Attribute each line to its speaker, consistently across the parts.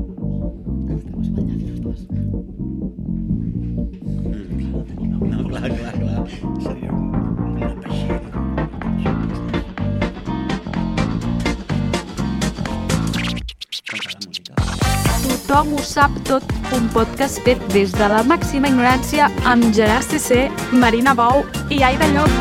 Speaker 1: Estamos guanyant els dos.
Speaker 2: No, clar, clar, clar. Seria una peixera.
Speaker 3: Tothom ho sap tot, un podcast fet des de la màxima ignorància amb Gerard CC, Marina Bou i Aida Llop.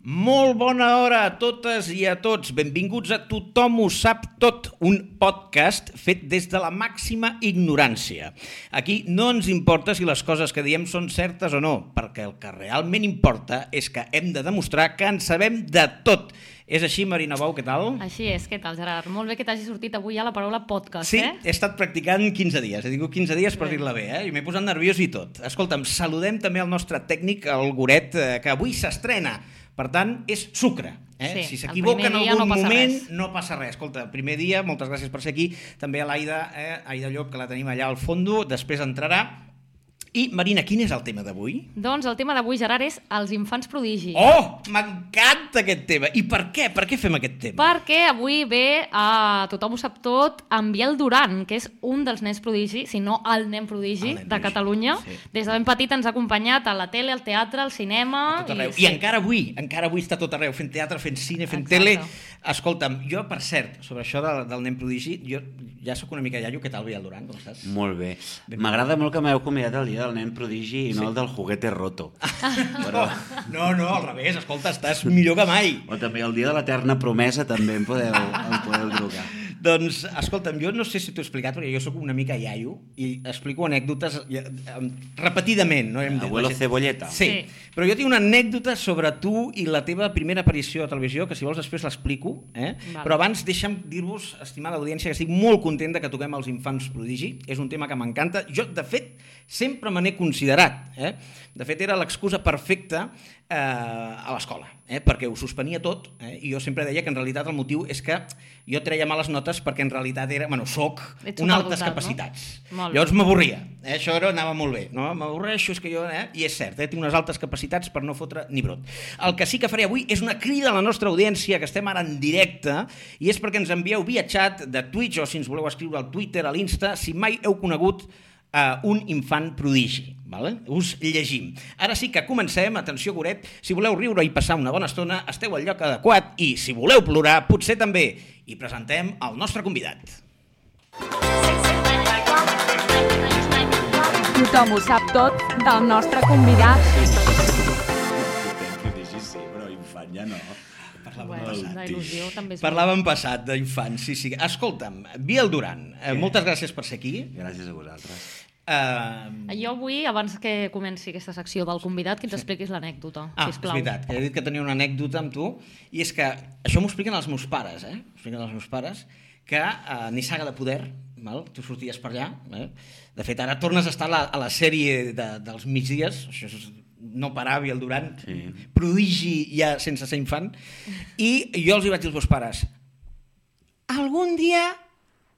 Speaker 2: Molt bona hora a totes i a tots. Benvinguts a Tothom ho sap tot, un podcast fet des de la màxima ignorància. Aquí no ens importa si les coses que diem són certes o no, perquè el que realment importa és que hem de demostrar que en sabem de tot. És així, Marina Bou, què tal?
Speaker 1: Així és, què tal, Gerard? Molt bé que t'hagi sortit avui ja la paraula podcast,
Speaker 2: Sí,
Speaker 1: eh?
Speaker 2: he estat practicant 15 dies, he tingut 15 dies per dir-la bé, eh? i m'he posat nerviós i tot. Escolta'm, saludem també el nostre tècnic, el Goret, eh, que avui s'estrena. Per tant, és sucre. Eh?
Speaker 1: Sí,
Speaker 2: si
Speaker 1: el
Speaker 2: s'equivoca en
Speaker 1: primer dia
Speaker 2: algun
Speaker 1: no passa
Speaker 2: moment,
Speaker 1: res.
Speaker 2: no passa res. Escolta, primer dia, moltes gràcies per ser aquí. També a l'Aida, eh? Aida Llop, que la tenim allà al fondo, després entrarà. I, Marina, quin és el tema d'avui?
Speaker 1: Doncs el tema d'avui, Gerard, és els infants prodigi.
Speaker 2: Oh, m'encanta aquest tema! I per què? Per què fem aquest tema?
Speaker 1: Perquè avui ve, a tothom ho sap tot, en Biel Duran, que és un dels nens prodigi, si no el nen prodigi
Speaker 2: El nen
Speaker 1: de
Speaker 2: prodigi,
Speaker 1: Catalunya.
Speaker 2: sí.
Speaker 1: Des de ben petit ens ha acompanyat a la tele, al teatre, al cinema...
Speaker 2: a tot arreu. I,
Speaker 1: sí.
Speaker 2: encara avui, encara avui està a tot arreu, fent teatre, fent cine, fent
Speaker 1: Exacte.
Speaker 2: tele. Escolta'm, jo, per cert, sobre això de, del nen prodigi, jo ja sóc una mica iaio. Què tal, Biel Duran? Com estàs?
Speaker 4: Molt bé. M'agrada molt que m'heu convidat el dia del nen prodigi i no el del juguete roto. Però,
Speaker 2: No, no, al revés, escolta, estàs millor que mai.
Speaker 4: o també el dia de l'eterna promesa també em podeu, em podeu trucar.
Speaker 2: Doncs, escolta'm, jo no sé si t'ho he explicat, perquè jo sóc una mica iaio i explico anècdotes ja, em, repetidament. No? Hem dit, la
Speaker 4: Abuelo
Speaker 2: gent-
Speaker 4: Cebolleta.
Speaker 2: Sí.
Speaker 1: Sí.
Speaker 2: sí, però jo tinc una anècdota sobre tu i la teva primera aparició a televisió, que si vols després l'explico, eh?
Speaker 1: Val.
Speaker 2: però abans deixa'm dir-vos, estimada audiència, que estic molt content de que toquem els infants prodigi, és un tema que m'encanta. Jo, de fet, sempre me n'he considerat. Eh? De fet, era l'excusa perfecta eh, a l'escola, eh? perquè ho suspenia tot eh? i jo sempre deia que en realitat el motiu és que jo treia males notes perquè en realitat era, bueno, soc
Speaker 1: Ets
Speaker 2: una
Speaker 1: superdotat,
Speaker 2: altes
Speaker 1: no?
Speaker 2: capacitats.
Speaker 1: Molt bé.
Speaker 2: Llavors m'avorria, eh? això era, anava molt bé, no? m'avorreixo, és que jo, eh? i és cert, eh? tinc unes altes capacitats per no fotre ni brot. El que sí que faré avui és una crida a la nostra audiència, que estem ara en directe, i és perquè ens envieu via chat de Twitch o si ens voleu escriure al Twitter, a l'Insta, si mai heu conegut eh, un infant prodigi. Vale? Us llegim. Ara sí que comencem, atenció Goret, si voleu riure i passar una bona estona, esteu al lloc adequat i si voleu plorar, potser també. I presentem el nostre convidat.
Speaker 3: Tothom ho sap tot del nostre convidat.
Speaker 4: Nen prodigi sí, però infant ja no.
Speaker 2: Parlàvem
Speaker 1: Bueno,
Speaker 2: passat.
Speaker 1: la il·lusió també és...
Speaker 2: Parlàvem passat d'infants, sí, sí. Escolta'm, Biel Duran, eh, moltes gràcies per ser aquí.
Speaker 4: Gràcies a vosaltres.
Speaker 2: Eh,
Speaker 1: Jo vull, abans que comenci aquesta secció del convidat, que ens expliquis l'anècdota,
Speaker 2: Ah, és
Speaker 1: sisplau.
Speaker 2: veritat, que he dit que tenia una anècdota amb tu, i és que això m'ho expliquen els meus pares, eh? M'ho expliquen els meus pares, que a eh, Nissaga de Poder, val? tu sorties per allà, eh? de fet ara tornes a estar a la, a la sèrie de, dels migdies, això és no parar, Biel Duran,
Speaker 4: Sí.
Speaker 2: prodigi ja sense ser infant, i jo els hi vaig dir als meus pares, algun dia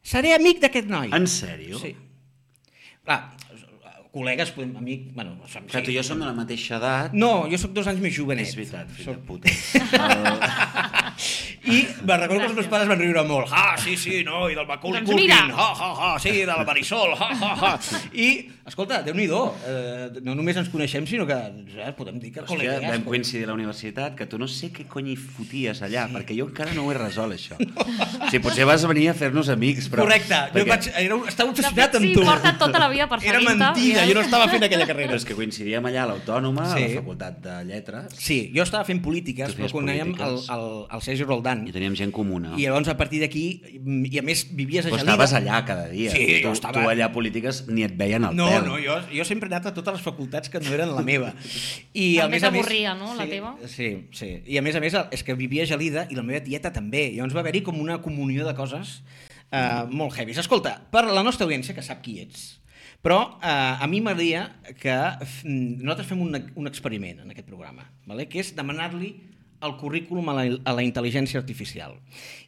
Speaker 2: seré amic d'aquest noi.
Speaker 4: En sèrio?
Speaker 2: Sí. Clar, col·legues, podem, amic... Bueno, som,
Speaker 4: Que tu i jo som de la mateixa edat.
Speaker 2: No, jo sóc dos anys més jovenet.
Speaker 4: És veritat, fill de
Speaker 2: Sóc-
Speaker 4: puta. El...
Speaker 2: I me recordo que els meus pares van riure molt. Ah, sí, sí, no, i del Macaulay
Speaker 1: Doncs
Speaker 2: Culkin.
Speaker 1: mira.
Speaker 2: Ha, ha, ha, sí, de la Marisol. Ha, ha, ha. I, escolta, Déu-n'hi-do, eh, no només ens coneixem, sinó que eh, podem dir que...
Speaker 4: Hòstia,
Speaker 2: col·legues,
Speaker 4: vam
Speaker 2: com-
Speaker 4: coincidir a la universitat, que tu no sé què cony hi foties allà, sí. perquè jo encara no ho he resolt, això. No. Sí, potser vas venir a fer-nos amics, però...
Speaker 2: Correcte, jo vaig, era, estava
Speaker 1: De
Speaker 2: obsessionat
Speaker 1: fet,
Speaker 2: amb
Speaker 1: sí,
Speaker 2: tu.
Speaker 1: porta tota la vida
Speaker 2: Era
Speaker 1: perseguint-te.
Speaker 2: mentida,
Speaker 1: Biel.
Speaker 2: jo no estava fent aquella
Speaker 4: Però
Speaker 2: carrera.
Speaker 4: és que coincidíem allà a l'Autònoma, sí. a
Speaker 2: Sí.
Speaker 4: la Facultat de Lletres,
Speaker 2: Sí, jo estava fent polítiques,
Speaker 4: Tu
Speaker 2: però
Speaker 4: feies
Speaker 2: conèiem el,
Speaker 4: polítiques.
Speaker 2: el, el Sergi Roldán.
Speaker 4: i teníem gent comuna.
Speaker 2: I llavors a partir d'aquí, i a més vivies a
Speaker 4: Però
Speaker 2: Gelida.
Speaker 4: estaves allà cada dia.
Speaker 2: Sí,
Speaker 4: tu,
Speaker 2: jo estava-
Speaker 4: tu allà polítiques ni et veien al
Speaker 2: No,
Speaker 4: pèl.
Speaker 2: no, jo, jo sempre he anat a totes les facultats que no eren la meva. I
Speaker 1: També t'avorria, no, la
Speaker 2: sí,
Speaker 1: teva?
Speaker 2: Sí, sí. I a més a més, és que vivia a Gelida i la meva tieta també. Llavors va haver-hi com una comunió de coses eh, molt heavies. Escolta, per la nostra audiència, que sap qui ets, però eh, a mi m'agradaria que f- nosaltres fem un, un experiment en aquest programa, vale? que és demanar-li el currículum a la, a la intel·ligència artificial.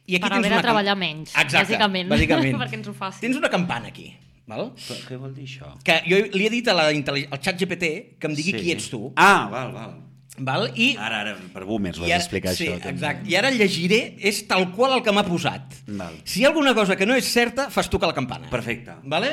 Speaker 2: I
Speaker 1: Per
Speaker 2: tens
Speaker 1: haver de
Speaker 2: una cam-
Speaker 1: treballar menys,
Speaker 2: Exacte,
Speaker 1: bàsicament,
Speaker 2: bàsicament.
Speaker 1: perquè ens ho faci.
Speaker 2: Tens una campana aquí, val?
Speaker 4: Però què vol dir això?
Speaker 2: que jo li he dit a la, intel·li- al xat GPT que em digui sí. qui ets tu.
Speaker 4: Ah, val, val.
Speaker 2: Val? I,
Speaker 4: Ara, ara, per boomers, ho
Speaker 2: i
Speaker 4: has d'explicar,
Speaker 2: sí,
Speaker 4: això. també.
Speaker 2: Exacte. I ara el llegiré, és tal qual el que m'ha posat.
Speaker 4: Val.
Speaker 2: Si hi ha alguna cosa que no és certa, fas tocar la campana.
Speaker 4: Perfecte.
Speaker 2: Vale?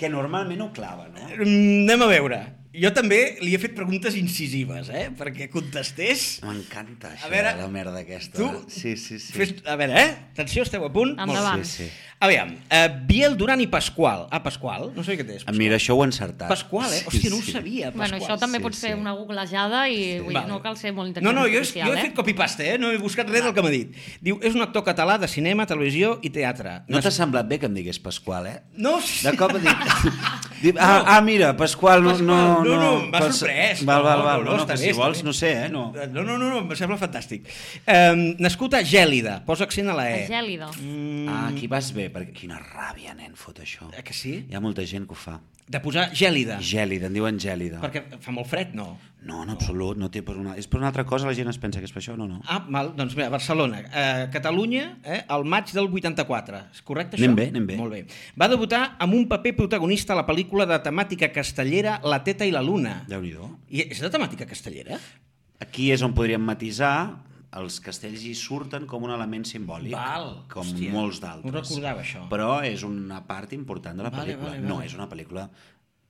Speaker 4: Que normalment ho clava, no?
Speaker 2: Mm, anem a veure. Jo també li he fet preguntes incisives, eh? Perquè contestés...
Speaker 4: M'encanta
Speaker 2: A
Speaker 4: això, a
Speaker 2: veure,
Speaker 4: veure, la merda aquesta.
Speaker 2: tu
Speaker 4: Sí, Ah, sí, sí.
Speaker 2: Fes, a veure, eh? Atenció, esteu a punt?
Speaker 1: Endavant.
Speaker 4: Sí, sí.
Speaker 2: A veure, eh, Biel, Duran i Pasqual. Ah, Pasqual? No sé què té. és
Speaker 4: Ah, Mira, això ho he encertat.
Speaker 2: Pasqual, eh? Hòstia, no ho sabia, Pasqual.
Speaker 1: Bueno, això també
Speaker 4: sí,
Speaker 1: pot ser
Speaker 4: sí.
Speaker 1: una googlejada i vull, dir,
Speaker 2: Vale.
Speaker 1: no cal ser molt
Speaker 2: No,
Speaker 1: intel·ligent.
Speaker 2: no, jo, he-
Speaker 1: artificial,
Speaker 2: jo he fet copy-paste, eh? No he buscat res del que m'ha dit. Diu, és un actor català de cinema, televisió i teatre.
Speaker 4: No t'ha semblat bé que em digués Pasqual, eh?
Speaker 2: No, sí.
Speaker 4: De cop he dit... dic, ah, ah, mira, Pasqual, no...
Speaker 2: Pasqual, no,
Speaker 4: No, no,
Speaker 2: no, m'ha sorprès.
Speaker 4: Val, val,
Speaker 2: No,
Speaker 4: val.
Speaker 2: no,
Speaker 4: No,
Speaker 2: no,
Speaker 4: no,
Speaker 2: està
Speaker 4: que
Speaker 2: bé,
Speaker 4: si
Speaker 2: està
Speaker 4: vols,
Speaker 2: bé.
Speaker 4: no sé, eh? No.
Speaker 2: No, no, no, no, em sembla fantàstic. Eh, nascut a Gèlida, posa accent a la E.
Speaker 1: Eh? Gèlida.
Speaker 2: Mm,
Speaker 4: Ah, aquí vas bé, perquè quina ràbia, nen, fot això.
Speaker 2: eh, que sí?
Speaker 4: Hi ha molta gent que ho fa.
Speaker 2: De posar Gèlida,
Speaker 4: Gèlida, en diuen gèlida.
Speaker 2: perquè fa molt fred, Ah. no?
Speaker 4: No, en absolut, no té per una... És per una altra cosa, la gent es pensa que és per això, no, no.
Speaker 2: Ah, mal, doncs mira, Barcelona, eh, Catalunya, eh, al maig del 84. És correcte això?
Speaker 4: Anem bé, anem bé.
Speaker 2: Molt bé. Va debutar amb un paper protagonista a la pel·lícula de temàtica castellera La teta i la luna.
Speaker 4: Déu-n'hi-do.
Speaker 2: I és de temàtica castellera?
Speaker 4: Aquí és on podríem matisar els castells hi surten com un element simbòlic,
Speaker 2: Val,
Speaker 4: com
Speaker 2: hòstia,
Speaker 4: molts
Speaker 2: no
Speaker 4: d'altres.
Speaker 2: recordava això.
Speaker 4: Però és una part important de la
Speaker 2: Vale,
Speaker 4: pel·lícula.
Speaker 2: vale, vale.
Speaker 4: No és una pel·lícula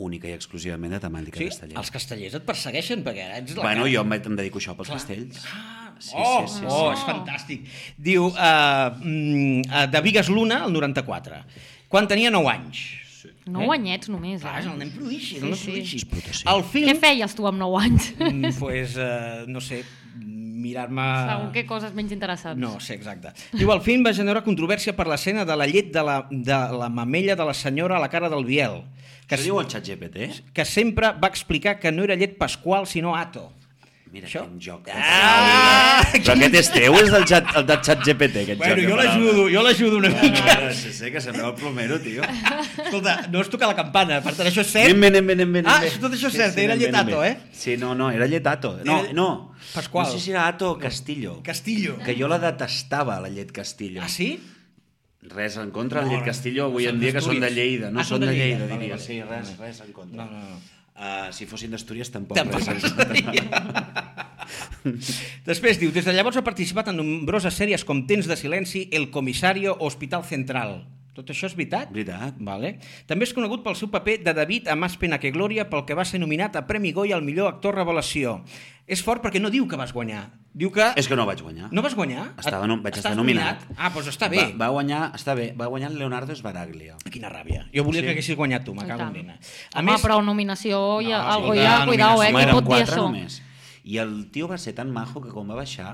Speaker 4: única i exclusivament de temàtica
Speaker 2: Sí,
Speaker 4: castellera.
Speaker 2: els castellers et persegueixen perquè ets la
Speaker 4: Bueno,
Speaker 2: cara.
Speaker 4: jo em, em dedico a això pels castells.
Speaker 2: Ah,
Speaker 4: Sí, sí,
Speaker 2: oh,
Speaker 4: sí, sí.
Speaker 2: oh, és fantàstic. Diu, eh, mm, eh, de Vigues Luna, el 94, quan tenia 9 anys. Sí.
Speaker 1: No guanyets només,
Speaker 2: eh? Clar, és el
Speaker 1: eh?
Speaker 2: nen prodigi,
Speaker 1: Sí,
Speaker 2: el nen
Speaker 1: sí.
Speaker 2: prodigi.
Speaker 4: És puto, sí.
Speaker 2: El
Speaker 1: Què
Speaker 2: film,
Speaker 1: feies tu amb 9 anys?
Speaker 2: mm, pues, eh, no sé, mirar-me...
Speaker 1: Segur que coses menys interessants.
Speaker 2: Ah. No, sí, exacte. Diu, el film va generar controvèrsia per l'escena de la llet de la, de la mamella de la senyora a la cara del Biel, que,
Speaker 4: Que diu el xat GPT?
Speaker 2: que sempre va explicar que no era llet pasqual, sinó ato.
Speaker 4: Mira,
Speaker 2: Això?
Speaker 4: això? quin joc.
Speaker 2: Ah!
Speaker 4: Ah! Però aquest és teu, és del xat, el del xat GPT, aquest joc.
Speaker 2: Bueno,
Speaker 4: de
Speaker 2: jo
Speaker 4: paraules.
Speaker 2: l'ajudo, jo l'ajudo una mica.
Speaker 4: Ah, sí, sí, que se'n veu el plomero, tio.
Speaker 2: Escolta, no es toca la campana, per tant, això és
Speaker 4: Anem
Speaker 2: cert.
Speaker 4: bé, anem bé, anem bé. anem
Speaker 2: Ah,
Speaker 4: bé.
Speaker 2: tot això és cert, era
Speaker 4: anem bé,
Speaker 2: Lletato,
Speaker 4: anem bé.
Speaker 2: eh?
Speaker 4: Sí, no, no, era Lletato. No,
Speaker 2: Era-
Speaker 4: no.
Speaker 2: Pasqual.
Speaker 4: No sé si era Ato o Castillo.
Speaker 2: Castillo.
Speaker 4: Que jo la detestava, la Llet Castillo.
Speaker 2: Ah, sí?
Speaker 4: Res en contra de
Speaker 2: No,
Speaker 4: Llet
Speaker 2: no,
Speaker 4: Castillo, avui
Speaker 2: són
Speaker 4: en dia que són de
Speaker 2: d'Astúries.
Speaker 4: Lleida. No
Speaker 2: Ah,
Speaker 4: són de Lleida,
Speaker 2: vale,
Speaker 4: diria.
Speaker 2: vale.
Speaker 4: Sí, res, res en contra.
Speaker 2: No, no, no.
Speaker 4: Uh, si fossin d'Astúries, tampoc.
Speaker 2: Tampoc
Speaker 4: res
Speaker 2: no
Speaker 4: en contra.
Speaker 2: Després diu, des de llavors ha participat en nombroses sèries com Temps de silenci, El comissario o Hospital Central. Tot això és veritat?
Speaker 4: Veritat.
Speaker 2: Vale. També és conegut pel seu paper de David a Más pena que gloria, pel que va ser nominat a Premi Goya al millor actor revelació. És fort perquè no diu que vas guanyar. Diu que...
Speaker 4: És que no vaig guanyar.
Speaker 2: No vas guanyar?
Speaker 4: Estava, no, vaig
Speaker 2: Estàs
Speaker 4: estar nominat.
Speaker 2: Ah, doncs està bé.
Speaker 4: Va, va guanyar, està bé, va guanyar el Leonardo Sbaraglia.
Speaker 2: Ah, Quina ràbia. Jo volia
Speaker 4: Sí.
Speaker 2: que haguessis guanyat tu, me cago en
Speaker 1: tant.
Speaker 2: l'Ena.
Speaker 1: A Home, més... però nominació i no,
Speaker 2: escolta,
Speaker 1: algo ja, cuidao,
Speaker 2: nominació,
Speaker 1: eh, que
Speaker 4: Eren
Speaker 1: pot dir
Speaker 4: quatre
Speaker 1: això.
Speaker 4: Només. I el tio va ser tan majo que quan va baixar,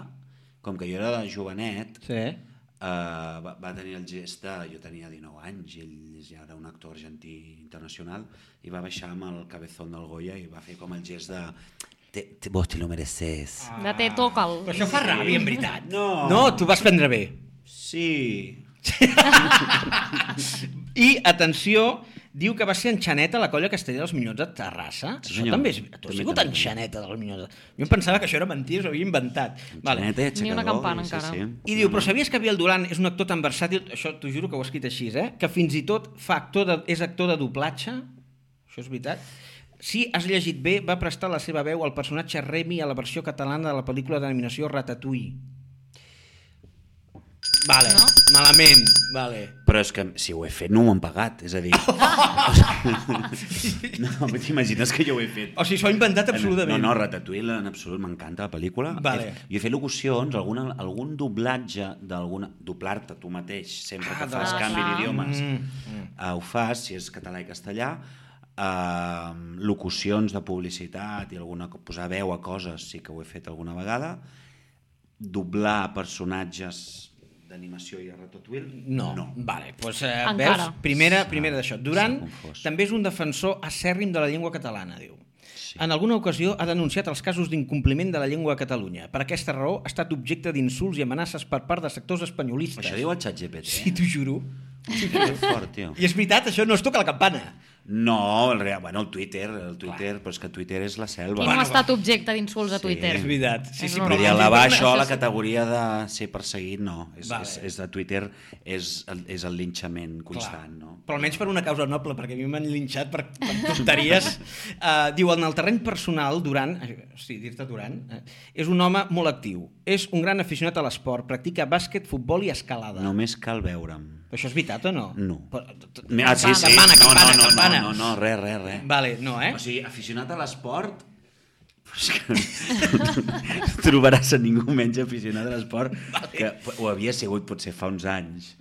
Speaker 4: com que jo era de jovenet,
Speaker 2: Sí.
Speaker 4: eh, va, va tenir el gest de... Jo tenia 19 anys, i ell ja era un actor argentí internacional, i va baixar amb el cabezón del Goya i va fer com el gest de... Te, te, vos te lo mereces.
Speaker 1: De te toca'l.
Speaker 2: Ah. Però això fa ràbia, en veritat.
Speaker 4: No.
Speaker 2: No, tu vas prendre bé.
Speaker 4: Sí.
Speaker 2: I, atenció, diu que va ser en Xaneta a la colla Castella dels Minyons de Terrassa.
Speaker 4: Sí,
Speaker 2: això
Speaker 4: senyor.
Speaker 2: també és... Tu has
Speaker 4: També,
Speaker 2: sigut en
Speaker 4: també.
Speaker 2: Xaneta dels Minyons de... Jo em pensava que això era mentida, s'ho havia inventat. Vale.
Speaker 4: Xaneta i
Speaker 1: Ni una
Speaker 4: eh, aixecador,
Speaker 1: campana,
Speaker 4: i sí,
Speaker 1: encara.
Speaker 2: I
Speaker 4: sí.
Speaker 2: diu, però sabies que Biel Duran és un actor tan versàtil, això t'ho juro que ho he escrit així, eh? que fins i tot fa actor de, és actor de doblatge, això és veritat, si has llegit bé, va prestar la seva veu al personatge Remy a la versió catalana de la pel·lícula de denominació Ratatouille. Vale, no?
Speaker 1: No?
Speaker 2: malament, vale.
Speaker 4: Però és que si ho he fet no m'ho han pagat, és a dir... no, t'imagines que jo ho he fet?
Speaker 2: O sigui, s'ho ha inventat absolutament.
Speaker 4: No, no, Ratatouille en absolut m'encanta la pel·lícula.
Speaker 2: Vale.
Speaker 4: He- Jo he fet locucions, alguna, algun doblatge d'alguna... Doblar-te tu mateix, sempre
Speaker 2: Ah,
Speaker 4: que fas
Speaker 1: de-
Speaker 4: canvi
Speaker 1: clar.
Speaker 4: d'idiomes.
Speaker 2: Mm,
Speaker 4: Uh, ho fas, si és català i castellà, uh, locucions de publicitat i alguna co- posar veu a coses sí que ho he fet alguna vegada doblar personatges d'animació i de Ratatouille
Speaker 2: No. no. Ah,
Speaker 4: no.
Speaker 2: Vale, doncs, eh,
Speaker 1: Encara.
Speaker 2: veus? Primera, primera d'això. Duran
Speaker 4: s'ha confós.
Speaker 2: també és un defensor acèrrim de la llengua catalana, diu. Sí. En alguna ocasió ha denunciat els casos d'incompliment de la llengua a Catalunya. Per aquesta raó ha estat objecte d'insults i amenaces per part de sectors espanyolistes.
Speaker 4: Això diu el xat GPT.
Speaker 2: Sí, t'ho juro.
Speaker 4: Sí, que fort, tio.
Speaker 2: I és veritat, això no es toca la campana.
Speaker 4: No, el, real, bueno, el Twitter, el Twitter, però és que Twitter és la selva.
Speaker 1: Quin
Speaker 2: Bueno,
Speaker 1: no ha estat objecte d'insults a
Speaker 4: sí,
Speaker 1: Twitter?
Speaker 2: És veritat. Sí,
Speaker 1: És
Speaker 2: sí,
Speaker 1: normal.
Speaker 2: però
Speaker 4: Vull dir, elevar
Speaker 2: Internet-
Speaker 4: això a la
Speaker 1: Això és-
Speaker 4: categoria de ser perseguit, no. És,
Speaker 2: Vale.
Speaker 4: és, és de Twitter és el, és el linxament constant, no?
Speaker 2: Però almenys per una causa noble, perquè a mi m'han linxat per, per tonteries. uh, diu, en el terreny personal, Duran, sí, dir-te Duran, eh, és un home molt actiu. És un gran aficionat a l'esport, practica bàsquet, futbol i escalada.
Speaker 4: Només cal veure'm.
Speaker 2: Però Això és veritat o no?
Speaker 4: No.
Speaker 2: Però, t- t-
Speaker 4: Ah, sí, sí.
Speaker 2: Campana,
Speaker 4: no,
Speaker 2: campana,
Speaker 4: no, no,
Speaker 2: campana.
Speaker 4: no, no, no, res, res, res.
Speaker 2: Vale, no, eh?
Speaker 4: O sigui, aficionat a l'esport, però és que trobaràs a ningú menys aficionat a l'esport que ho havia sigut potser fa uns anys.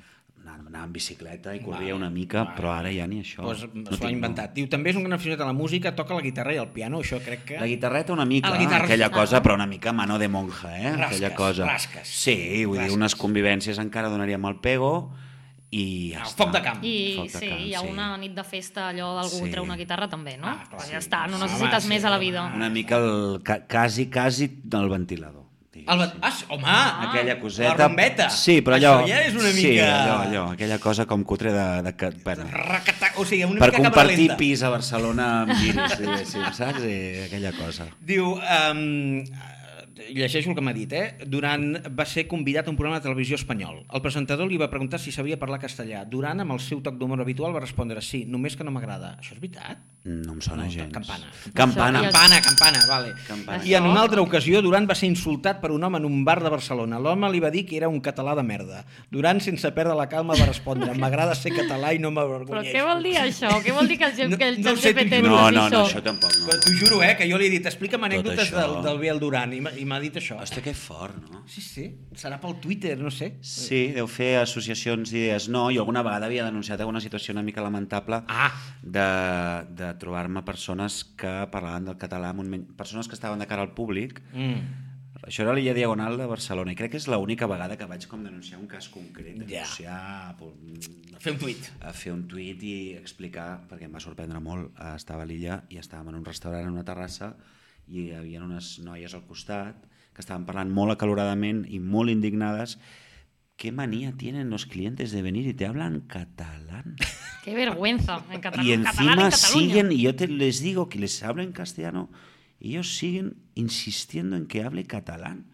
Speaker 4: Anava anava en bicicleta i corria una mica, però ara ja ni això.
Speaker 2: Pues, no S'ho
Speaker 4: tinc,
Speaker 2: ha inventat. Diu, també és un gran aficionat a la música, toca la guitarra i el piano, això crec que...
Speaker 4: La guitarreta una mica,
Speaker 2: Ah, la guitarra-
Speaker 4: aquella cosa, però una mica mano de monja, eh?
Speaker 2: Rasques,
Speaker 4: aquella cosa.
Speaker 2: rasques.
Speaker 4: Sí, vull
Speaker 2: Rasques.
Speaker 4: dir, unes convivències encara donaríem el pego i ja
Speaker 2: Ah,
Speaker 4: està.
Speaker 2: foc de camp.
Speaker 1: I
Speaker 4: Foc de
Speaker 1: sí,
Speaker 4: camp,
Speaker 1: hi ha
Speaker 4: sí.
Speaker 1: una nit de festa, allò d'algú
Speaker 4: Sí.
Speaker 1: treu una guitarra també, no?
Speaker 2: Ah, clar,
Speaker 1: Pues
Speaker 2: sí.
Speaker 1: ja està, no
Speaker 2: Home,
Speaker 1: necessites
Speaker 2: sí,
Speaker 1: més a la
Speaker 2: home.
Speaker 1: vida.
Speaker 4: Una mica, el, ca, quasi, quasi del ventilador. diguéssim.
Speaker 2: El... Ah, sí, home! Ah,
Speaker 4: aquella coseta...
Speaker 2: La rombeta.
Speaker 4: Sí, però allò...
Speaker 2: Això ja és una
Speaker 4: Sí,
Speaker 2: mica...
Speaker 4: allò, allò, aquella cosa com cutre de... de, que- bueno,
Speaker 2: Racata... O sigui, una
Speaker 4: per
Speaker 2: mica
Speaker 4: compartir
Speaker 2: lenta.
Speaker 4: pis a Barcelona amb guiris, diguéssim, saps? Eh, aquella cosa.
Speaker 2: Diu... Um, llegeixo el que m'ha dit, eh? Duran va ser convidat a un programa de televisió espanyol. El presentador li va preguntar si sabia parlar castellà. Duran, amb el seu toc d'humor habitual, va respondre sí, només que no m'agrada. Això és veritat?
Speaker 4: No em sona
Speaker 2: No,
Speaker 4: gens.
Speaker 2: campana.
Speaker 4: Campana.
Speaker 1: Això,
Speaker 2: Campana, campana, vale.
Speaker 4: Campana.
Speaker 2: I en una altra ocasió, Duran va ser insultat per un home en un bar de Barcelona. L'home li va dir que era un català de merda. Duran, sense perdre la calma, va respondre m'agrada ser català i no
Speaker 1: Però
Speaker 2: m'avergonyeixo.
Speaker 1: què vol dir això? Què vol dir que
Speaker 2: No-
Speaker 1: el, no, que el
Speaker 2: no ho sé,
Speaker 1: GPT
Speaker 4: No,
Speaker 1: digui
Speaker 4: no, no, això tampoc no.
Speaker 2: Però t'ho juro, eh, que jo li he dit explica'm anècdotes
Speaker 4: això.
Speaker 2: del, del Biel Duran i m'ha- i m'ha dit això.
Speaker 4: Hosta, que fort, no?
Speaker 2: Sí, sí, serà pel Twitter, no sé.
Speaker 4: Sí, deu fer associacions d'idees. No, jo alguna vegada havia denunciat alguna situació una mica lamentable
Speaker 2: Ah.
Speaker 4: de, de trobar-me persones que parlaven del català, amb un men... persones que estaven de cara al públic.
Speaker 2: Mm.
Speaker 4: Això era a l'illa Diagonal de Barcelona i crec que és l'única vegada que vaig com denunciar un cas concret,
Speaker 2: Ja.
Speaker 4: denunciar... Por...
Speaker 2: Fer un tuit.
Speaker 4: a fer un tuit i explicar, perquè em va sorprendre molt, eh, estava a l'illa i estàvem en un restaurant, en una terrassa, i hi havia unes noies al costat que estaven parlant molt acaloradament i molt indignades ¿Qué manía tienen los clientes de venir y te hablan catalán?
Speaker 1: Que vergüenza, en català,
Speaker 4: y
Speaker 1: catalana
Speaker 4: encima
Speaker 1: en Cataluña.
Speaker 4: siguen, y yo te, les digo que les hablo en castellano, y ellos siguen insistiendo en que hable catalán.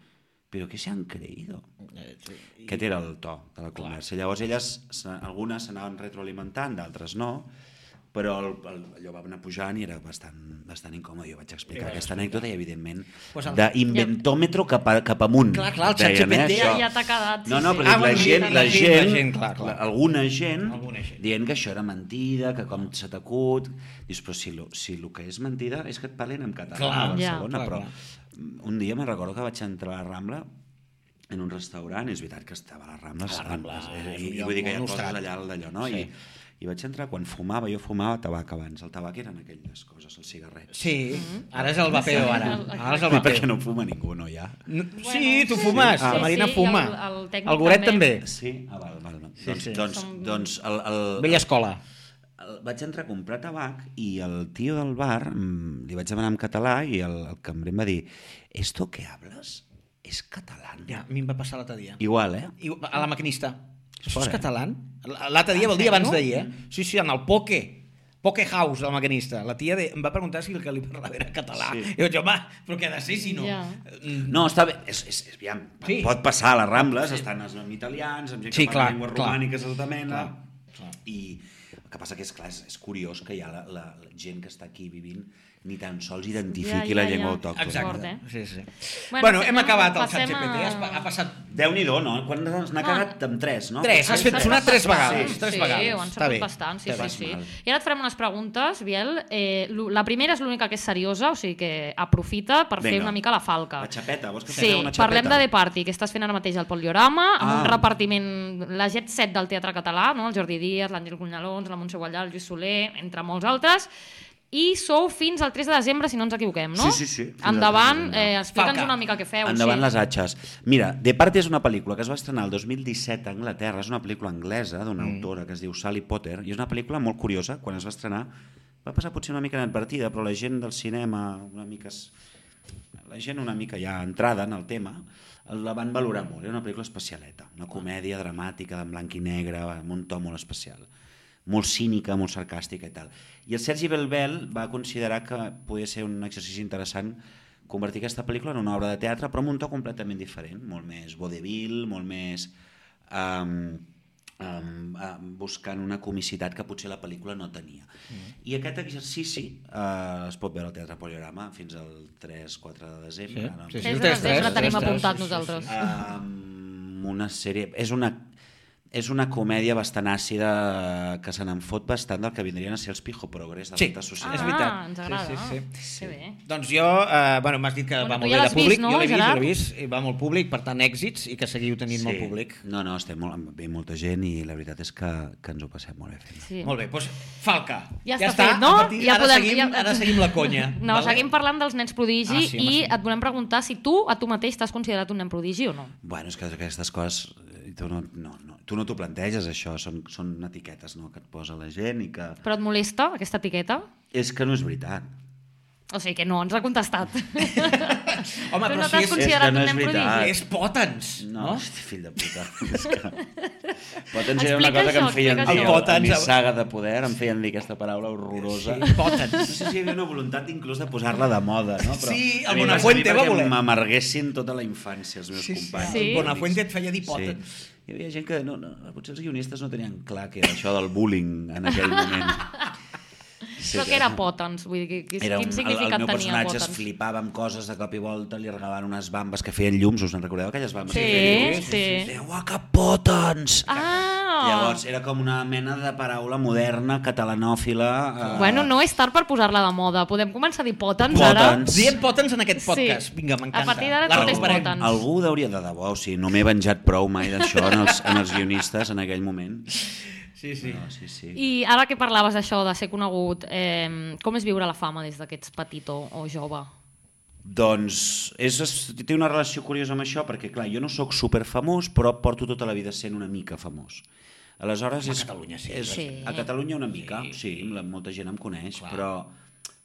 Speaker 4: ¿Pero qué se han creído?
Speaker 2: Eh,
Speaker 4: Aquest era el to de la conversa. Llavors elles, se- algunes s'anaven retroalimentant, d'altres no, però el, el, allò va anar pujant i era bastant, bastant incòmode. Jo vaig explicar aquesta anècdota i, evidentment,
Speaker 2: Pues el-
Speaker 4: d'inventòmetre cap, a, cap amunt.
Speaker 2: Clar, clar, el
Speaker 4: deien,
Speaker 2: ChatGPT
Speaker 4: això.
Speaker 1: ja- ja t'ha quedat, sí,
Speaker 4: No, no,
Speaker 1: sí.
Speaker 4: però
Speaker 2: Ah,
Speaker 4: la,
Speaker 2: bueno,
Speaker 4: gent,
Speaker 2: la
Speaker 4: la,
Speaker 2: gent, la
Speaker 4: gent,
Speaker 2: gent, clar, clar.
Speaker 4: la- alguna gent,
Speaker 2: Alguna gent.
Speaker 4: dient que això era mentida, que com se t'acut... Dius, però si lo, si lo que és mentida és que et parlen en català a
Speaker 2: Clar,
Speaker 1: Ja.
Speaker 4: Barcelona,
Speaker 2: clar,
Speaker 4: però
Speaker 2: clar.
Speaker 4: un dia me'n recordo que vaig entrar a la Rambla en un restaurant, és veritat que estava a la Rambla,
Speaker 2: A la Rambla, és
Speaker 4: i,
Speaker 2: un
Speaker 4: i,
Speaker 2: lloc
Speaker 4: vull dir que hi ha
Speaker 2: molt
Speaker 4: coses
Speaker 2: nostrat.
Speaker 4: allà al d'allò, no?
Speaker 2: Sí.
Speaker 4: I, I vaig entrar, quan fumava, jo fumava tabac abans, el tabac eren aquelles coses, els cigarrets.
Speaker 2: Sí,
Speaker 1: Mm-hmm.
Speaker 2: ara és el vapeo, ara. Ara és el
Speaker 4: I perquè
Speaker 2: vapeo.
Speaker 4: no fuma ningú, no, ja?
Speaker 2: No... Sí, tu fumes,
Speaker 1: sí,
Speaker 2: la Marina
Speaker 1: sí, i
Speaker 2: fuma.
Speaker 1: el- el tècnic
Speaker 2: el Goret també.
Speaker 1: també.
Speaker 4: Sí? Ah, val, val. val. doncs,
Speaker 2: sí.
Speaker 4: doncs, doncs el, el,
Speaker 2: Vella escola.
Speaker 4: el, vaig entrar a comprar tabac i el tio del bar mm, li vaig demanar en català i el, el cambrer em va dir «Esto que hablas es catalán».
Speaker 2: Ja, a mi em va passar l'altre dia.
Speaker 4: Igual, eh?
Speaker 2: I, a la maquinista. Això
Speaker 4: fort,
Speaker 2: és
Speaker 4: eh?
Speaker 2: català? L'altre
Speaker 1: Ah,
Speaker 2: dia, el dia abans d'ahir, eh? Sí, sí, en el poke. Poke House, la maquinista. La tia de, em va preguntar si el que li parlava era català.
Speaker 4: Sí.
Speaker 2: Sí. I vaig dir, home, però què ha de ser si no?
Speaker 1: Ja.
Speaker 2: Mm,
Speaker 4: No, està bé, és, és, és aviam,
Speaker 2: Sí.
Speaker 4: sí. pot passar a les Rambles, sí. estan els italians, amb gent
Speaker 2: Sí,
Speaker 4: que parla
Speaker 2: clar,
Speaker 4: llengües
Speaker 2: clar.
Speaker 4: romàniques de tota mena,
Speaker 2: clar.
Speaker 4: i el que passa que és clar, és, és curiós que ja la, la, la gent que està aquí vivint ni tan sols identifiqui ja,
Speaker 1: ja,
Speaker 4: ja, la llengua
Speaker 1: ja.
Speaker 4: autòctona.
Speaker 2: Exacte.
Speaker 1: Fort, eh?
Speaker 2: Sí, sí. Bueno,
Speaker 1: Bueno,
Speaker 2: bueno
Speaker 1: sí,
Speaker 2: hem
Speaker 1: no,
Speaker 2: acabat el
Speaker 1: passem
Speaker 2: ChatGPT.
Speaker 1: a-
Speaker 2: Has pa- Ha passat
Speaker 4: Déu-n'hi-do, no? Quan
Speaker 1: Ah.
Speaker 4: n'ha cagat? Amb tres, no?
Speaker 2: Tres,
Speaker 4: Potser
Speaker 2: has fet
Speaker 4: tres.
Speaker 2: sonar tres vegades.
Speaker 1: Sí,
Speaker 2: tres
Speaker 1: sí,
Speaker 2: vegades.
Speaker 1: ho han
Speaker 2: Està bé.
Speaker 1: sabut bastant, sí,
Speaker 2: Està bé.
Speaker 1: sí, sí.
Speaker 4: Vas mal.
Speaker 1: I ara et farem unes preguntes, Biel. Eh, lo- la primera és l'única que és seriosa, o sigui que aprofita per fer
Speaker 4: Vinga.
Speaker 1: una mica la falca.
Speaker 4: La xapeta, vols que
Speaker 1: Sí,
Speaker 4: fem una xapeta?
Speaker 1: parlem de The Party, que estàs fent ara mateix al Poliorama, amb
Speaker 4: Ah.
Speaker 1: un repartiment, la Jet Set del Teatre Català, no? el Jordi Díaz, l'Àngel Cunyalons, la Montse Guallà, el Lluís Soler, entre molts altres, i sou fins al 3 de desembre, si no ens equivoquem, no?
Speaker 4: Sí, sí, sí, fins al 3 de
Speaker 1: Endavant,
Speaker 4: desembre.
Speaker 1: eh, explica'ns
Speaker 2: Falca.
Speaker 1: una mica què feu.
Speaker 4: Endavant
Speaker 1: sí.
Speaker 4: les atxes. Mira, The Party és una pel·lícula que es va estrenar el 2017 a Anglaterra, és una pel·lícula anglesa d'una autora que es diu Sally Potter, i és una pel·lícula molt curiosa, quan es va estrenar va passar potser una mica inadvertida, però la gent del cinema una mica... Es... La gent una mica ja entrada en el tema la van valorar molt, era una pel·lícula especialeta, una comèdia dramàtica en blanc i negre, amb un to molt especial. molt cínica, molt sarcàstica i tal. I el Sergi Belbel va considerar que podia ser un exercici interessant convertir aquesta pel·lícula en una obra de teatre, però amb un to completament diferent, molt més vodevil, molt més... Um, um, um, buscant una comicitat que potser la pel·lícula no tenia. Mm. I aquest exercici uh, es pot veure al Teatre Poliorama fins al 3-4 de desembre. no?
Speaker 1: sí, Tres de tres, desembre la tenim
Speaker 2: tres, tres, sí,
Speaker 1: apuntat
Speaker 2: sí,
Speaker 1: nosaltres.
Speaker 2: sí,
Speaker 4: amb una sèrie... És una, és una comèdia bastant àcida eh, que se n'en fot bastant del que vindrien a ser els pijo progrés de
Speaker 2: Sí,
Speaker 4: l'alta
Speaker 2: és
Speaker 4: societat.
Speaker 2: veritat.
Speaker 1: Ah, ens
Speaker 2: Sí,
Speaker 1: agrada.
Speaker 2: sí, sí.
Speaker 1: Que bé.
Speaker 2: sí. Doncs jo, eh, bueno, m'has dit que
Speaker 1: Bueno,
Speaker 2: va
Speaker 1: tu
Speaker 2: molt
Speaker 1: ja
Speaker 2: bé de
Speaker 1: l'has vist,
Speaker 2: públic,
Speaker 1: no,
Speaker 2: jo l'he vist, jo
Speaker 1: Gerard?
Speaker 2: l'he vist, i va molt públic, per tant, èxits, i que seguiu tenint molt públic.
Speaker 4: No, no, estem molt, ve molta gent i la veritat és que, que ens ho passem molt bé fent.
Speaker 1: Sí.
Speaker 2: Molt bé, doncs Falca.
Speaker 1: Ja, està, fet, no?
Speaker 2: a partir,
Speaker 1: ja
Speaker 2: ara, seguim,
Speaker 1: ja-
Speaker 2: ara seguim la conya.
Speaker 1: No,
Speaker 2: vale?
Speaker 1: seguim parlant dels nens prodigi
Speaker 2: Ah, sí, home,
Speaker 1: i
Speaker 2: sí.
Speaker 1: et volem preguntar si tu a tu mateix t'has considerat un nen prodigi o no.
Speaker 4: Bueno, és que aquestes coses eh, tu no no, no, tu no t'ho planteges això, són, són etiquetes no, que et posa la gent i que...
Speaker 1: Però et molesta aquesta etiqueta?
Speaker 4: És que no és veritat.
Speaker 1: O sigui que no, ens ha contestat.
Speaker 2: Home,
Speaker 1: tu
Speaker 2: però
Speaker 1: no
Speaker 2: si
Speaker 1: t'has
Speaker 2: és,
Speaker 1: considerat
Speaker 4: És que no
Speaker 1: un
Speaker 4: és
Speaker 1: nen
Speaker 4: veritat.
Speaker 1: prodigi?
Speaker 2: és potens,
Speaker 4: No,
Speaker 2: no?
Speaker 4: hosti, fill de puta. És que... Potents era una
Speaker 1: Explica
Speaker 4: cosa que em
Speaker 1: això,
Speaker 4: feien
Speaker 1: explica
Speaker 4: dir
Speaker 2: això.
Speaker 4: a, a mi
Speaker 2: Potents, a-
Speaker 4: saga de poder, em feien dir aquesta paraula horrorosa.
Speaker 2: Sí,
Speaker 4: No
Speaker 2: potens.
Speaker 4: sé si hi havia una voluntat inclús de posar-la de moda, no?
Speaker 2: Sí, el
Speaker 4: a mi em va
Speaker 2: Bonafuente
Speaker 4: servir
Speaker 2: va
Speaker 4: perquè
Speaker 2: voler.
Speaker 4: M'amarguessin tota la infància els meus
Speaker 2: Sí, sí.
Speaker 4: companys.
Speaker 1: Sí.
Speaker 4: amics.
Speaker 2: Bonafuente et feia dir potents.
Speaker 4: Sí. Hi havia gent que no, no, potser els guionistes no tenien clar que era això del bullying en aquell moment. Sí,
Speaker 1: Però que era potens, vull dir, que, que,
Speaker 4: era un,
Speaker 1: quin
Speaker 4: el, el
Speaker 1: significat
Speaker 4: meu
Speaker 1: tenia
Speaker 4: personatge es
Speaker 1: potens?
Speaker 4: flipava amb coses de cop i volta, li regalaven unes bambes que feien llums, us en recordeu aquelles bambes?
Speaker 1: Sí,
Speaker 4: que feien llums?
Speaker 1: sí.
Speaker 4: Deia, "Ua, que potens!
Speaker 1: Ah!
Speaker 4: Llavors, era com una mena de paraula moderna, catalanòfila... Eh,
Speaker 1: Bueno, no és tard per posar-la de moda. Podem començar a dir potens,
Speaker 4: Potens.
Speaker 1: ara?
Speaker 2: Diem potens en aquest
Speaker 1: Sí.
Speaker 2: podcast. Vinga, m'encanta.
Speaker 1: A partir d'ara
Speaker 2: La
Speaker 1: tot és
Speaker 2: recuperem.
Speaker 1: potens.
Speaker 4: Algú hauria de debò, o sigui, no m'he venjat prou mai d'això en, els, en els guionistes en aquell moment.
Speaker 2: Sí, sí.
Speaker 4: No, sí, sí.
Speaker 1: I ara que parlaves d'això, de ser conegut, eh, com és viure la fama des de que ets petit o, o jove?
Speaker 4: Doncs és, es- té una relació curiosa amb això perquè, clar, jo no sóc superfamós, però porto tota la vida sent una mica famós. Aleshores, a és,
Speaker 2: Catalunya sí.
Speaker 4: És,
Speaker 1: Sí.
Speaker 4: A Catalunya una mica, sí, sí la- molta gent em coneix, però,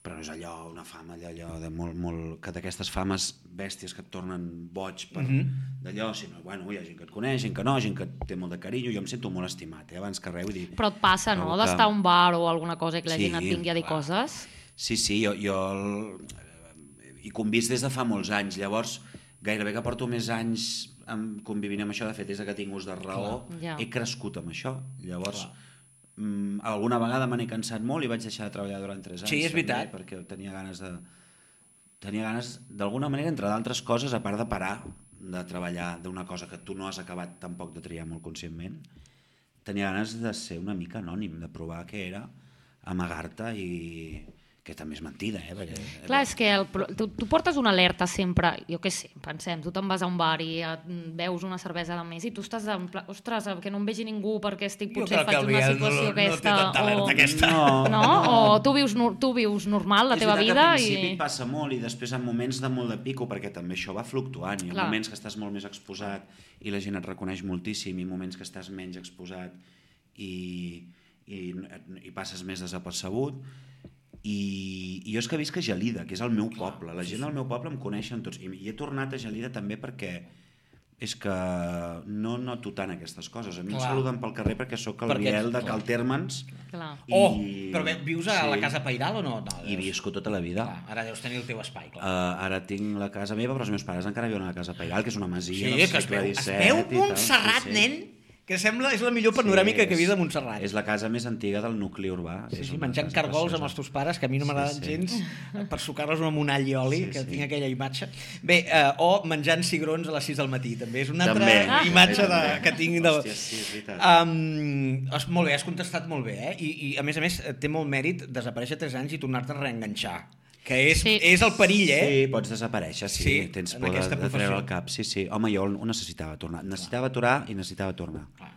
Speaker 4: però no és allò, una fama allò, allò de molt, molt, que d'aquestes fames bèsties que et tornen boig per
Speaker 2: Mm-hmm. Mm?
Speaker 4: d'allò, sinó, bueno, hi ha gent que et coneix, gent que no, gent que et té molt de carinyo, jo em sento molt estimat, eh, abans que res, vull dir...
Speaker 1: Però et passa, no?,
Speaker 4: Algú que-
Speaker 1: d'estar a un bar o alguna cosa i que la
Speaker 4: Sí,
Speaker 1: gent et vingui a dir
Speaker 4: clar.
Speaker 1: coses.
Speaker 4: Sí, sí, jo, jo el- eh, hi convis des de fa molts anys, llavors gairebé que porto més anys amb, convivint amb això, de fet, des de que tinc ús de raó,
Speaker 1: Ja.
Speaker 4: he crescut amb això, llavors mm, alguna vegada me n'he cansat molt i vaig deixar de treballar durant 3 anys.
Speaker 2: Sí, és veritat.
Speaker 4: També, perquè tenia ganes de... Tenia ganes, d'alguna manera, entre d'altres coses, a part de parar de treballar d'una cosa que tu no has acabat tampoc de triar molt conscientment, tenia ganes de ser una mica anònim, de provar què era, amagar-te i que també és mentida, eh? Perquè...
Speaker 1: Clar, és que el, pro- tu, tu portes una alerta sempre, jo què sé, pensem, tu te'n vas a un bar i et veus una cervesa de més i tu estàs en pla, ostres, que no em vegi ningú perquè estic,
Speaker 2: Jo
Speaker 1: potser
Speaker 2: crec que
Speaker 1: faig
Speaker 2: el
Speaker 1: una
Speaker 2: Biel no-
Speaker 1: situació
Speaker 2: no té
Speaker 1: aquesta.
Speaker 2: tanta alerta
Speaker 1: o...
Speaker 2: aquesta.
Speaker 4: No,
Speaker 1: No? O tu vius, nor- tu vius normal la
Speaker 4: És
Speaker 1: teva
Speaker 4: veritat
Speaker 1: vida
Speaker 4: que al principi
Speaker 1: i...
Speaker 4: et passa molt i després en moments de molt de pico, perquè també això va fluctuant. Hi ha
Speaker 1: Clar.
Speaker 4: moments que estàs molt més exposat i la gent et reconeix moltíssim i moments que estàs menys exposat i, i, i passes més desapercebut. I, i jo és que visc a Gelida, que és el meu poble. La gent del meu poble em coneixen tots. I, i he tornat a Gelida també perquè és que no noto tant aquestes coses. A mi
Speaker 2: Clar.
Speaker 4: em saluden pel carrer perquè sóc el
Speaker 2: Perquè ets-
Speaker 4: Biel de
Speaker 2: clar.
Speaker 4: Caltermans.
Speaker 1: Clar.
Speaker 2: Oh, però bé, vius a la casa Pairal o no? no
Speaker 4: I
Speaker 2: deus-
Speaker 4: visco tota la vida.
Speaker 2: Clar, ara deus tenir el teu espai, clar.
Speaker 4: Uh, ara tinc la casa meva, però els meus pares encara viuen a la casa Pairal, que és una masia
Speaker 2: Sí,
Speaker 4: del
Speaker 2: que es
Speaker 4: segle
Speaker 2: veu, es
Speaker 4: XVII.
Speaker 2: veu
Speaker 4: i tal.
Speaker 2: Montserrat,
Speaker 4: Sí, sí.
Speaker 2: nen, que sembla, és la millor
Speaker 4: Sí,
Speaker 2: panoràmica que he
Speaker 4: és-
Speaker 2: vist de Montserrat.
Speaker 4: És la casa més antiga del nucli urbà.
Speaker 2: Sí,
Speaker 4: És
Speaker 2: sí,
Speaker 4: una
Speaker 2: menjant
Speaker 4: casa
Speaker 2: cargols amb els
Speaker 4: preciosa.
Speaker 2: teus pares, que a mi no
Speaker 4: Sí,
Speaker 2: m'agraden
Speaker 4: sí.
Speaker 2: gens, per sucar-los amb un all i oli,
Speaker 4: Sí,
Speaker 2: que
Speaker 4: sí.
Speaker 2: tinc aquella imatge. Bé, eh, o menjant cigrons a les 6 del matí, també. És una altra
Speaker 4: També,
Speaker 2: imatge de,
Speaker 4: també.
Speaker 2: que tinc de...
Speaker 4: Hòstia, sí, és veritat.
Speaker 2: Um, has, molt bé, has contestat molt bé, eh? I, I, a més a més, té molt mèrit desaparèixer 3 anys i tornar-te a reenganxar, que és,
Speaker 1: Sí.
Speaker 2: sí. és el perill, eh?
Speaker 4: Sí, pots desaparèixer, sí,
Speaker 2: Sí,
Speaker 4: sí tens
Speaker 2: en
Speaker 4: por de,
Speaker 2: aquesta
Speaker 4: de treure
Speaker 2: professió.
Speaker 4: el cap. Sí, sí. Home, jo ho necessitava tornar. Necessitava aturar i necessitava tornar.
Speaker 2: Clar.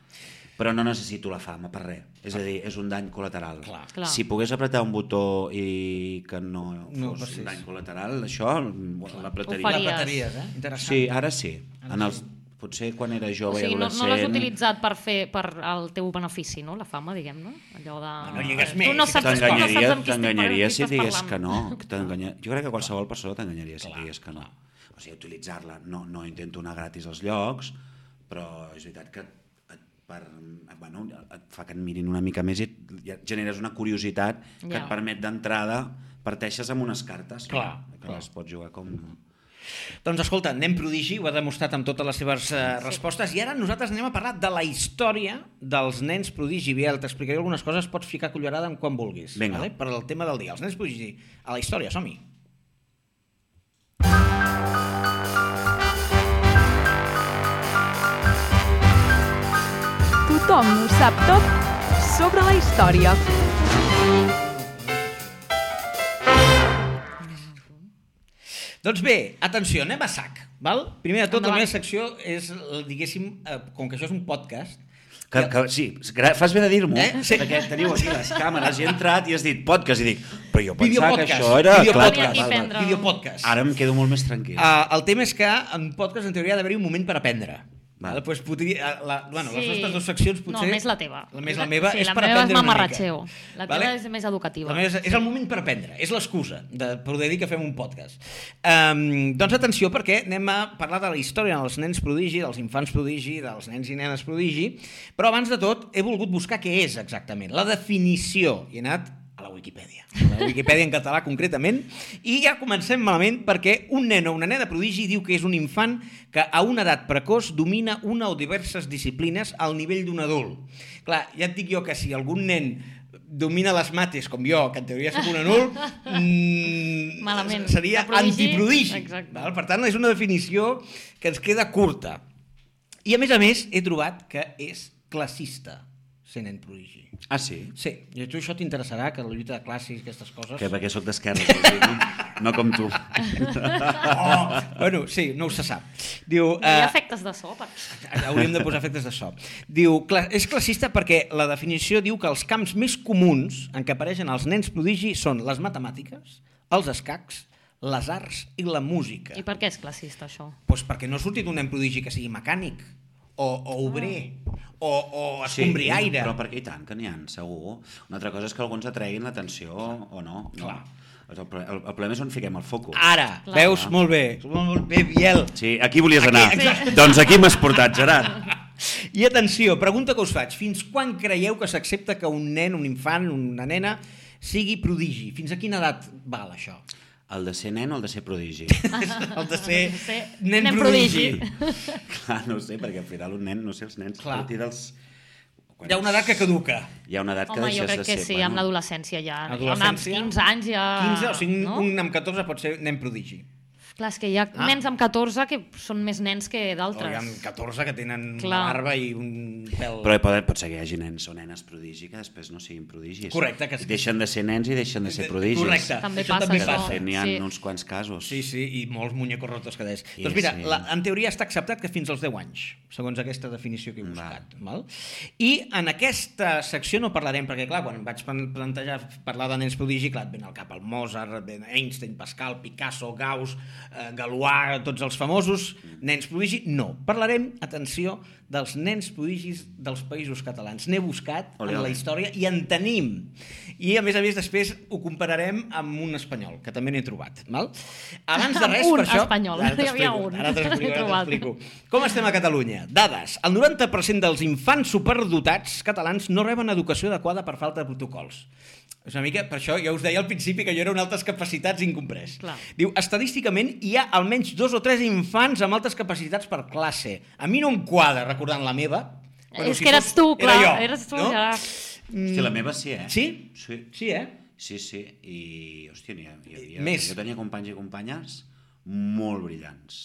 Speaker 4: Però no necessito la fama per res. És a dir, és un dany col·lateral.
Speaker 2: Clar.
Speaker 1: Clar.
Speaker 4: Si pogués apretar un botó i que no fos
Speaker 2: No passés.
Speaker 4: un dany col·lateral, això bueno,
Speaker 1: Ho
Speaker 4: l'apretaria.
Speaker 1: faries.
Speaker 2: L'apetaries, eh? Interessant.
Speaker 4: Sí, ara sí. En els, potser quan era
Speaker 1: O
Speaker 4: jove
Speaker 1: sigui,
Speaker 4: i
Speaker 1: no, no l'has
Speaker 4: adolescent-
Speaker 1: utilitzat per fer per al teu benefici, no? La fama, diguem-ne. Allò de...
Speaker 2: No, no lligues més,
Speaker 1: tu no
Speaker 2: sí que
Speaker 1: saps, tu no saps
Speaker 4: T'enganyaria
Speaker 1: amb qui estic
Speaker 4: t'enganyaria
Speaker 1: parlant,
Speaker 4: si
Speaker 1: amb qui
Speaker 4: digués
Speaker 1: estàs
Speaker 4: que
Speaker 1: parlant.
Speaker 4: no. que t'enganya- Jo crec que qualsevol persona t'enganyaria si digués que no. O sigui, utilitzar-la. No, no intento anar gratis als llocs, però és veritat que et per, bueno, et fa que et mirin una mica més i et, ja et generes una curiositat que
Speaker 1: Ja.
Speaker 4: et permet d'entrada parteixes amb unes cartes
Speaker 2: Clar,
Speaker 4: que
Speaker 2: clar.
Speaker 4: les pots jugar com...
Speaker 2: Doncs escolta, Nen Prodigi ho ha demostrat amb totes les seves eh, respostes i ara nosaltres anem a parlar de la història dels Nens Prodigi. Biel, t'explicaré algunes coses, pots ficar cullerada en quan vulguis.
Speaker 4: Vinga.
Speaker 2: Vale? Per al tema del dia. Els Nens Prodigi, a la història, som-hi.
Speaker 3: Tothom ho sap tot sobre la història.
Speaker 2: Doncs bé, atenció, anem a sac. Val? Primer de tot,
Speaker 1: Endavant.
Speaker 2: la meva secció és, eh, diguéssim, eh, com que això és un podcast,
Speaker 4: Que, que, sí, gra- fas bé de dir-m'ho,
Speaker 2: Eh?
Speaker 4: eh?
Speaker 2: Sí.
Speaker 4: perquè teniu aquí les càmeres i he entrat i has dit podcast i dic, però jo pensava que
Speaker 2: Videopodcast,
Speaker 4: això era...
Speaker 1: Venia
Speaker 2: videopodcast,
Speaker 1: aquí a
Speaker 4: val,
Speaker 1: prendre-
Speaker 4: val.
Speaker 2: videopodcast.
Speaker 4: Ara em quedo molt més tranquil.
Speaker 2: Uh, el tema és que en podcast, en teoria, ha d'haver-hi un moment per aprendre.
Speaker 4: Val.
Speaker 2: Val. Pues, podria, eh, la, bueno,
Speaker 1: Sí.
Speaker 2: les nostres dues seccions potser...
Speaker 1: No, més la teva.
Speaker 2: La, més la meva
Speaker 1: sí,
Speaker 2: és
Speaker 1: la
Speaker 2: per
Speaker 1: meva és
Speaker 2: aprendre una
Speaker 1: mamarratxeo.
Speaker 2: mica.
Speaker 1: La teva és més educativa.
Speaker 2: La meva és, és el moment per aprendre, és l'excusa de poder dir que fem un podcast. Um, doncs atenció, perquè anem a parlar de la història dels nens prodigi, dels infants prodigi, dels nens i nenes prodigi, però abans de tot he volgut buscar què és exactament, la definició, i he anat a la Wikipedia. A La Wikipedia en català, concretament. I ja comencem malament perquè un nen o una nena prodigi diu que és un infant que a una edat precoç domina una o diverses disciplines al nivell d'un adult. Clar, ja et dic jo que si algun nen domina les mates com jo, que en teoria sóc un anul, mm,
Speaker 1: Malament.
Speaker 2: seria
Speaker 1: De prodigi,
Speaker 2: antiprodigi.
Speaker 1: exacte.
Speaker 2: Val? Per tant, és una definició que ens queda curta. I a més a més, he trobat que és classista, sent en prodigi.
Speaker 4: Ah, sí?
Speaker 2: Sí, i a tu això t'interessarà, que la lluita de classes i aquestes coses...
Speaker 4: Que perquè sóc d'esquerra, o sigui, no, no com tu.
Speaker 2: Oh! bueno, sí, no ho se sap. Diu,
Speaker 1: No hi ha
Speaker 2: eh,
Speaker 1: efectes de so, per...
Speaker 2: hauríem de posar efectes de so. Diu, cla és classista perquè la definició diu que els camps més comuns en què apareixen els nens prodigi són les matemàtiques, els escacs, les arts i la música.
Speaker 1: I per què és classista, això?
Speaker 2: Pues perquè no ha sortit un nen prodigi que sigui mecànic, o, o obrer, o, o escombriaire.
Speaker 4: Però perquè i tant, que n'hi ha, segur. Una altra cosa és que alguns atreguin l'atenció o no. no.
Speaker 2: Clar. Ah.
Speaker 4: El, el, el problema és on fiquem el focus.
Speaker 2: Ara,
Speaker 1: Clar.
Speaker 2: veus? Molt bé. Molt bé, Biel.
Speaker 4: Sí, aquí volies anar.
Speaker 1: exacte.
Speaker 4: Doncs aquí m'has portat, Gerard.
Speaker 2: I atenció, pregunta que us faig. Fins quan creieu que s'accepta que un nen, un infant, una nena, sigui prodigi? Fins a quina edat val això?
Speaker 4: El de ser nen o el de ser prodigi?
Speaker 2: El de ser,
Speaker 1: De ser
Speaker 2: nen,
Speaker 1: nen
Speaker 2: prodigi.
Speaker 1: prodigi.
Speaker 4: Clar, no ho sé, perquè al final un nen, no sé, els nens,
Speaker 2: Clar.
Speaker 4: Clar. a partir dels... Quan
Speaker 2: Hi ha una edat que caduca.
Speaker 4: Hi ha una edat que
Speaker 1: Home, jo
Speaker 4: deixes
Speaker 1: crec
Speaker 4: de
Speaker 1: que
Speaker 4: ser.
Speaker 1: sí, amb l'adolescència ja.
Speaker 2: Adolescència?
Speaker 1: Amb 15 anys ja...
Speaker 2: 15, o sigui,
Speaker 1: Ah, no?
Speaker 2: no? un amb 14 pot ser nen prodigi.
Speaker 1: Clar, és que hi ha
Speaker 2: Ah.
Speaker 1: ah. nens amb 14 que són més nens que
Speaker 2: O hi ha
Speaker 1: d'altres.
Speaker 2: 14 que tenen Clar.
Speaker 1: Clar.
Speaker 2: una barba i un pèl...
Speaker 4: Però pot, pot ser que hi hagi nens o nenes prodigi que després no siguin prodigis.
Speaker 2: Correcte, que sí. Eh,
Speaker 4: Deixen de ser nens i deixen de ser prodigis.
Speaker 2: Correcte.
Speaker 1: També
Speaker 2: això
Speaker 1: passa,
Speaker 2: també
Speaker 4: Que de
Speaker 1: això.
Speaker 2: passa.
Speaker 4: fet n'hi ha
Speaker 1: Sí.
Speaker 4: sí. uns quants casos.
Speaker 2: Sí, sí, i molts muñecos rotos que deies.
Speaker 4: Sí,
Speaker 2: doncs mira,
Speaker 4: sí.
Speaker 2: la, en teoria està acceptat que fins als 10 anys, segons aquesta definició que he buscat. Val. I en aquesta secció no parlarem, perquè clar, quan vaig plan- plantejar parlar de nens prodigi, clar, et ven al cap el Mozart, et ven Einstein, Pascal, Picasso, Gauss, eh, Galois, tots els famosos nens prodigi. No, parlarem, atenció, dels nens prodigis dels països catalans. N'he buscat
Speaker 4: Ole,
Speaker 2: en la
Speaker 4: ole.
Speaker 2: història i en tenim. I a més a més després ho compararem amb un espanyol, que també n'he trobat. Val? Abans de res,
Speaker 1: Un
Speaker 2: per això...
Speaker 1: espanyol,
Speaker 2: Ara
Speaker 1: hi havia
Speaker 2: t'explico,
Speaker 1: un.
Speaker 2: Ara
Speaker 1: N'he
Speaker 2: t'explico, ara
Speaker 1: trobat.
Speaker 2: t'explico. Com estem a Catalunya? Dades. El 90% dels infants superdotats catalans no reben educació adequada per falta de protocols. És una mica, per això ja us deia al principi que jo era un altes capacitats incomprès.
Speaker 1: Clar.
Speaker 2: Diu, estadísticament hi ha almenys dos o tres infants amb altes capacitats per classe. A mi no em quadra, recordant la meva. però
Speaker 1: és que eres tu, clar.
Speaker 2: Era jo,
Speaker 1: eres tu,
Speaker 2: no?
Speaker 1: Gerard.
Speaker 4: Hosti, la meva sí, eh?
Speaker 2: Sí?
Speaker 4: Sí,
Speaker 2: Sí, eh?
Speaker 4: sí. sí. I, hòstia, n'hi ha- hi havia...
Speaker 2: Més.
Speaker 4: Jo tenia companys i companyes molt brillants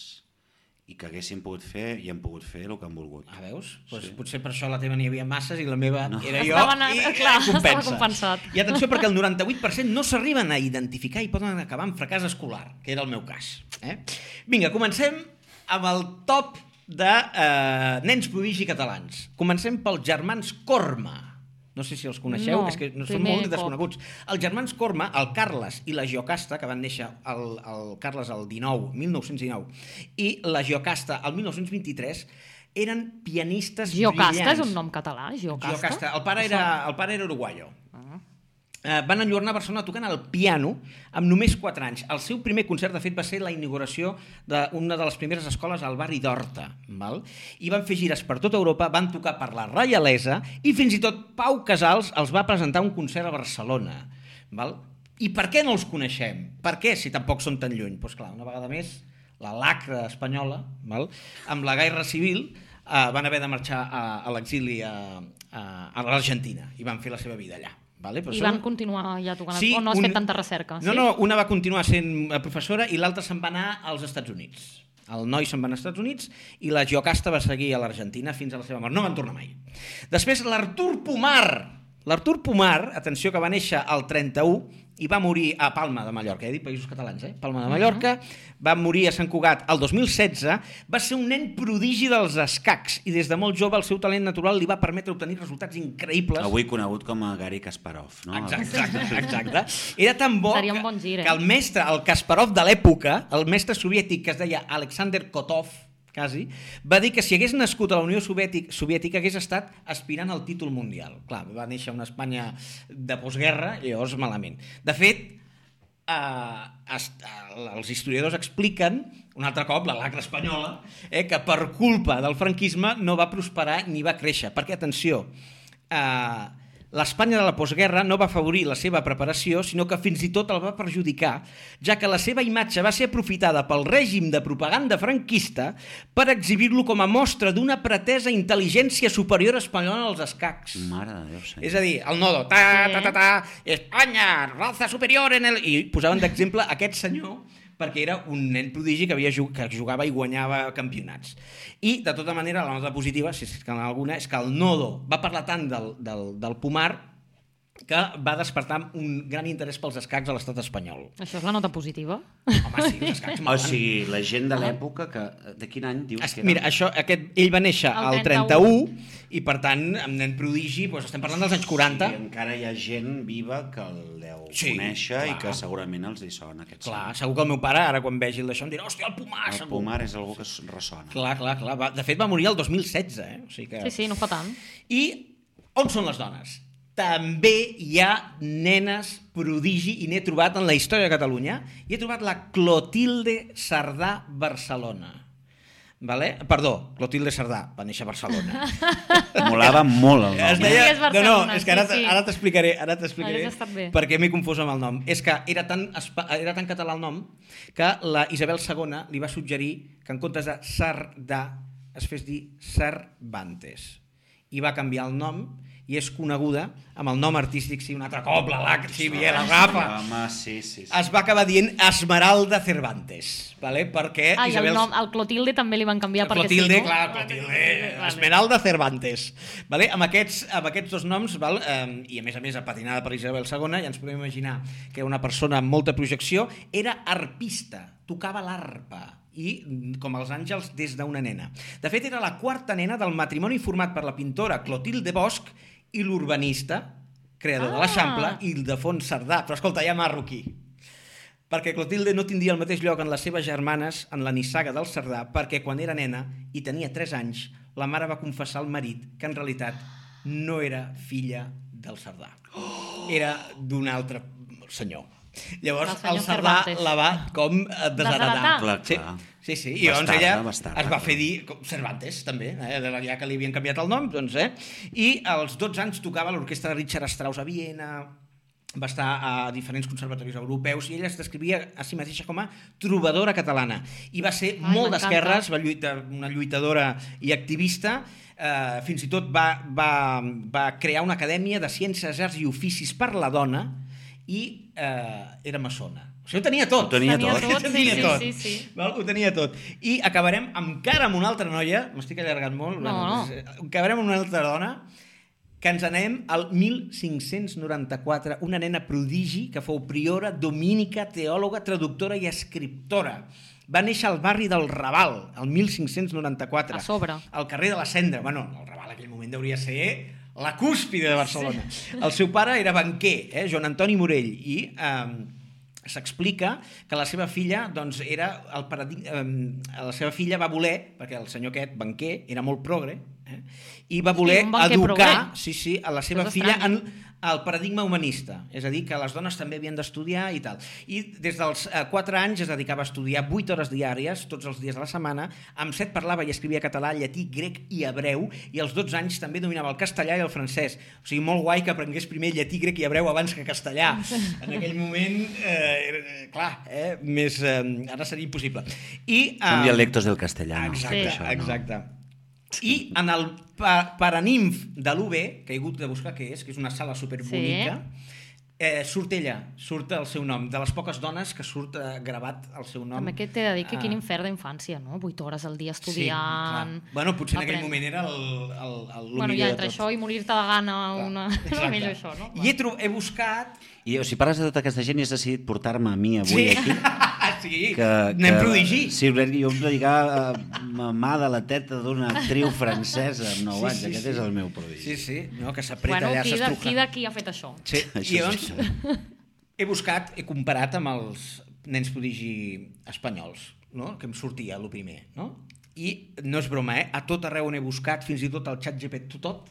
Speaker 4: i que haguessin pogut fer i han pogut fer el que han volgut.
Speaker 2: Ah, veus? Pues sí. Potser per això la teva n'hi havia masses i la meva no. era jo
Speaker 1: Estaven a-
Speaker 2: i
Speaker 1: clar,
Speaker 2: era compensa.
Speaker 1: estava compensat.
Speaker 2: I atenció perquè el 98% no s'arriben a identificar i poden acabar amb fracàs escolar, que era el meu cas. Eh? Vinga, comencem amb el top de eh, nens prodigi catalans. Comencem pels germans Corma. No sé si els coneixeu,
Speaker 1: No,
Speaker 2: és que no són
Speaker 1: primer
Speaker 2: molt
Speaker 1: cop.
Speaker 2: desconeguts. Els germans Corma, el Carles i la Giocasta, que van néixer el, el Carles el 19, 1919, i la Giocasta el 1923, eren pianistes
Speaker 1: Giocasta
Speaker 2: brillants.
Speaker 1: és un nom català, Giocasta.
Speaker 2: Giocasta. El pare era, el pare era uruguaio. Ah. eh, van enlluernar a Barcelona tocant el piano amb només 4 anys. El seu primer concert, de fet, va ser la inauguració d'una de les primeres escoles al barri d'Horta. Val? I van fer gires per tota Europa, van tocar per la Reialesa i fins i tot Pau Casals els va presentar un concert a Barcelona. Val? I per què no els coneixem? Per què, si tampoc són tan lluny? Doncs pues clar, una vegada més, la lacra espanyola, val? amb la guerra civil, eh, van haver de marxar a, a l'exili a, a, a l'Argentina i van fer la seva vida allà. Vale? Però
Speaker 1: I
Speaker 2: són-
Speaker 1: van continuar ja tocant... Sí, o no has fet tanta recerca?
Speaker 2: No,
Speaker 1: sí?
Speaker 2: no, una va continuar sent eh, professora i l'altra se'n va anar als Estats Units. El noi se'n va anar als Estats Units i la Giocasta va seguir a l'Argentina fins a la seva mort. No van tornar mai. Després l'Artur Pomar. L'Artur Pomar, atenció, que va néixer al 31 i va morir a Palma de Mallorca, he dit països catalans, eh? Palma de Mallorca, va morir a Sant Cugat el 2016, va ser un nen prodigi dels escacs i des de molt jove el seu talent natural li va permetre obtenir resultats increïbles.
Speaker 4: Avui conegut com a Gary Kasparov, no?
Speaker 2: Exacte, exacte, exacte. Era tan bo
Speaker 1: Seria un
Speaker 2: que-
Speaker 1: bon gir, eh?
Speaker 2: que el mestre, el Kasparov de l'època, el mestre soviètic que es deia Alexander Kotov, quasi, va dir que si hagués nascut a la Unió Soviètic, Soviètica hagués estat aspirant al títol mundial. Clar, va néixer a una Espanya de postguerra i llavors malament. De fet, eh, es, eh, els historiadors expliquen un altre cop la lacra espanyola eh, que per culpa del franquisme no va prosperar ni va créixer perquè atenció eh, l'Espanya de la postguerra no va afavorir la seva preparació sinó que fins i tot el va perjudicar ja que la seva imatge va ser aprofitada pel règim de propaganda franquista per exhibir-lo com a mostra d'una pretesa intel·ligència superior espanyola als escacs
Speaker 4: Mare de Déu, senyor.
Speaker 2: és a dir, el nodo, ta, ta, ta, ta, Espanya, raza superior en el... I posaven d'exemple aquest senyor perquè era un nen prodigi que, havia jug... que jugava i guanyava campionats. I, de tota manera, la nota positiva, si és que en alguna, és que el Nodo va parlar tant del, del, del Pomar que va despertar un gran interès pels escacs a l'estat espanyol.
Speaker 1: Això és la nota positiva?
Speaker 2: Home, sí, els escacs...
Speaker 4: O sigui, la gent de l'època que... eh, De quin any dius
Speaker 2: Es,
Speaker 4: Ah, que era?
Speaker 2: mira, això, aquest, ell va néixer
Speaker 1: El
Speaker 2: al 31,
Speaker 1: 31,
Speaker 2: i, per tant, amb nen prodigi, doncs, estem parlant dels anys
Speaker 4: Sí,
Speaker 2: 40.
Speaker 4: encara hi ha gent viva que el deu
Speaker 2: Sí,
Speaker 4: sí, conèixer i
Speaker 2: clar.
Speaker 4: que segurament els hi sona aquest
Speaker 2: Clar, segur que el meu pare, ara quan vegi això, em dirà hòstia, el Pomar,
Speaker 4: El
Speaker 2: segur.
Speaker 4: Pomar és algú que s- ressona.
Speaker 2: Clar, clar, clar. Va, de fet, va morir el 2016, eh? O sigui que...
Speaker 1: Sí, sí, no fa tant.
Speaker 2: I on són les dones? També hi ha nenes prodigi i n'he trobat en la història de Catalunya. I he trobat la Clotilde Sardà Barcelona. Vale? Perdó, Clotilde Sardà va néixer a Barcelona.
Speaker 4: Molava molt el nom.
Speaker 2: Es
Speaker 4: eh?
Speaker 2: deia...
Speaker 1: Sí, és
Speaker 2: No, no,
Speaker 1: Barcelona,
Speaker 2: és que ara,
Speaker 1: sí, sí.
Speaker 2: ara t'explicaré ara t'explicaré
Speaker 1: Hauria estat bé.
Speaker 2: per què m'he confós amb el nom. És que era tan, espa- era tan català el nom que la Isabel II li va suggerir que en comptes de Sardà es fes dir Cervantes. I va canviar el nom i és coneguda amb el nom artístic, sí, un altre cop, la Lac, sí, bé, la Rafa.
Speaker 4: Home, eh? sí, sí, sí.
Speaker 2: Es va acabar dient Esmeralda Cervantes, vale? perquè
Speaker 1: Ah, i
Speaker 2: Eh,
Speaker 1: el,
Speaker 2: Isabel
Speaker 1: nom, el Clotilde també li van canviar perquè
Speaker 2: Clotilde,
Speaker 1: sí, no?
Speaker 2: clar, Clotilde,
Speaker 1: Vale.
Speaker 2: Esmeralda Cervantes. Vale? Amb, aquests, amb aquests dos noms, val? Eh, i a més a més apatinada per Isabel II, ja ens podem imaginar que era una persona amb molta projecció, era arpista, tocava l'arpa i mm, com els àngels des d'una nena. De fet, era la quarta nena del matrimoni format per la pintora Clotilde Bosch i l'urbanista, creador de
Speaker 1: Ah.
Speaker 2: l'Eixample, Ildefons Cerdà. Però escolta, ja marro aquí perquè Clotilde no tindria el mateix lloc en les seves germanes en la nissaga del Cerdà perquè quan era nena i tenia 3 anys la mare va confessar al marit que en realitat no era filla del Cerdà era d'un altre senyor llavors
Speaker 1: Del senyor
Speaker 2: el Cerdà
Speaker 1: Cervantes.
Speaker 2: la va com eh, desheretar
Speaker 1: Desheretar.
Speaker 4: Clar,
Speaker 2: sí,
Speaker 4: clar.
Speaker 2: sí, sí. i llavors
Speaker 4: Bastarda,
Speaker 2: ella
Speaker 4: bastarda,
Speaker 2: es va fer
Speaker 4: clar.
Speaker 2: dir com Cervantes també, eh? de la- ja que li havien canviat el nom doncs, eh? i als 12 anys tocava a l'orquestra de Richard Strauss a Viena va estar a diferents conservatoris europeus i ella es descrivia a si mateixa com a trobadora catalana i va ser
Speaker 1: Ai,
Speaker 2: molt
Speaker 1: m'encanta.
Speaker 2: d'esquerres, va lluita, una lluitadora i activista eh, fins i tot va, va, va crear una acadèmia de ciències, arts i oficis per la dona i eh, era maçona o sigui, ho tenia tot
Speaker 4: Ho tenia
Speaker 1: Tenia tot.
Speaker 2: ho tenia
Speaker 1: sí,
Speaker 2: tot.
Speaker 1: sí, sí.
Speaker 2: Val? Ho tenia tot. I acabarem encara amb una altra noia, m'estic allargant molt,
Speaker 1: No,
Speaker 2: bueno,
Speaker 1: no.
Speaker 2: és- eh, acabarem amb una altra dona, que ens anem al 1594, una nena prodigi que fou priora, domínica, teòloga, traductora i escriptora. Va néixer al barri del Raval, el 1594.
Speaker 1: A sobre.
Speaker 2: Al carrer de la Cendra. Bueno, el Raval en aquell moment hauria de ser la cúspide de Barcelona. Sí. El seu pare era banquer, eh, Joan Antoni Morell, i... Eh, s'explica que la seva filla doncs, ehm, era el paradig... eh, la seva filla va voler, perquè el senyor aquest banquer era molt progre eh, i va voler
Speaker 1: un bon que
Speaker 2: educar
Speaker 1: prové.
Speaker 2: sí, sí, a la seva
Speaker 1: és
Speaker 2: filla
Speaker 1: estrany.
Speaker 2: en el paradigma humanista, és a dir, que les dones també havien d'estudiar i tal. I des dels 4 anys es dedicava a estudiar 8 hores diàries, tots els dies de la setmana, amb 7 parlava i escrivia català, llatí, grec i hebreu, i als 12 anys també dominava el castellà i el francès. O sigui, molt guai que aprengués primer llatí, grec i hebreu abans que castellà. En aquell moment, eh, era, eh, clar, eh, més, eh, ara seria impossible. I,
Speaker 4: Són
Speaker 2: eh,
Speaker 4: dialectos del castellano.
Speaker 2: Exacte,
Speaker 1: Sí.
Speaker 2: sí.
Speaker 1: això
Speaker 2: exacte. I en el pa Paranimf de l'UB, que he hagut de buscar què és, que és una sala superbonica, eh, surt ella, surt el seu nom, de les poques dones que surt eh, gravat el seu nom.
Speaker 1: També que t'he de dir que
Speaker 2: Ah.
Speaker 1: quin infern d'infància, no? 8 hores al dia
Speaker 2: Sí, clar.
Speaker 1: estudiant... Sí,
Speaker 2: bueno, potser en aquell
Speaker 1: Aprèn.
Speaker 2: moment era el, el, el, el
Speaker 1: Bueno,
Speaker 2: millor
Speaker 1: ja
Speaker 2: de
Speaker 1: entre
Speaker 2: tot.
Speaker 1: això i morir-te de gana, una... és
Speaker 2: Exacte.
Speaker 1: millor això, no?
Speaker 2: I he, tro- he buscat...
Speaker 4: I o sigui, parles de tota aquesta gent i has decidit portar-me a mi avui
Speaker 2: Sí,
Speaker 4: aquí.
Speaker 2: Ah, sí
Speaker 4: Que,
Speaker 2: anem
Speaker 4: que,
Speaker 2: prodigi.
Speaker 4: Sí, jo em dedicava a mà de la teta d'una actriu francesa amb 9 anys. Aquest és el meu prodigi.
Speaker 2: Sí, sí, no, que s'apreta
Speaker 1: Bueno,
Speaker 2: allà,
Speaker 1: qui de,
Speaker 2: s'estruja.
Speaker 1: qui de qui ha fet això?
Speaker 2: Sí,
Speaker 4: Això
Speaker 2: i llavors
Speaker 4: és això.
Speaker 2: he buscat, he comparat amb els nens prodigi espanyols, no? que em sortia el primer, no? I no és broma, eh? a tot arreu on he buscat, fins i tot al xat GPT tot,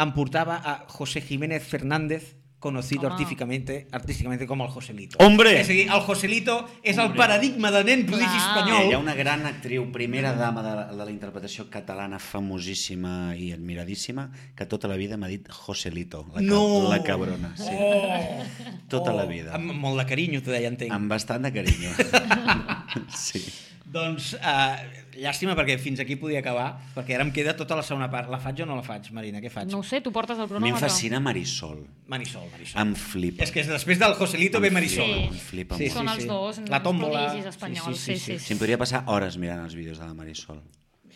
Speaker 2: em portava a José Jiménez Fernández, conocido
Speaker 1: Home.
Speaker 2: artísticamente, artísticamente com el Joselito.
Speaker 4: Hombre!
Speaker 2: És a dir, el Joselito és el paradigma de nen prodigi
Speaker 1: Clar.
Speaker 2: espanyol.
Speaker 4: Mira, hi ha Ah, una gran actriu, primera dama de la, de la interpretació catalana, famosíssima i admiradíssima, que tota la vida m'ha dit Joselito, la, ca-
Speaker 2: No!
Speaker 4: la cabrona. Sí.
Speaker 2: Oh!
Speaker 4: Tota la
Speaker 2: Oh!
Speaker 4: vida.
Speaker 2: Amb molt de carinyo, t'ho deia, entenc.
Speaker 4: Amb bastant de carinyo. sí.
Speaker 2: Doncs eh, llàstima perquè fins aquí podia acabar, perquè ara em queda tota la segona part. La faig o no la faig, Marina? Què faig?
Speaker 1: No ho sé, tu portes el
Speaker 4: A mi em
Speaker 1: cronòmetre.
Speaker 4: fascina Marisol.
Speaker 2: Marisol, Marisol.
Speaker 4: Em flipa.
Speaker 2: És que després del Joselito ve Marisol.
Speaker 1: Sí.
Speaker 4: Em flipa
Speaker 2: Sí,
Speaker 4: sí,
Speaker 1: Són
Speaker 4: molt.
Speaker 1: els
Speaker 2: sí.
Speaker 1: dos,
Speaker 2: La
Speaker 1: els
Speaker 2: tòmbola.
Speaker 1: prodigis espanyols.
Speaker 2: Sí, sí,
Speaker 1: Sí,
Speaker 2: sí,
Speaker 1: sí,
Speaker 4: Sí, em podria passar hores mirant els vídeos de la Marisol.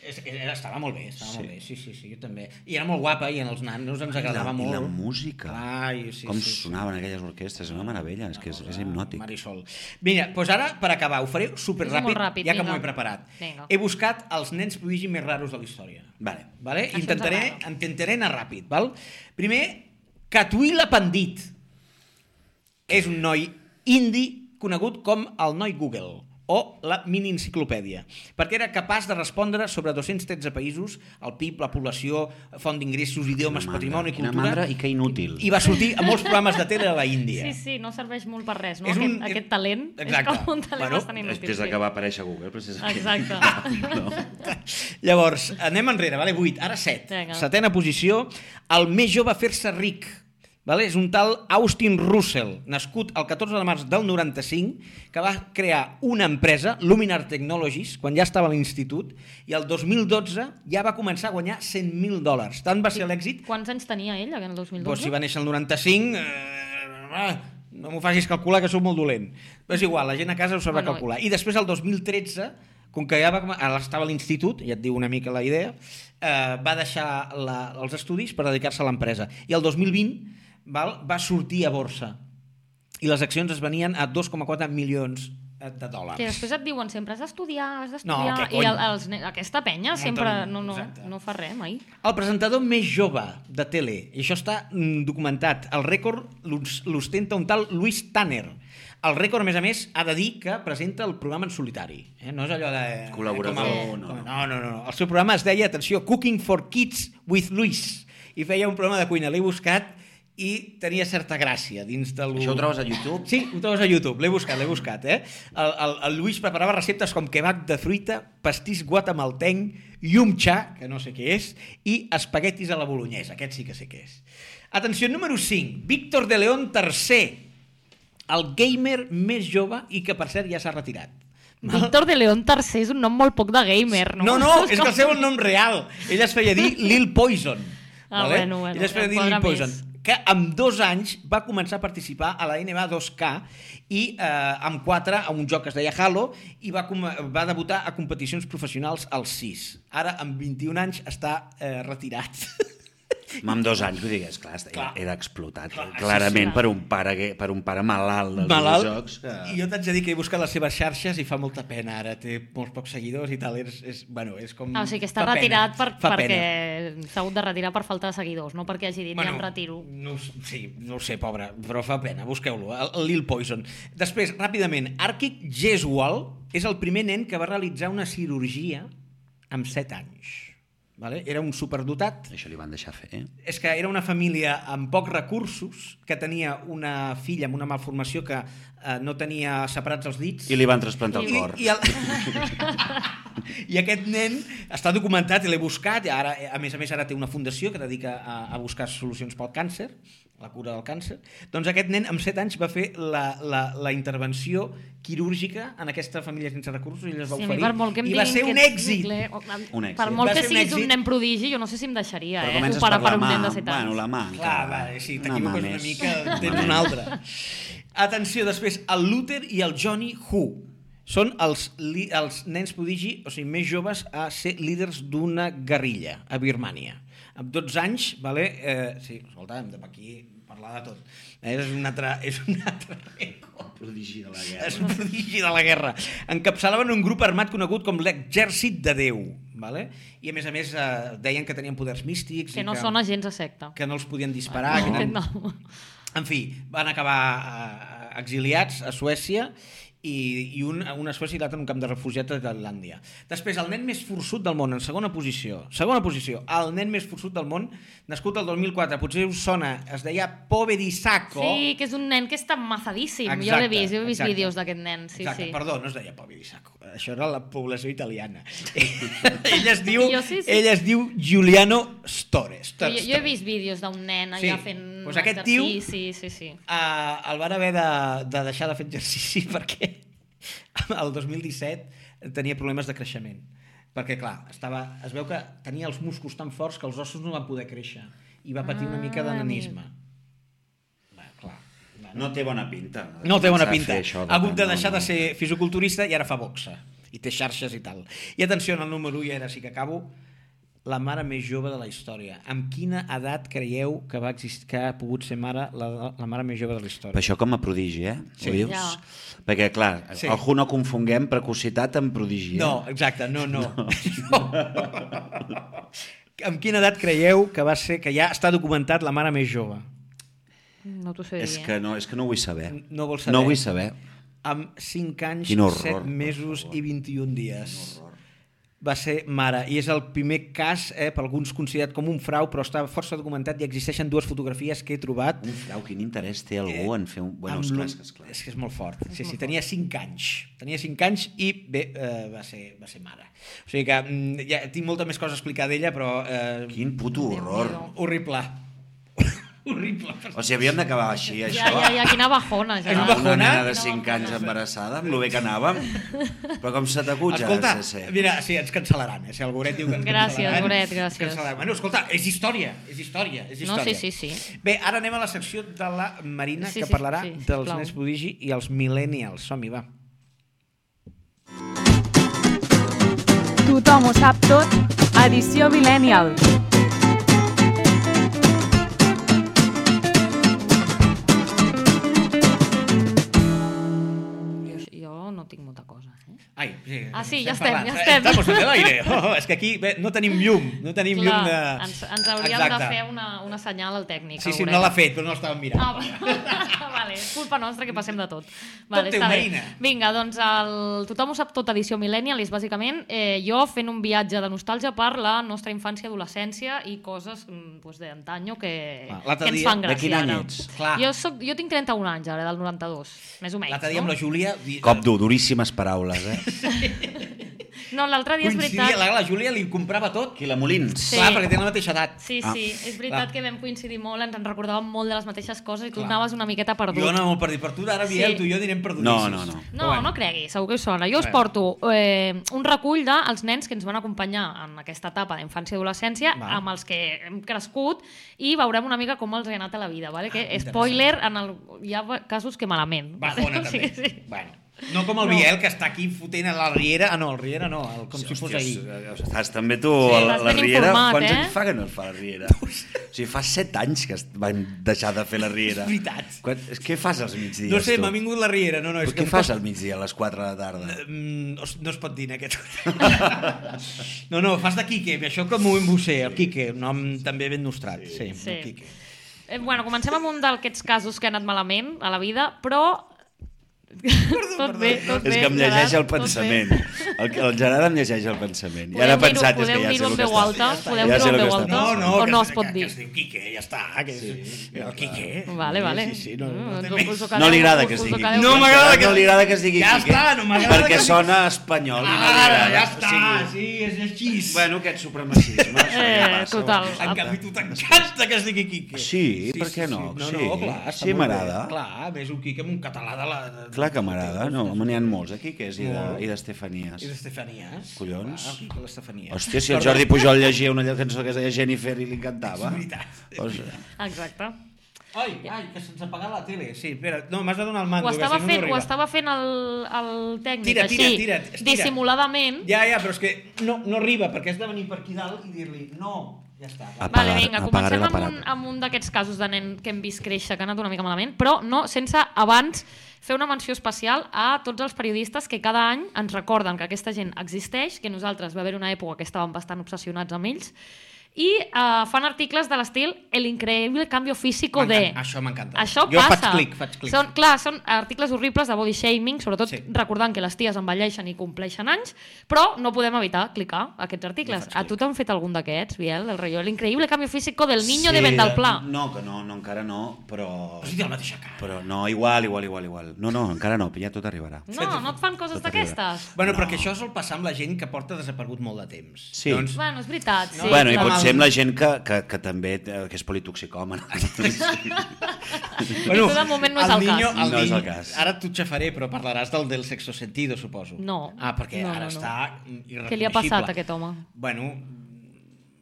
Speaker 2: És que estava molt bé, estava sí.
Speaker 4: Sí.
Speaker 2: molt bé. Sí, sí, sí, jo també. I era molt guapa i en els nanos ens agradava
Speaker 4: I la,
Speaker 2: molt.
Speaker 4: I la música.
Speaker 2: Ai, sí,
Speaker 4: Com
Speaker 2: sí, sí.
Speaker 4: sonaven aquelles orquestres, una meravella, és que és, és hipnòtic.
Speaker 2: Marisol. Mira, doncs ara, per acabar, ho faré superràpid,
Speaker 1: Molt ràpid,
Speaker 2: ja que
Speaker 1: vinga.
Speaker 2: m'ho he preparat.
Speaker 1: Vinga.
Speaker 2: He buscat els nens prodigi més raros de la història.
Speaker 4: Vale.
Speaker 2: Vale?
Speaker 1: Això ens
Speaker 2: Intentaré,
Speaker 1: agrada.
Speaker 2: intentaré anar ràpid. Val? Primer, Catuila Pandit. És un noi indi conegut com el noi Google o la mini enciclopèdia, perquè era capaç de respondre sobre 213 països, el PIB, la població, font d'ingressos, idiomes,
Speaker 4: Quina mandra,
Speaker 2: patrimoni,
Speaker 4: quina
Speaker 2: cultura...
Speaker 4: mandra i que inútil.
Speaker 2: I va sortir a molts programes de tele a la Índia.
Speaker 1: Sí, sí, no serveix molt per res, no?
Speaker 2: És
Speaker 1: Aquest,
Speaker 2: un-
Speaker 1: aquest talent
Speaker 2: Exacte.
Speaker 1: és com un talent
Speaker 2: Bueno,
Speaker 1: bastant inútil.
Speaker 4: Després de
Speaker 1: sí.
Speaker 4: que va aparèixer Google, precisament.
Speaker 1: Exacte.
Speaker 2: Llavors, anem enrere, vale? 8, ara 7.
Speaker 1: Vinga.
Speaker 2: Setena posició, el més jove a fer-se ric. Vale? És un tal Austin Russell, nascut el 14 de març del 95, que va crear una empresa, Luminar Technologies, quan ja estava a l'institut, i el 2012 ja va començar a guanyar 100.000 dòlars. Tant va ser l'èxit
Speaker 1: Quants anys tenia ell, en el 2012?
Speaker 2: Doncs si va néixer el 95... Eh, ah, no m'ho facis calcular, que sóc molt dolent. Però és igual, la gent a casa ho sabrà
Speaker 1: Bueno,
Speaker 2: bueno, calcular. I després, el 2013, com que ja va, com- ara estava a l'institut, ja et diu una mica la idea, eh, va deixar la, els estudis per dedicar-se a l'empresa. I el 2020 val, va sortir a borsa. I les accions es venien a 2,4 milions eh, de dòlars.
Speaker 1: Que després et diuen sempre has d'estudiar, has
Speaker 2: No,
Speaker 1: d'estudiar...
Speaker 2: què
Speaker 1: I
Speaker 2: cony?
Speaker 1: el, els, ne- aquesta penya
Speaker 2: Molta-
Speaker 1: sempre no, no,
Speaker 2: exacte.
Speaker 1: no fa res mai.
Speaker 2: El presentador més jove de tele, i això està mm, documentat, el rècord l'os- l'ostenta un tal Luis Tanner. El rècord, a més a més, ha de dir que presenta el programa en solitari. Eh? No és allò de...
Speaker 4: Col·laborador,
Speaker 2: com
Speaker 4: no,
Speaker 2: com-
Speaker 4: no.
Speaker 2: no, no, no. El seu programa es deia, atenció, Cooking for Kids with Luis. I feia un programa de cuina. L'he buscat i tenia certa gràcia dins del...
Speaker 4: Això ho trobes a YouTube?
Speaker 2: Sí, ho trobes a YouTube, l'he buscat, l'he buscat, eh? El, el, el Lluís preparava receptes com kebab de fruita, pastís guatemaltenc, yumcha, que no sé què és, i espaguetis a la bolognesa, aquest sí que sé què és. Atenció, número 5, Víctor de León III, el gamer més jove i que, per cert, ja s'ha retirat.
Speaker 1: Víctor de León III és un nom molt poc de gamer, no?
Speaker 2: No, no, és que el seu nom real. Ell es feia dir Lil Poison.
Speaker 1: Ah, bueno, bueno,
Speaker 2: Ell es feia
Speaker 1: em
Speaker 2: dir
Speaker 1: quadra
Speaker 2: Lil Poison.
Speaker 1: més.
Speaker 2: Que amb dos anys va començar a participar a la NBA 2K i eh, amb quatre a un joc que es deia Halo i va, com- va debutar a competicions professionals als 6. Ara, amb 21 anys, està eh, retirat.
Speaker 4: Amb amb dos anys, vull dir, esclar, clar. era,
Speaker 2: Clar.
Speaker 4: era explotat,
Speaker 2: Clar, sí,
Speaker 4: clarament,
Speaker 1: sí.
Speaker 4: per un pare, que- per un pare malalt dels jocs. Que...
Speaker 2: I jo t'haig de dir que he buscat les seves xarxes i fa molta pena ara, té molts pocs seguidors i tal, és, és, bueno, és com...
Speaker 1: Ah, o sigui que està
Speaker 2: Mm, fa pena,
Speaker 1: retirat per,
Speaker 2: fa
Speaker 1: perquè
Speaker 2: pena.
Speaker 1: s'ha hagut de retirar per falta de seguidors, no perquè hagi dit bueno, ja em retiro.
Speaker 2: No, ho s- sí, no ho sé, pobre, però fa pena, busqueu-lo, el, el Lil Poison. Després, ràpidament, Arctic Jesual és el primer nen que va realitzar una cirurgia amb 7 anys. Vale? Era un superdotat.
Speaker 4: Això li van deixar fer, eh?
Speaker 2: És que era una família amb pocs recursos, que tenia una filla amb una malformació que eh, no tenia separats els dits.
Speaker 4: I li van trasplantar el
Speaker 2: I,
Speaker 4: cor.
Speaker 2: i, el... I aquest nen està documentat i l'he buscat, i ara, a més a més ara té una fundació que dedica a, a buscar solucions pel càncer, la cura del càncer. Doncs aquest nen amb 7 anys va fer la, la, la intervenció quirúrgica en aquesta família sense recursos i les va
Speaker 1: Sí, a mi
Speaker 2: oferir.
Speaker 1: per molt que em
Speaker 2: I va
Speaker 1: diguin
Speaker 2: ser un
Speaker 1: que ets
Speaker 2: èxit.
Speaker 1: nuclear- o-
Speaker 4: Un èxit.
Speaker 1: Per
Speaker 2: Va
Speaker 1: molt que
Speaker 2: ser un
Speaker 1: siguis un
Speaker 2: èxit.
Speaker 1: nen prodigi, jo no sé si em deixaria,
Speaker 4: Però
Speaker 1: eh?
Speaker 4: comences
Speaker 1: Operar
Speaker 4: per
Speaker 1: per
Speaker 4: la
Speaker 1: un
Speaker 4: mà.
Speaker 1: nen de 7 anys.
Speaker 4: Bueno, la mà.
Speaker 2: Clar, va, si t'equivoques una mica, tens un altre. Atenció, després, el Luther i el Johnny Who. Són els, li- els nens prodigi, o sigui, més joves a ser líders d'una guerrilla a Birmània. Amb 12 anys, vale? Eh, sí, escolta, hem de per aquí parlar de tot. Eh, és un altre... És un altre rècord.
Speaker 4: Prodigi de la
Speaker 2: És
Speaker 4: guerra.
Speaker 2: un prodigi de la guerra. Encapçalaven un grup armat conegut com l'Exèrcit de Déu. Vale? I a més a més eh, deien que tenien poders místics i
Speaker 1: Que no
Speaker 2: que,
Speaker 1: sona gens a secta.
Speaker 2: que no els podien disparar. Que eren,
Speaker 1: No.
Speaker 2: en fi, van acabar eh, exiliats a Suècia i, i un, una Suècia i l'altre en un camp de refugiats a Tailàndia. Després, el nen més forçut del món, en segona posició. Segona posició, el nen més forçut del món, nascut el 2004, potser us sona, es deia Pove di Sacco.
Speaker 1: Sí, que és un nen que està mazadíssim. jo l'he
Speaker 2: Exacte,
Speaker 1: vist, jo he vist
Speaker 2: exacte.
Speaker 1: vídeos d'aquest nen. Sí,
Speaker 2: Exacte,
Speaker 1: sí.
Speaker 2: perdó, no es deia Pove di Sacco. Això era la població italiana. ell es diu,
Speaker 1: Jo sí, sí.
Speaker 2: ell es diu Giuliano Store.
Speaker 1: Jo,
Speaker 2: Store-
Speaker 1: jo he vist vídeos d'un nen
Speaker 2: Sí.
Speaker 1: allà fent
Speaker 2: Doncs aquest tio-
Speaker 1: exercici, sí, sí.
Speaker 2: Uh, el van haver de, de deixar de fer exercici perquè el 2017 tenia problemes de creixement perquè clar, estava, es veu que tenia els músculs tan forts que els ossos no van poder créixer i va patir una mica
Speaker 1: Ah,
Speaker 2: d'ananisme va, clar
Speaker 4: No té bona pinta.
Speaker 2: no té bona
Speaker 4: Pensar
Speaker 2: pinta.
Speaker 4: fer això
Speaker 2: Ha hagut de
Speaker 4: tant,
Speaker 2: deixar
Speaker 4: no,
Speaker 2: de
Speaker 4: no.
Speaker 2: ser fisioculturista i ara fa boxa. I té xarxes i tal. I atenció, en el número 1, i ara sí que acabo, la mare més jove de la història. Amb quina edat creieu que, va exist... que ha pogut ser mare la, la mare més jove de la
Speaker 4: Però
Speaker 2: història?
Speaker 4: això com a prodigi, eh?
Speaker 2: Sí.
Speaker 4: Ho dius?
Speaker 1: Ja.
Speaker 4: Perquè, clar,
Speaker 2: Sí.
Speaker 4: sí. ojo no confonguem precocitat amb prodigi. eh?
Speaker 2: No, exacte, no, no. no. amb quina edat creieu que va ser que ja està documentat la mare més jove?
Speaker 1: No t'ho sé dir.
Speaker 4: És que no, és que no ho vull saber.
Speaker 2: No ho vols saber.
Speaker 4: No ho vull saber.
Speaker 2: Amb 5 anys,
Speaker 4: Quin horror,
Speaker 2: 7
Speaker 4: per
Speaker 2: mesos
Speaker 4: favor.
Speaker 2: i 21 dies. va ser mare i és el primer cas, eh, per alguns considerat com un frau, però està força documentat i existeixen dues fotografies que he trobat
Speaker 4: Un frau, quin interès té algú en fer un... Bueno,
Speaker 2: Eh, amb
Speaker 4: esclar,
Speaker 2: l'un-
Speaker 4: és que esclar.
Speaker 2: és que és molt fort. sí, sí, tenia 5 anys. Tenia 5 anys i bé, eh, va, ser, va ser mare. O sigui que mm, ja tinc molta més cosa a explicar d'ella, però eh,
Speaker 4: Quin puto horror.
Speaker 2: horrible. horrible.
Speaker 4: O sigui, havíem d'acabar així,
Speaker 1: Ja,
Speaker 4: això.
Speaker 1: ja, ja, quina bajona, ja.
Speaker 2: És
Speaker 4: Amb
Speaker 2: un
Speaker 4: Una
Speaker 2: bajona.
Speaker 4: nena de 5 anys embarassada, amb lo bé que anàvem. Però com se t'acut ja,
Speaker 2: Escolta,
Speaker 4: CC?
Speaker 2: mira, sí, ens cancel·laran, eh? Si el Goret diu que ens
Speaker 1: Gràcies,
Speaker 2: cancel·laran,
Speaker 1: Goret,
Speaker 2: ens
Speaker 1: gràcies.
Speaker 2: cancel·laran. Bueno, escolta, és història, és història, és
Speaker 1: No,
Speaker 2: història.
Speaker 1: sí, sí, sí.
Speaker 2: Bé, ara anem a la secció de la Marina,
Speaker 1: Sí,
Speaker 2: que
Speaker 1: sí,
Speaker 2: parlarà
Speaker 1: sí, sisplau.
Speaker 2: dels nens prodigi i els millennials. Som-hi, va.
Speaker 3: Tothom ho sap tot, edició Millennial.
Speaker 1: Jo, jo no tinc molta cosa. Eh?
Speaker 2: Ai, sí,
Speaker 1: Ah, sí,
Speaker 2: estem
Speaker 1: ja estem,
Speaker 2: parlant. Eh,
Speaker 1: ja estem.
Speaker 2: Estamos en el aire. Oh, és que aquí bé, no tenim llum, no tenim
Speaker 1: Clar,
Speaker 2: llum de...
Speaker 1: ens, ens hauríem
Speaker 2: Exacte.
Speaker 1: de fer una, una senyal al tècnic.
Speaker 2: Sí, sí,
Speaker 1: Auret.
Speaker 2: no l'ha fet, però no l'estàvem mirant.
Speaker 1: Ah, va- vale, és culpa nostra que passem de tot. Vale,
Speaker 2: té
Speaker 1: està
Speaker 2: una
Speaker 1: bé.
Speaker 2: eina.
Speaker 1: Vinga, doncs el Tothom ho sap tot edició Millennial és bàsicament eh, jo fent un viatge de nostàlgia per la nostra infància, adolescència i coses mm, pues, d'antanyo que,
Speaker 2: Ah,
Speaker 1: que
Speaker 2: l'altre
Speaker 1: ens
Speaker 2: dia-
Speaker 1: fan
Speaker 4: de
Speaker 1: gràcia.
Speaker 4: quin any
Speaker 1: ara.
Speaker 4: ets?
Speaker 2: Clar.
Speaker 1: Jo, soc, jo tinc 31 anys ara, del 92, més o menys.
Speaker 2: L'altre dia amb
Speaker 1: no?
Speaker 2: la Júlia... di-
Speaker 4: Cop dur, duríssimes paraules, eh?
Speaker 1: No, l'altre dia és
Speaker 2: Coincidia,
Speaker 1: veritat...
Speaker 2: la, la Júlia li comprava tot.
Speaker 4: Qui la Molins?
Speaker 1: Sí.
Speaker 2: Clar, perquè tenen la mateixa edat.
Speaker 1: Sí,
Speaker 4: Ah,
Speaker 1: sí, és veritat
Speaker 2: clar.
Speaker 1: que vam coincidir molt, ens en recordàvem molt de les mateixes coses i tu
Speaker 2: Clar.
Speaker 1: anaves una miqueta perdut.
Speaker 2: Jo anava molt perdut. Per tu, ara,
Speaker 1: Sí.
Speaker 2: Biel, tu i jo direm perdutíssims.
Speaker 4: No, no, no.
Speaker 1: No,
Speaker 2: Però
Speaker 1: no creguis, segur que us sona. Jo us
Speaker 2: Bé.
Speaker 1: porto eh, un recull dels nens que ens van acompanyar en aquesta etapa d'infància i adolescència,
Speaker 2: Val.
Speaker 1: amb els que hem crescut, i veurem una mica com els ha anat a la vida. Vale?
Speaker 4: Ah,
Speaker 1: Que,
Speaker 2: interessant.
Speaker 1: spoiler, en el... hi ha casos que malament.
Speaker 2: Bajona,
Speaker 1: O sigui,
Speaker 2: també.
Speaker 1: sí.
Speaker 2: Bueno. No com el
Speaker 1: No.
Speaker 2: Biel, que està aquí fotent a la Riera. Ah, no, el Riera no, el, com si fos ahir.
Speaker 4: Estàs també tu
Speaker 1: Sí,
Speaker 4: a la,
Speaker 1: estàs
Speaker 4: la
Speaker 1: ben
Speaker 4: Riera.
Speaker 1: informat,
Speaker 4: Quants
Speaker 1: eh?
Speaker 4: anys fa que no es fa la Riera? O sigui, fa set anys que es van deixar de fer la Riera.
Speaker 2: És veritat.
Speaker 4: Quan, és, què fas als migdies,
Speaker 2: No sé,
Speaker 4: tu?
Speaker 2: m'ha vingut la Riera. No, no, és
Speaker 4: Però què
Speaker 2: em
Speaker 4: fas al migdia a les 4 de la tarda?
Speaker 2: Mm, os- no es pot dir en aquest no, no, fas de Quique això com ho embusser, el Quique un nom també ben nostrat sí,
Speaker 1: Sí.
Speaker 2: el Quique.
Speaker 1: Eh, bueno, comencem amb un d'aquests casos que ha anat malament a la vida, però
Speaker 2: Perdó,
Speaker 1: Tot bé, tot bé.
Speaker 4: és que em llegeix
Speaker 1: Gerard,
Speaker 4: el
Speaker 1: tot bé.
Speaker 4: pensament. El, el Gerard em llegeix el pensament. I
Speaker 1: Podeu
Speaker 4: ara
Speaker 1: dir-ho-
Speaker 4: he pensat, és que
Speaker 1: podeu
Speaker 4: ja sé
Speaker 1: dir-ho
Speaker 4: el
Speaker 1: en
Speaker 4: que
Speaker 1: veu
Speaker 4: està.
Speaker 1: alta?
Speaker 4: Ja està,
Speaker 1: Podeu
Speaker 4: ja sé
Speaker 1: dir-ho en
Speaker 4: el
Speaker 1: veu
Speaker 4: que
Speaker 1: alta?
Speaker 4: està.
Speaker 2: No, no,
Speaker 1: O
Speaker 2: que,
Speaker 1: no
Speaker 2: es-
Speaker 1: es pot
Speaker 2: que,
Speaker 1: dir?
Speaker 2: Que es diu Quique, ja està. Que és, sí, el Quique.
Speaker 1: Vale, vale.
Speaker 2: Sí, sí, no,
Speaker 1: Mm,
Speaker 2: no,
Speaker 1: ens
Speaker 2: té
Speaker 1: ho-
Speaker 2: més.
Speaker 1: us ho
Speaker 4: No li
Speaker 1: quedeu-
Speaker 4: agrada
Speaker 1: us-
Speaker 4: que es
Speaker 1: us ho
Speaker 4: digui.
Speaker 1: quedeu-
Speaker 2: No
Speaker 4: Quique.
Speaker 2: m'agrada que-
Speaker 4: eh? No li agrada que es digui
Speaker 2: Ja
Speaker 4: Quique.
Speaker 2: està, no m'agrada
Speaker 4: Perquè
Speaker 2: que-
Speaker 4: sona espanyol. i no li
Speaker 2: Ara,
Speaker 4: agrada.
Speaker 2: ja
Speaker 4: O
Speaker 2: està,
Speaker 4: sigui,
Speaker 2: sí, és així.
Speaker 4: Bueno, aquest supremacisme. això ja
Speaker 1: Eh,
Speaker 4: passa,
Speaker 1: total.
Speaker 4: bueno.
Speaker 2: En canvi, tu t'encanta que es digui Quique.
Speaker 4: Sí, per què no?
Speaker 2: No,
Speaker 4: Sí.
Speaker 2: no, clar, està
Speaker 4: Sí,
Speaker 2: molt
Speaker 4: m'agrada.
Speaker 2: bé. Clar, a més un Quique amb un català de la... de-
Speaker 4: Clar que m'agrada, no? Me n'hi ha molts aquí, que és, i de-
Speaker 2: Molt.
Speaker 4: i d'Estefanies.
Speaker 2: És Estefania. eh?
Speaker 4: Collons.
Speaker 2: Clar, el Quique l'Estefania.
Speaker 4: Hòstia, si el Jordi Pujol llegia una cançó que es deia Jennifer i li encantava.
Speaker 2: És veritat.
Speaker 4: O sigui,
Speaker 2: Ah,
Speaker 1: Exacte.
Speaker 2: Ai, ai, que se'ns ha apagat la tele. Sí, espera, no, m'has de donar el mando.
Speaker 1: Ho
Speaker 2: que si
Speaker 1: estava
Speaker 2: no, no
Speaker 1: fent, ho
Speaker 2: arriba.
Speaker 1: estava fent el, el tècnic
Speaker 2: Tira, tira,
Speaker 1: així,
Speaker 2: tira, tira.
Speaker 1: dissimuladament.
Speaker 2: Ja, ja, però és que no, no arriba, perquè has de venir per aquí dalt i dir-li no, ja està. va.
Speaker 4: Ah.
Speaker 1: Vale,
Speaker 4: Apagar-
Speaker 1: vinga,
Speaker 4: apagaré
Speaker 1: comencem amb un,
Speaker 4: l'aparat.
Speaker 1: amb un d'aquests casos de nen que hem vist créixer, que ha anat una mica malament, però no sense abans fer una menció especial a tots els periodistes que cada any ens recorden que aquesta gent existeix, que nosaltres va haver una època que estàvem bastant obsessionats amb ells, i eh, fan articles de l'estil El increïble cambio físico de...
Speaker 2: M'encanta, Això m'encanta.
Speaker 1: Això
Speaker 2: jo
Speaker 1: passa.
Speaker 2: faig clic, faig clic.
Speaker 1: Són, clar, són articles horribles de body shaming, sobretot
Speaker 2: Sí.
Speaker 1: sí. recordant que les ties envelleixen i compleixen anys, però no podem evitar clicar aquests articles.
Speaker 2: Jo faig
Speaker 1: A tu t'han fet algun d'aquests, Biel, el rotllo, el increïble cambio físico del niño sí, de
Speaker 4: Vendalpla.
Speaker 1: Vendalplà.
Speaker 4: eh, No, que no, no, encara no, però...
Speaker 2: Però si té la mateixa cara.
Speaker 4: Però no, igual, igual, igual, igual. No, no, encara no, ja tot arribarà.
Speaker 1: No, no et fan coses
Speaker 4: Tot arriba.
Speaker 1: d'aquestes.
Speaker 2: Bueno,
Speaker 4: No.
Speaker 2: no. perquè això sol passar amb la gent que porta desaparegut molt de temps.
Speaker 4: Sí.
Speaker 2: Doncs,
Speaker 1: Bueno, és veritat, sí.
Speaker 4: Sí, bueno, i
Speaker 1: clar.
Speaker 4: potser amb la gent que, que, que també eh, que és politoxicòmana.
Speaker 1: Això de moment no és el
Speaker 2: niño,
Speaker 1: cas.
Speaker 2: El
Speaker 4: No és el
Speaker 2: niño-
Speaker 4: cas.
Speaker 2: Ara tu xafaré, però parlaràs del del sexo sentido, suposo.
Speaker 1: No.
Speaker 2: Ah, perquè
Speaker 1: No,
Speaker 2: ara
Speaker 1: no, no.
Speaker 2: està irreconeixible.
Speaker 1: Què li ha passat a aquest home?
Speaker 2: Bueno,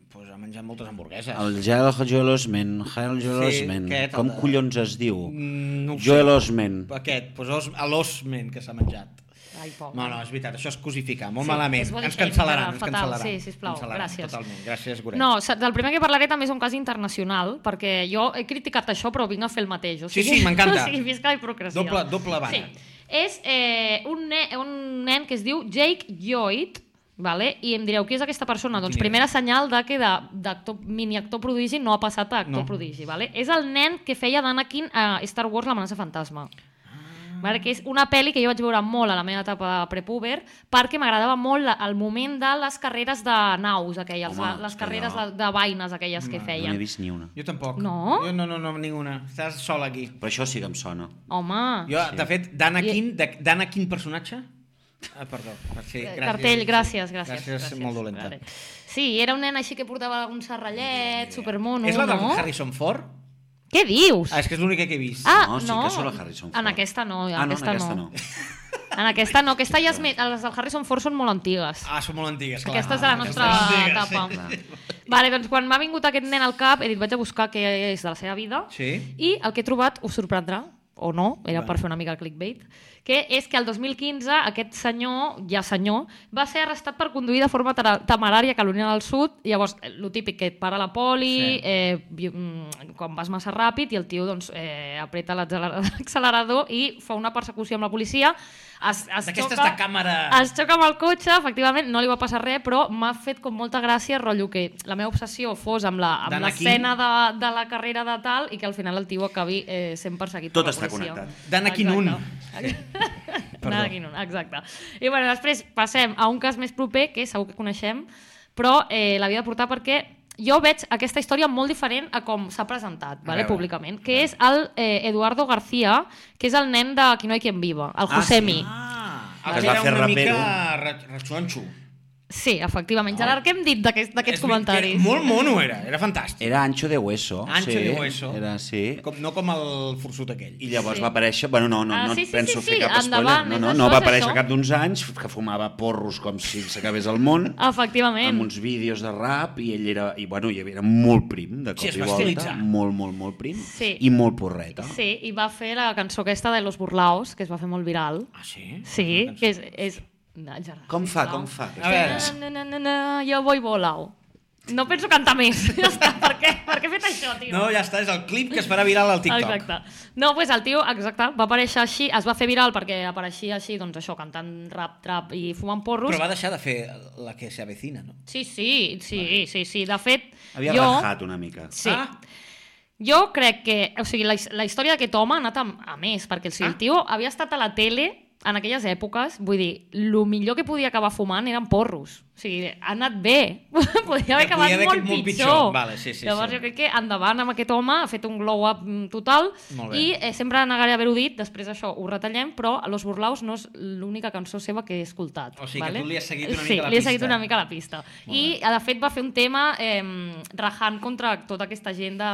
Speaker 2: pues ha menjat moltes hamburgueses.
Speaker 4: El Joel Jolosmen, Joel Jolosmen, sí,
Speaker 2: aquest, el
Speaker 4: com
Speaker 2: de-
Speaker 4: collons es diu?
Speaker 2: Mm, no ho sé.
Speaker 4: Joel Osmen.
Speaker 2: Aquest, pues, os, a l'osmen que s'ha menjat.
Speaker 1: Ai, pobre.
Speaker 2: No, no, és veritat, això és cosificar, molt
Speaker 1: Sí,
Speaker 2: sí, malament.
Speaker 1: és body
Speaker 2: Ens
Speaker 1: shaming,
Speaker 2: cancel·laran, ens
Speaker 1: fatal.
Speaker 2: cancel·laran.
Speaker 1: Sí, sisplau,
Speaker 2: cancel·laran,
Speaker 1: gràcies.
Speaker 2: Totalment, gràcies, Goret.
Speaker 1: No, sa- del primer que parlaré també és un cas internacional, perquè jo he criticat això però vinc a fer el mateix. O
Speaker 2: Sí,
Speaker 1: sigui,
Speaker 2: sí, m'encanta.
Speaker 1: O sigui, visca la hipocresia.
Speaker 2: Doble- doble vara.
Speaker 1: Sí. És eh, un, ne un nen que es diu Jake Lloyd, vale? i em direu, qui és aquesta persona? Doncs
Speaker 2: Quin era?
Speaker 1: primera senyal de que de- d'actor miniactor prodigi no ha passat a actor
Speaker 2: No.
Speaker 1: prodigi. Vale? És el nen que feia d'Anakin a Star Wars l'amenaça fantasma. Vale, que és una pel·li que jo vaig veure molt a la meva etapa de prepuber perquè m'agradava molt la, el moment de les carreres de naus aquelles,
Speaker 4: Home,
Speaker 1: Home, les
Speaker 4: és que
Speaker 1: carreres
Speaker 4: jo-
Speaker 1: de, de vaines aquelles que
Speaker 4: No n'he
Speaker 1: feien.
Speaker 4: vist ni una.
Speaker 2: Jo tampoc.
Speaker 1: No?
Speaker 2: Jo no, no, no, ninguna. Estàs sol aquí.
Speaker 4: Però això sí que em sona.
Speaker 1: Home,
Speaker 2: Jo, sí. de fet, d'Anakin, de- d'Anakin personatge? Ah, perdó. Sí,
Speaker 1: eh,
Speaker 2: gràcies.
Speaker 1: cartell, gràcies, gràcies.
Speaker 2: Gràcies, molt dolenta.
Speaker 1: Vale. Sí, era un nen així que portava un serrallet, supermono,
Speaker 2: és la de
Speaker 1: no?
Speaker 2: Harrison Ford?
Speaker 1: Què dius?
Speaker 2: Ah, és que és l'única que he vist.
Speaker 1: Ah,
Speaker 4: No,
Speaker 1: no,
Speaker 4: sí que surt el Harrison Ford.
Speaker 1: en aquesta no, en
Speaker 4: Ah, no, en
Speaker 1: aquesta, no.
Speaker 4: aquesta no.
Speaker 1: En aquesta no, aquesta ja és més... Les del Harrison Ford són molt antigues.
Speaker 2: Ah, són molt antigues, clar.
Speaker 1: Aquesta és de la nostra
Speaker 2: Aquestes són
Speaker 1: etapa.
Speaker 2: antigues,
Speaker 1: Vale, doncs quan m'ha vingut aquest nen al cap he dit vaig a buscar què és de la seva vida
Speaker 2: Sí.
Speaker 1: i el que he trobat us sorprendrà o no, era per fer una mica el clickbait, que és que el 2015 aquest senyor, ja senyor, va ser arrestat per conduir de forma tara- temerària a Carolina del Sud. Llavors, eh, lo típic que et para la poli,
Speaker 2: Sí.
Speaker 1: eh, vi- mm, quan vas massa ràpid i el tio doncs, eh, apreta l'accelerador l'accelerador i fa una persecució amb la policia. Es, es
Speaker 2: D'aquestes
Speaker 1: xoca-
Speaker 2: de càmera...
Speaker 1: es xoca amb el cotxe, efectivament, no li va passar res, però m'ha fet com molta gràcia, rotllo que la meva obsessió fos amb la- amb
Speaker 2: D'Anakin.
Speaker 1: l'escena de, de la carrera de tal i que al final el tio acabi eh, sent perseguit
Speaker 4: Tot
Speaker 1: per la
Speaker 4: està
Speaker 1: policia.
Speaker 4: connectat.
Speaker 2: D'Anakin un.
Speaker 1: Exacte.
Speaker 2: Perdó.
Speaker 1: D'Anakin un, exacte. I bueno, després passem a un cas més proper, que segur que coneixem, però eh, l'havia de portar perquè jo veig aquesta història molt diferent a com s'ha presentat vale,
Speaker 2: veure.
Speaker 1: públicament, que és el eh, Eduardo García, que és el nen de Qui no hi quien viva, el
Speaker 4: Ah, sí.
Speaker 1: Josemi.
Speaker 2: Ah,
Speaker 4: Que
Speaker 2: el
Speaker 4: es
Speaker 2: que
Speaker 4: va
Speaker 2: era
Speaker 4: fer
Speaker 2: una
Speaker 4: rapero.
Speaker 2: mica ra- ratxonxo.
Speaker 1: Sí, efectivament. Gerard, què hem dit d'aquest- d'aquests
Speaker 2: És veritat que
Speaker 1: comentaris?
Speaker 2: Molt mono era, era fantàstic.
Speaker 4: Era Ancho de Hueso.
Speaker 2: Ancho
Speaker 4: sí.
Speaker 2: de Hueso.
Speaker 4: Era, sí.
Speaker 2: Com, no com el forçut aquell.
Speaker 4: I llavors sí. va aparèixer... Bueno, no, no,
Speaker 1: Ah,
Speaker 4: no
Speaker 1: sí, sí,
Speaker 4: et penso
Speaker 1: sí,
Speaker 4: fer
Speaker 1: sí,
Speaker 4: cap
Speaker 1: endavant,
Speaker 4: spoiler.
Speaker 1: és
Speaker 4: No, no,
Speaker 1: això,
Speaker 4: no va
Speaker 1: és
Speaker 4: aparèixer
Speaker 1: això.
Speaker 4: cap d'uns anys, que fumava porros com si s'acabés el món,
Speaker 1: Efectivament.
Speaker 4: amb uns vídeos de rap, i ell era, i, bueno, i era molt prim, de cop
Speaker 2: Sí, es
Speaker 4: i
Speaker 2: va
Speaker 4: volta.
Speaker 2: estilitzar.
Speaker 4: Molt, molt, molt prim.
Speaker 1: Sí.
Speaker 4: I molt porreta.
Speaker 1: Sí, i va fer la cançó aquesta de Los Burlaos, que es va fer molt viral.
Speaker 2: Ah, sí?
Speaker 1: Sí, que és... és... No, Gerard,
Speaker 4: Com fa,
Speaker 1: sisplau.
Speaker 4: com fa?
Speaker 2: A veure.
Speaker 1: Na, na, na, na, jo vull volao. No penso cantar més. Ja està, per què? Per què he fet això, tio?
Speaker 2: No, ja està, és el clip que es farà viral al TikTok.
Speaker 1: Exacte. No, doncs pues el tio, exacte, va aparèixer així, es va fer viral perquè apareixia així, doncs això, cantant rap, trap i fumant porros.
Speaker 2: Però va deixar de fer la que s'avecina, no?
Speaker 1: Sí, sí, sí, sí, sí. De fet,
Speaker 4: Havia
Speaker 1: jo...
Speaker 4: rajat una mica.
Speaker 1: Sí.
Speaker 2: Ah.
Speaker 1: Ah? Jo crec que... O sigui, la, his- la història d'aquest home ha anat a, a més, perquè o sigui,
Speaker 2: Ah.
Speaker 1: el tio havia estat a la tele en aquelles èpoques, vull dir, el millor que podia acabar fumant eren porros. O sigui, ha anat bé. podia haver
Speaker 2: Podia
Speaker 1: acabat
Speaker 2: haver
Speaker 1: molt,
Speaker 2: acabat molt
Speaker 1: pitjor.
Speaker 2: pitjor. Vale, sí, sí,
Speaker 1: Llavors
Speaker 2: sí.
Speaker 1: jo crec que endavant amb aquest home, ha fet un glow-up mm, total
Speaker 2: Molt bé.
Speaker 1: i eh, sempre negaré haver-ho dit, després això ho retallem, però a Los Burlaus no és l'única cançó seva que he escoltat.
Speaker 2: O sigui que
Speaker 1: vale?
Speaker 2: tu li has seguit una
Speaker 1: sí,
Speaker 2: mica la
Speaker 1: li he
Speaker 2: pista.
Speaker 1: seguit una mica la pista. I, de fet, va fer un tema eh, rajant contra tota aquesta gent de,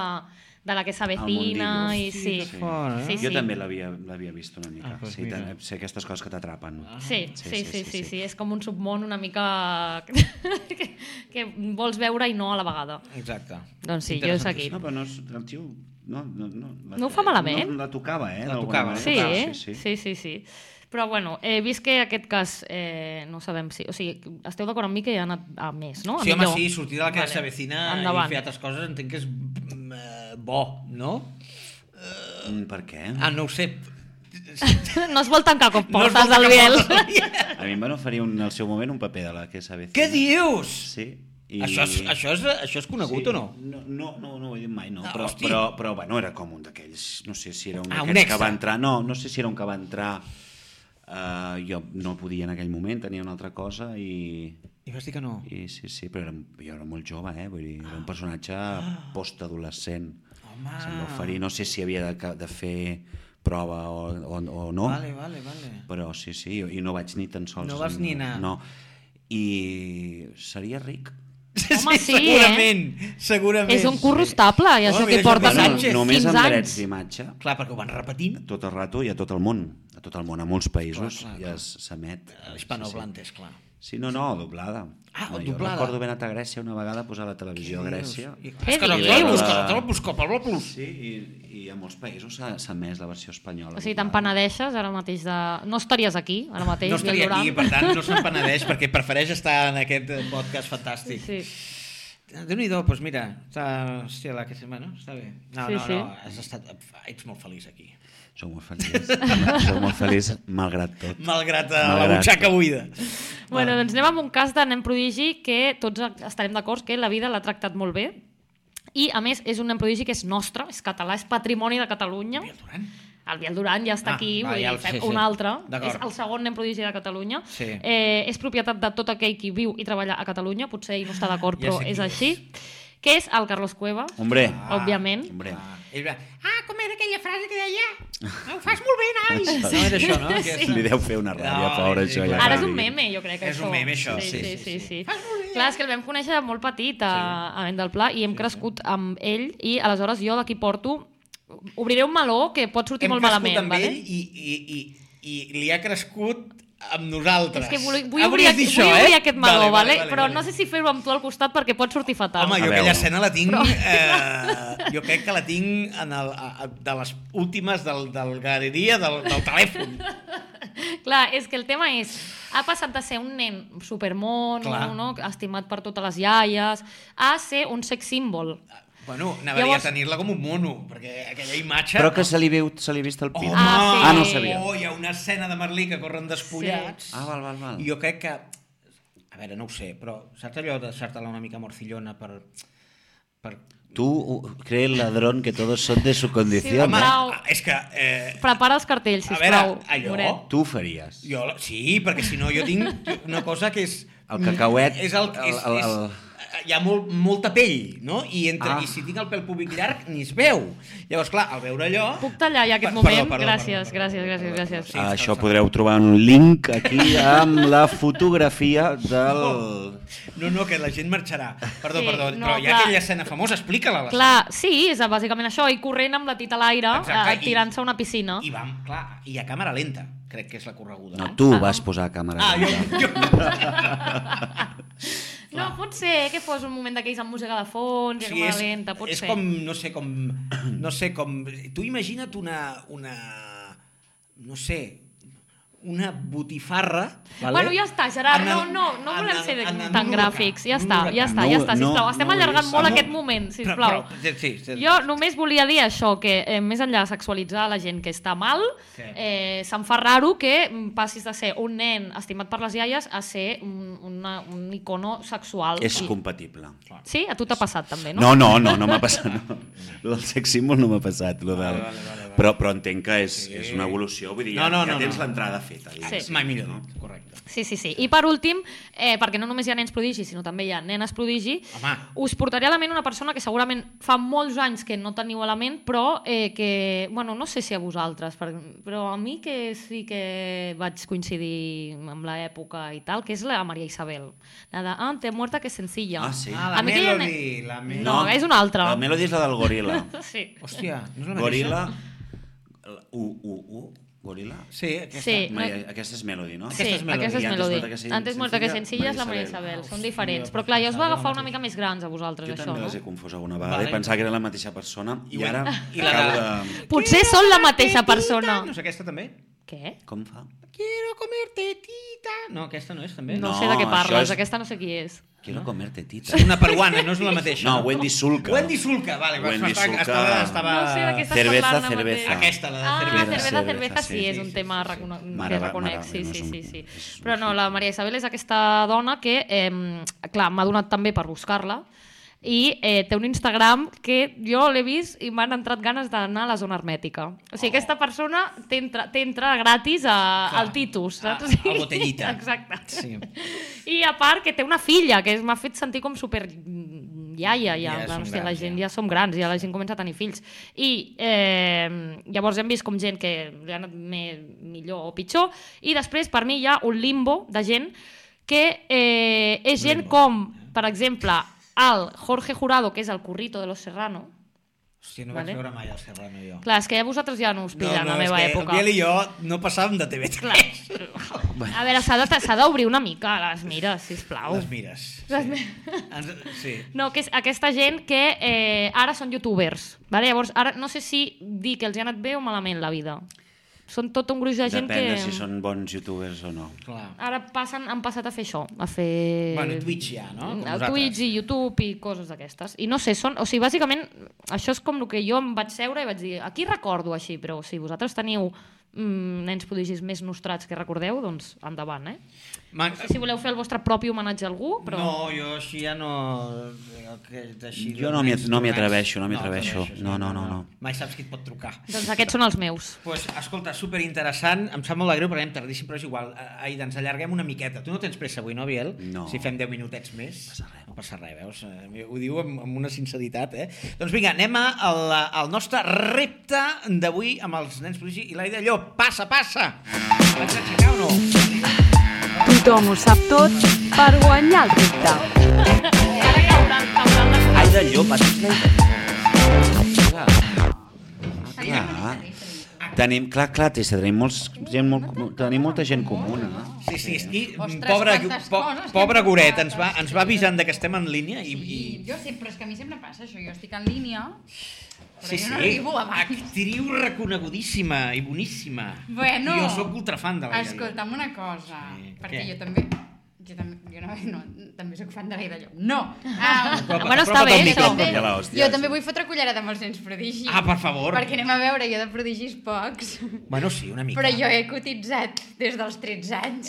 Speaker 1: de la que s'avecina.
Speaker 4: mundillo.
Speaker 1: I, sí.
Speaker 4: Sí,
Speaker 1: Sí.
Speaker 2: fora, eh?
Speaker 1: Sí,
Speaker 4: Sí, jo
Speaker 1: sí.
Speaker 4: també l'havia l'havia vist una mica.
Speaker 2: Ah,
Speaker 4: Ah,
Speaker 2: doncs
Speaker 4: doncs sí,
Speaker 2: mira. Ah.
Speaker 4: tan- sí, aquestes coses que t'atrapen.
Speaker 1: Sí, sí, sí, sí, sí, sí, és com un submón una mica que, que vols veure i no a la vegada.
Speaker 2: Exacte.
Speaker 1: Doncs sí, jo he seguit.
Speaker 4: No, però no, és- el tio... No, no, no,
Speaker 1: No ho fa malament.
Speaker 4: No, la tocava, eh?
Speaker 2: La
Speaker 4: d'alguna
Speaker 2: tocava,
Speaker 4: manera.
Speaker 1: Sí,
Speaker 2: Clar,
Speaker 1: eh? sí, sí, sí, sí. Però bueno, he vist que aquest cas eh, no sabem si... O sigui, esteu d'acord amb mi que ja ha anat a més, no? A
Speaker 2: Sí, home,
Speaker 1: Oh, millor.
Speaker 2: sí, sortir de la que
Speaker 1: Vale.
Speaker 2: s'avecina i
Speaker 1: Endavant.
Speaker 2: fer altres coses entenc que és mm, eh, bo, no?
Speaker 4: Mm, Per què?
Speaker 2: Ah, no ho sé.
Speaker 1: No es vol tancar com
Speaker 2: No es
Speaker 1: portes,
Speaker 2: vol tancar
Speaker 1: no Biel.
Speaker 2: portes.
Speaker 4: A mi em van oferir un, al seu moment un paper de la que s'avecina.
Speaker 2: Què dius?
Speaker 4: Sí.
Speaker 2: I... Això, és, això, és, això és conegut sí. o no?
Speaker 4: No, no, no, no ho he dit mai, no.
Speaker 2: Ah,
Speaker 4: però,
Speaker 2: hosti.
Speaker 4: però, però bueno, era com un d'aquells... No sé si era un
Speaker 2: Ah, un
Speaker 4: d'aquests
Speaker 2: extra.
Speaker 4: que va entrar... No, no sé si era un que va entrar... Uh, jo no podia en aquell moment, tenia una altra cosa i...
Speaker 2: I vas dir que no.
Speaker 4: i sí, sí, però era, jo era molt jove, eh? Vull dir, era un personatge postadolescent.
Speaker 2: Home.
Speaker 4: Se'm va oferir, no sé si havia de, ca- de fer prova o, o, o no.
Speaker 2: Vale, vale, vale.
Speaker 4: Però sí, sí, i no vaig ni tan sols...
Speaker 2: No vas ni anar.
Speaker 4: No. I seria ric.
Speaker 1: Home, sí, eh?
Speaker 2: segurament, segurament.
Speaker 1: És un curro estable, i
Speaker 2: Home,
Speaker 1: això
Speaker 2: mira,
Speaker 1: que porta
Speaker 2: Jordi
Speaker 1: cinc,
Speaker 2: Sánchez.
Speaker 4: només
Speaker 1: cinc
Speaker 4: amb drets
Speaker 1: anys.
Speaker 4: d'imatge,
Speaker 2: Clar, perquè ho van repetint.
Speaker 4: tot el rato i a tot el món, a tot el món, a molts països,
Speaker 2: Clar, clar,
Speaker 4: ja es- s'emet.
Speaker 2: Hispanohablantes, clar.
Speaker 4: Sí, no, no, doblada.
Speaker 2: Ah,
Speaker 4: no,
Speaker 2: doblada.
Speaker 4: Jo recordo ben a Grècia una vegada posar la televisió a Grècia.
Speaker 2: I-
Speaker 1: Què
Speaker 2: És que no,
Speaker 1: dius?
Speaker 2: clar, el busca, te la busca, pel blau plus.
Speaker 4: Sí, i, i a molts països s'ha s'ha emès la versió
Speaker 1: O
Speaker 4: espanyola.
Speaker 1: sigui, te'n penedeixes ara mateix de... No estaries aquí, ara mateix,
Speaker 2: No estaria
Speaker 1: Biel Durant.
Speaker 2: aquí, per tant, no se'n penedeix, perquè prefereix estar en aquest eh, podcast fantàstic.
Speaker 1: Sí.
Speaker 2: Déu-n'hi-do, doncs mira, està, hòstia, la que setmana, està bé. No,
Speaker 1: Sí,
Speaker 2: no,
Speaker 1: sí.
Speaker 2: no, has estat, ets molt feliç aquí.
Speaker 4: Sou molt feliç. Sou molt feliç, malgrat tot.
Speaker 2: Malgrat, eh, la
Speaker 4: Malgrat
Speaker 2: butxaca buida.
Speaker 1: Bueno, doncs anem amb un cas de nen prodigi que tots estarem d'acord que la vida l'ha tractat molt bé i, a més, és un nen prodigi que és nostre, és català, és patrimoni de Catalunya.
Speaker 2: Biel Duran?
Speaker 1: El Biel Duran ja
Speaker 2: Ah,
Speaker 1: està aquí,
Speaker 2: va,
Speaker 1: vull
Speaker 2: ja
Speaker 1: dir,
Speaker 2: el-
Speaker 1: fem
Speaker 2: sí, sí.
Speaker 1: un altre.
Speaker 2: D'acord.
Speaker 1: És el segon nen prodigi de Catalunya.
Speaker 2: Sí.
Speaker 1: Eh, és propietat de tot aquell qui viu i treballa a Catalunya, potser ell no està d'acord,
Speaker 2: Ja
Speaker 1: però
Speaker 2: sé qui
Speaker 1: és
Speaker 2: és.
Speaker 1: així, que és el Carlos Cueva,
Speaker 4: Hombre,
Speaker 1: òbviament.
Speaker 4: hombre.
Speaker 2: Ah, ell va,
Speaker 5: Ah, com era aquella frase que deia? Ho fas molt bé, noi!
Speaker 2: no era això, no? Aquesta.
Speaker 4: Li deu fer una ràbia,
Speaker 2: No,
Speaker 4: pobre,
Speaker 2: sí,
Speaker 4: això.
Speaker 2: clar.
Speaker 4: Ja
Speaker 1: Ara és
Speaker 4: cal
Speaker 1: un
Speaker 4: dir.
Speaker 1: meme, jo crec,
Speaker 2: És
Speaker 1: això.
Speaker 2: un meme, això,
Speaker 1: Sí,
Speaker 2: sí,
Speaker 1: sí, sí.
Speaker 2: sí,
Speaker 1: sí, Clar, és que el vam conèixer de molt petit a, a Vendelplà i hem crescut amb ell i aleshores jo d'aquí porto... Obriré un meló que pot sortir
Speaker 2: Hem
Speaker 1: molt
Speaker 2: crescut
Speaker 1: malament,
Speaker 2: amb
Speaker 1: vale?
Speaker 2: ell i, i, i, i li ha crescut amb nosaltres.
Speaker 1: És que vull, vull, obrir,
Speaker 2: Hauries
Speaker 1: vull
Speaker 2: dit això,
Speaker 1: obrir
Speaker 2: eh?
Speaker 1: aquest meló, vale, vale, però no sé si fer-ho amb tu al costat perquè pot sortir fatal.
Speaker 2: Home,
Speaker 4: A
Speaker 2: jo aquella
Speaker 4: veure.
Speaker 2: escena la tinc... Eh, jo crec que la tinc en el, a, a, de les últimes del, del galeria del, del telèfon.
Speaker 1: Clar, és que el tema és, ha passat de ser un nen supermono,
Speaker 2: Clar.
Speaker 1: no? estimat per totes les iaies, a ser un sex símbol.
Speaker 2: Bueno, anava Llavors...
Speaker 1: Llavors-
Speaker 2: a tenir-la com un mono, perquè aquella imatge...
Speaker 4: Però que se li, veu, se li vist el pit.
Speaker 2: Home!
Speaker 1: Ah, sí. Ah, no ho
Speaker 4: sabia.
Speaker 2: Oh, hi ha una escena de Merlí que corren despullats.
Speaker 1: Sí.
Speaker 4: Ah, val, val, val.
Speaker 2: I jo crec que... A veure, no ho sé, però saps allò de deixar-te-la una mica morcillona per... per...
Speaker 4: Tú uh, crees, ladrón, que todos son de su condición.
Speaker 1: Home.
Speaker 4: ¿eh?
Speaker 1: Sisplau.
Speaker 2: és que... Eh,
Speaker 1: Prepara els cartells,
Speaker 2: a
Speaker 1: sisplau.
Speaker 2: veure, allò...
Speaker 1: Moret.
Speaker 4: Tú farías.
Speaker 2: Jo, sí, perquè si no jo tinc una cosa que és...
Speaker 4: El cacauet,
Speaker 2: És el, és,
Speaker 4: el- el-
Speaker 2: és, eh,
Speaker 4: el-
Speaker 2: hi ha molt, molta pell, no? I, entre,
Speaker 4: Ah.
Speaker 2: I si tinc el pèl públic llarg, ni es veu. Llavors, clar, al veure allò...
Speaker 1: Puc tallar ja aquest
Speaker 2: Per-
Speaker 1: moment?
Speaker 2: perdó, perdó,
Speaker 1: gràcies,
Speaker 2: perdó,
Speaker 1: gràcies,
Speaker 2: perdó,
Speaker 1: gràcies,
Speaker 2: perdó,
Speaker 1: gràcies.
Speaker 2: perdó,
Speaker 4: Ah,
Speaker 2: està,
Speaker 4: això
Speaker 2: està.
Speaker 4: podreu trobar un link aquí amb la fotografia del...
Speaker 2: No, no, que la gent marxarà. Perdó,
Speaker 1: Sí,
Speaker 2: perdó,
Speaker 1: no,
Speaker 2: però hi ha
Speaker 1: clar.
Speaker 2: aquella escena famosa, explica-la. la
Speaker 1: Clar, sí, és bàsicament això, i corrent amb la tita a l'aire,
Speaker 2: Exacte,
Speaker 1: eh,
Speaker 2: i-
Speaker 1: tirant-se a una piscina.
Speaker 2: I vam, clar, i a càmera lenta, crec que és la correguda.
Speaker 4: No, tu vas posar a càmera.
Speaker 2: Ah, jo, jo...
Speaker 1: No, pot ser que fos un moment d'aquells amb música de fons, sí, és, lenta, pot
Speaker 2: és
Speaker 1: ser.
Speaker 2: com, no sé, com... No sé, com... Tu imagina't una... una no sé, una botifarra. Vale?
Speaker 1: Bueno, ja està, Gerard, no,
Speaker 2: el-
Speaker 1: no, no volem
Speaker 2: el-
Speaker 1: ser
Speaker 2: en el
Speaker 1: tan
Speaker 2: huracà,
Speaker 1: gràfics. Ja
Speaker 2: en
Speaker 1: està,
Speaker 2: un
Speaker 1: ja
Speaker 2: huracà.
Speaker 1: està, ja
Speaker 4: No,
Speaker 1: està,
Speaker 4: no,
Speaker 1: sisplau. Estem
Speaker 4: no
Speaker 1: allargant
Speaker 4: és-
Speaker 1: molt
Speaker 4: no.
Speaker 1: aquest moment, sisplau.
Speaker 2: Però, però, sí, sí,
Speaker 1: Jo només volia dir això, que eh, més enllà de sexualitzar la gent que està mal,
Speaker 2: Sí.
Speaker 1: eh, se'm fa raro que mm, passis de ser un nen estimat per les iaies a ser un, una, un icono sexual.
Speaker 4: És
Speaker 1: I-
Speaker 4: compatible.
Speaker 1: Sí? A tu t'ha passat també, no?
Speaker 4: No, no, no, no m'ha passat. No. El sex símbol no m'ha passat. Lo del...
Speaker 2: Vale, vale, vale, vale.
Speaker 4: Però, però entenc que és, sí. és una evolució. Vull dir, ja,
Speaker 2: No, no,
Speaker 4: ja
Speaker 2: no,
Speaker 4: tens
Speaker 2: no.
Speaker 4: l'entrada feta. diguéssim,
Speaker 1: Sí.
Speaker 2: Mai millor dit, correcte.
Speaker 1: Sí, sí, sí. I per últim, eh, perquè no només hi ha nens prodigi, sinó també hi ha nenes prodigi,
Speaker 2: Home.
Speaker 1: us portaré a la ment una persona que segurament fa molts anys que no teniu a la ment, però eh, que, bueno, no sé si a vosaltres, per- però a mi que sí que vaig coincidir amb l'època i tal, que és la Maria Isabel. La de, ah, te muerta que sencilla.
Speaker 4: Ah, sí.
Speaker 2: Ah,
Speaker 1: A
Speaker 2: la
Speaker 1: mi que ja
Speaker 2: Melody, la Melody.
Speaker 1: No, és una altra.
Speaker 4: La Melody és la del goril·la.
Speaker 1: Sí.
Speaker 2: Hòstia, no és la mateixa?
Speaker 4: goril·la... U, u, u, goril·la?
Speaker 2: Sí, aquesta.
Speaker 1: Sí, no-
Speaker 4: Maria, aquesta és Melody, no?
Speaker 1: Sí,
Speaker 2: Aquesta és Melody.
Speaker 1: aquesta és
Speaker 4: I
Speaker 1: Melody.
Speaker 4: Antes muerta que sen-
Speaker 1: Antes muerta que sencilla és la Maria Isabel. Són diferents. Però clar, ja us va agafar una mica més grans a vosaltres,
Speaker 4: Jo
Speaker 1: això,
Speaker 4: també les
Speaker 1: no?
Speaker 4: he confós alguna vegada
Speaker 2: Vale.
Speaker 4: i pensava que era la mateixa persona i,
Speaker 2: I
Speaker 4: ara
Speaker 2: bueno, i
Speaker 4: i
Speaker 2: la
Speaker 4: acabo
Speaker 2: de-
Speaker 4: de...
Speaker 1: Potser són la mateixa persona.
Speaker 2: No és aquesta també?
Speaker 1: Què?
Speaker 4: Com fa?
Speaker 2: Quiero comer tetita. No, aquesta no és també?
Speaker 1: No,
Speaker 4: No,
Speaker 1: sé de què
Speaker 4: això
Speaker 1: parles,
Speaker 4: és-
Speaker 1: aquesta no sé qui és.
Speaker 4: Quiero comer tetita.
Speaker 2: És una peruana, no és la mateixa.
Speaker 4: No, Wendy Sulca.
Speaker 2: Wendy Sulca, vale.
Speaker 4: Wendy
Speaker 2: Wendy Sulca. Estava,
Speaker 4: Sulca.
Speaker 2: estava...
Speaker 1: No sé de què estàs
Speaker 4: cerveza,
Speaker 1: parlant ara
Speaker 4: cerveza.
Speaker 1: mateix.
Speaker 2: Aquesta, la de
Speaker 1: Ah, cerveza,
Speaker 2: cerveza.
Speaker 1: cerveza, cerveza, sí,
Speaker 4: sí,
Speaker 1: és un
Speaker 4: sí,
Speaker 1: tema
Speaker 4: sí, sí.
Speaker 1: recono-
Speaker 4: Mare
Speaker 1: que
Speaker 4: va-
Speaker 1: reconec,
Speaker 4: mare
Speaker 1: sí,
Speaker 4: va- no
Speaker 1: sí,
Speaker 4: és un-
Speaker 1: sí, sí.
Speaker 4: és un
Speaker 1: Però no, la Maria Isabel és aquesta dona que, eh, clar, m'ha donat també per buscar-la, i eh, té un Instagram que jo l'he vist i m'han entrat ganes d'anar a la zona hermètica. O sigui, oh. aquesta persona t'entra t'entra gratis a, al Titus, saps?
Speaker 2: a-
Speaker 1: O sigui,
Speaker 2: Ah, a botellita.
Speaker 1: Exacte.
Speaker 2: Sí.
Speaker 1: I a part que té una filla, que es m'ha fet sentir com super iaia, ja,
Speaker 2: Ja
Speaker 1: ja
Speaker 2: som
Speaker 1: hòstia, la
Speaker 2: grans,
Speaker 1: gent
Speaker 2: ja.
Speaker 1: ja som grans, ja la gent comença a tenir fills. I eh, llavors hem vist com gent que li ha anat me, millor o pitjor, i després per mi hi ha un limbo de gent que eh, és gent com, per exemple, el Jorge Jurado, que és el currito de Los Serrano,
Speaker 2: Hòstia, no vaig
Speaker 1: Vale.
Speaker 2: veure mai el Serrano, jo.
Speaker 1: Clar, és que ja vosaltres ja no us pillen a la meva
Speaker 2: és que
Speaker 1: època.
Speaker 2: El Biel i jo no passàvem de TV3.
Speaker 1: Clar. A veure, s'ha de- s'ha d'obrir una mica les mires, sisplau.
Speaker 2: Les mires. Les mires. Ens, sí.
Speaker 1: No, que és aquesta gent que eh, ara són youtubers. Vale? Llavors, ara no sé si dir que els hi ha anat bé o malament la vida. Són tot un gruix de gent
Speaker 4: Depèn de
Speaker 1: que...
Speaker 4: si són bons youtubers o no.
Speaker 2: Clar.
Speaker 1: Ara passen, han passat a fer això, a fer...
Speaker 2: Bueno, Twitch ja, no? Com
Speaker 1: A
Speaker 2: vosaltres.
Speaker 1: Twitch i YouTube i coses d'aquestes. I no sé, són... O sigui, bàsicament, això és com el que jo em vaig seure i vaig dir, aquí recordo així, però si vosaltres teniu mm, nens prodigis més nostrats que recordeu, doncs endavant, eh?
Speaker 2: Man...
Speaker 1: No sé si voleu fer el vostre propi homenatge a algú, però...
Speaker 2: No, jo així ja no... Aquest, així,
Speaker 4: Jo no m'hi-
Speaker 2: d'homenatges,
Speaker 4: no m'hi atreveixo, no m'hi
Speaker 2: t'atreveixes,
Speaker 4: atreveixo. No, no, no, no.
Speaker 2: Mai saps qui et pot trucar.
Speaker 1: Doncs aquests són els meus.
Speaker 2: Pues, escolta, superinteressant. Em sap molt de greu perquè anem tardíssim, però és igual. Eh, Aida, ens allarguem una miqueta. Tu no tens pressa avui, no, Biel?
Speaker 4: No.
Speaker 2: Si fem 10 minutets més. Passa res. No passa res, veus? Eh, Ho diu amb, amb una sinceritat, eh? Doncs vinga, anem a la, al nostre repte d'avui amb els nens prodigi i l'Aida Llop. Passa, passa! Vaig aixecar o no?
Speaker 3: Tothom ho sap tot per guanyar el repte.
Speaker 1: Ara cauran, cauran les
Speaker 4: Ai, de llop, has Clar. Tenim, clar, clar, Tessa, tenim, molts, gent molt, tenim molta gent comuna.
Speaker 2: Sí, sí, i mm,
Speaker 5: Ostres,
Speaker 2: pobre,
Speaker 5: quantes
Speaker 2: po,
Speaker 5: coses que hem
Speaker 2: pobre
Speaker 5: portat,
Speaker 2: Goret, ens va, ens va
Speaker 5: sí.
Speaker 2: avisant de que estem en línia i,
Speaker 5: Sí,
Speaker 2: i
Speaker 5: jo sempre, és que a mi sempre em passa això, jo estic en línia, però jo no arribo abans.
Speaker 2: Actriu reconegudíssima i boníssima.
Speaker 5: Bueno.
Speaker 2: Jo sóc ultrafan de la Irene.
Speaker 5: Escolta'm una cosa,
Speaker 2: Ah, Sí,
Speaker 5: perquè
Speaker 2: què?
Speaker 5: jo també... Jo també, jo no, no, també soc fan de l'Aida Llop. No! Ah,
Speaker 2: Apropa't,
Speaker 1: Bueno, està
Speaker 2: apropa't al
Speaker 1: bé, això.
Speaker 5: jo
Speaker 2: micro.
Speaker 5: també,
Speaker 4: Ja la hòstia,
Speaker 5: jo
Speaker 4: sí.
Speaker 5: també vull fotre cullerada amb els nens prodigis.
Speaker 2: Ah, per favor.
Speaker 5: Perquè anem a veure, jo de prodigis pocs.
Speaker 2: Bueno, sí, una mica.
Speaker 5: Però jo he cotitzat des dels 13 anys.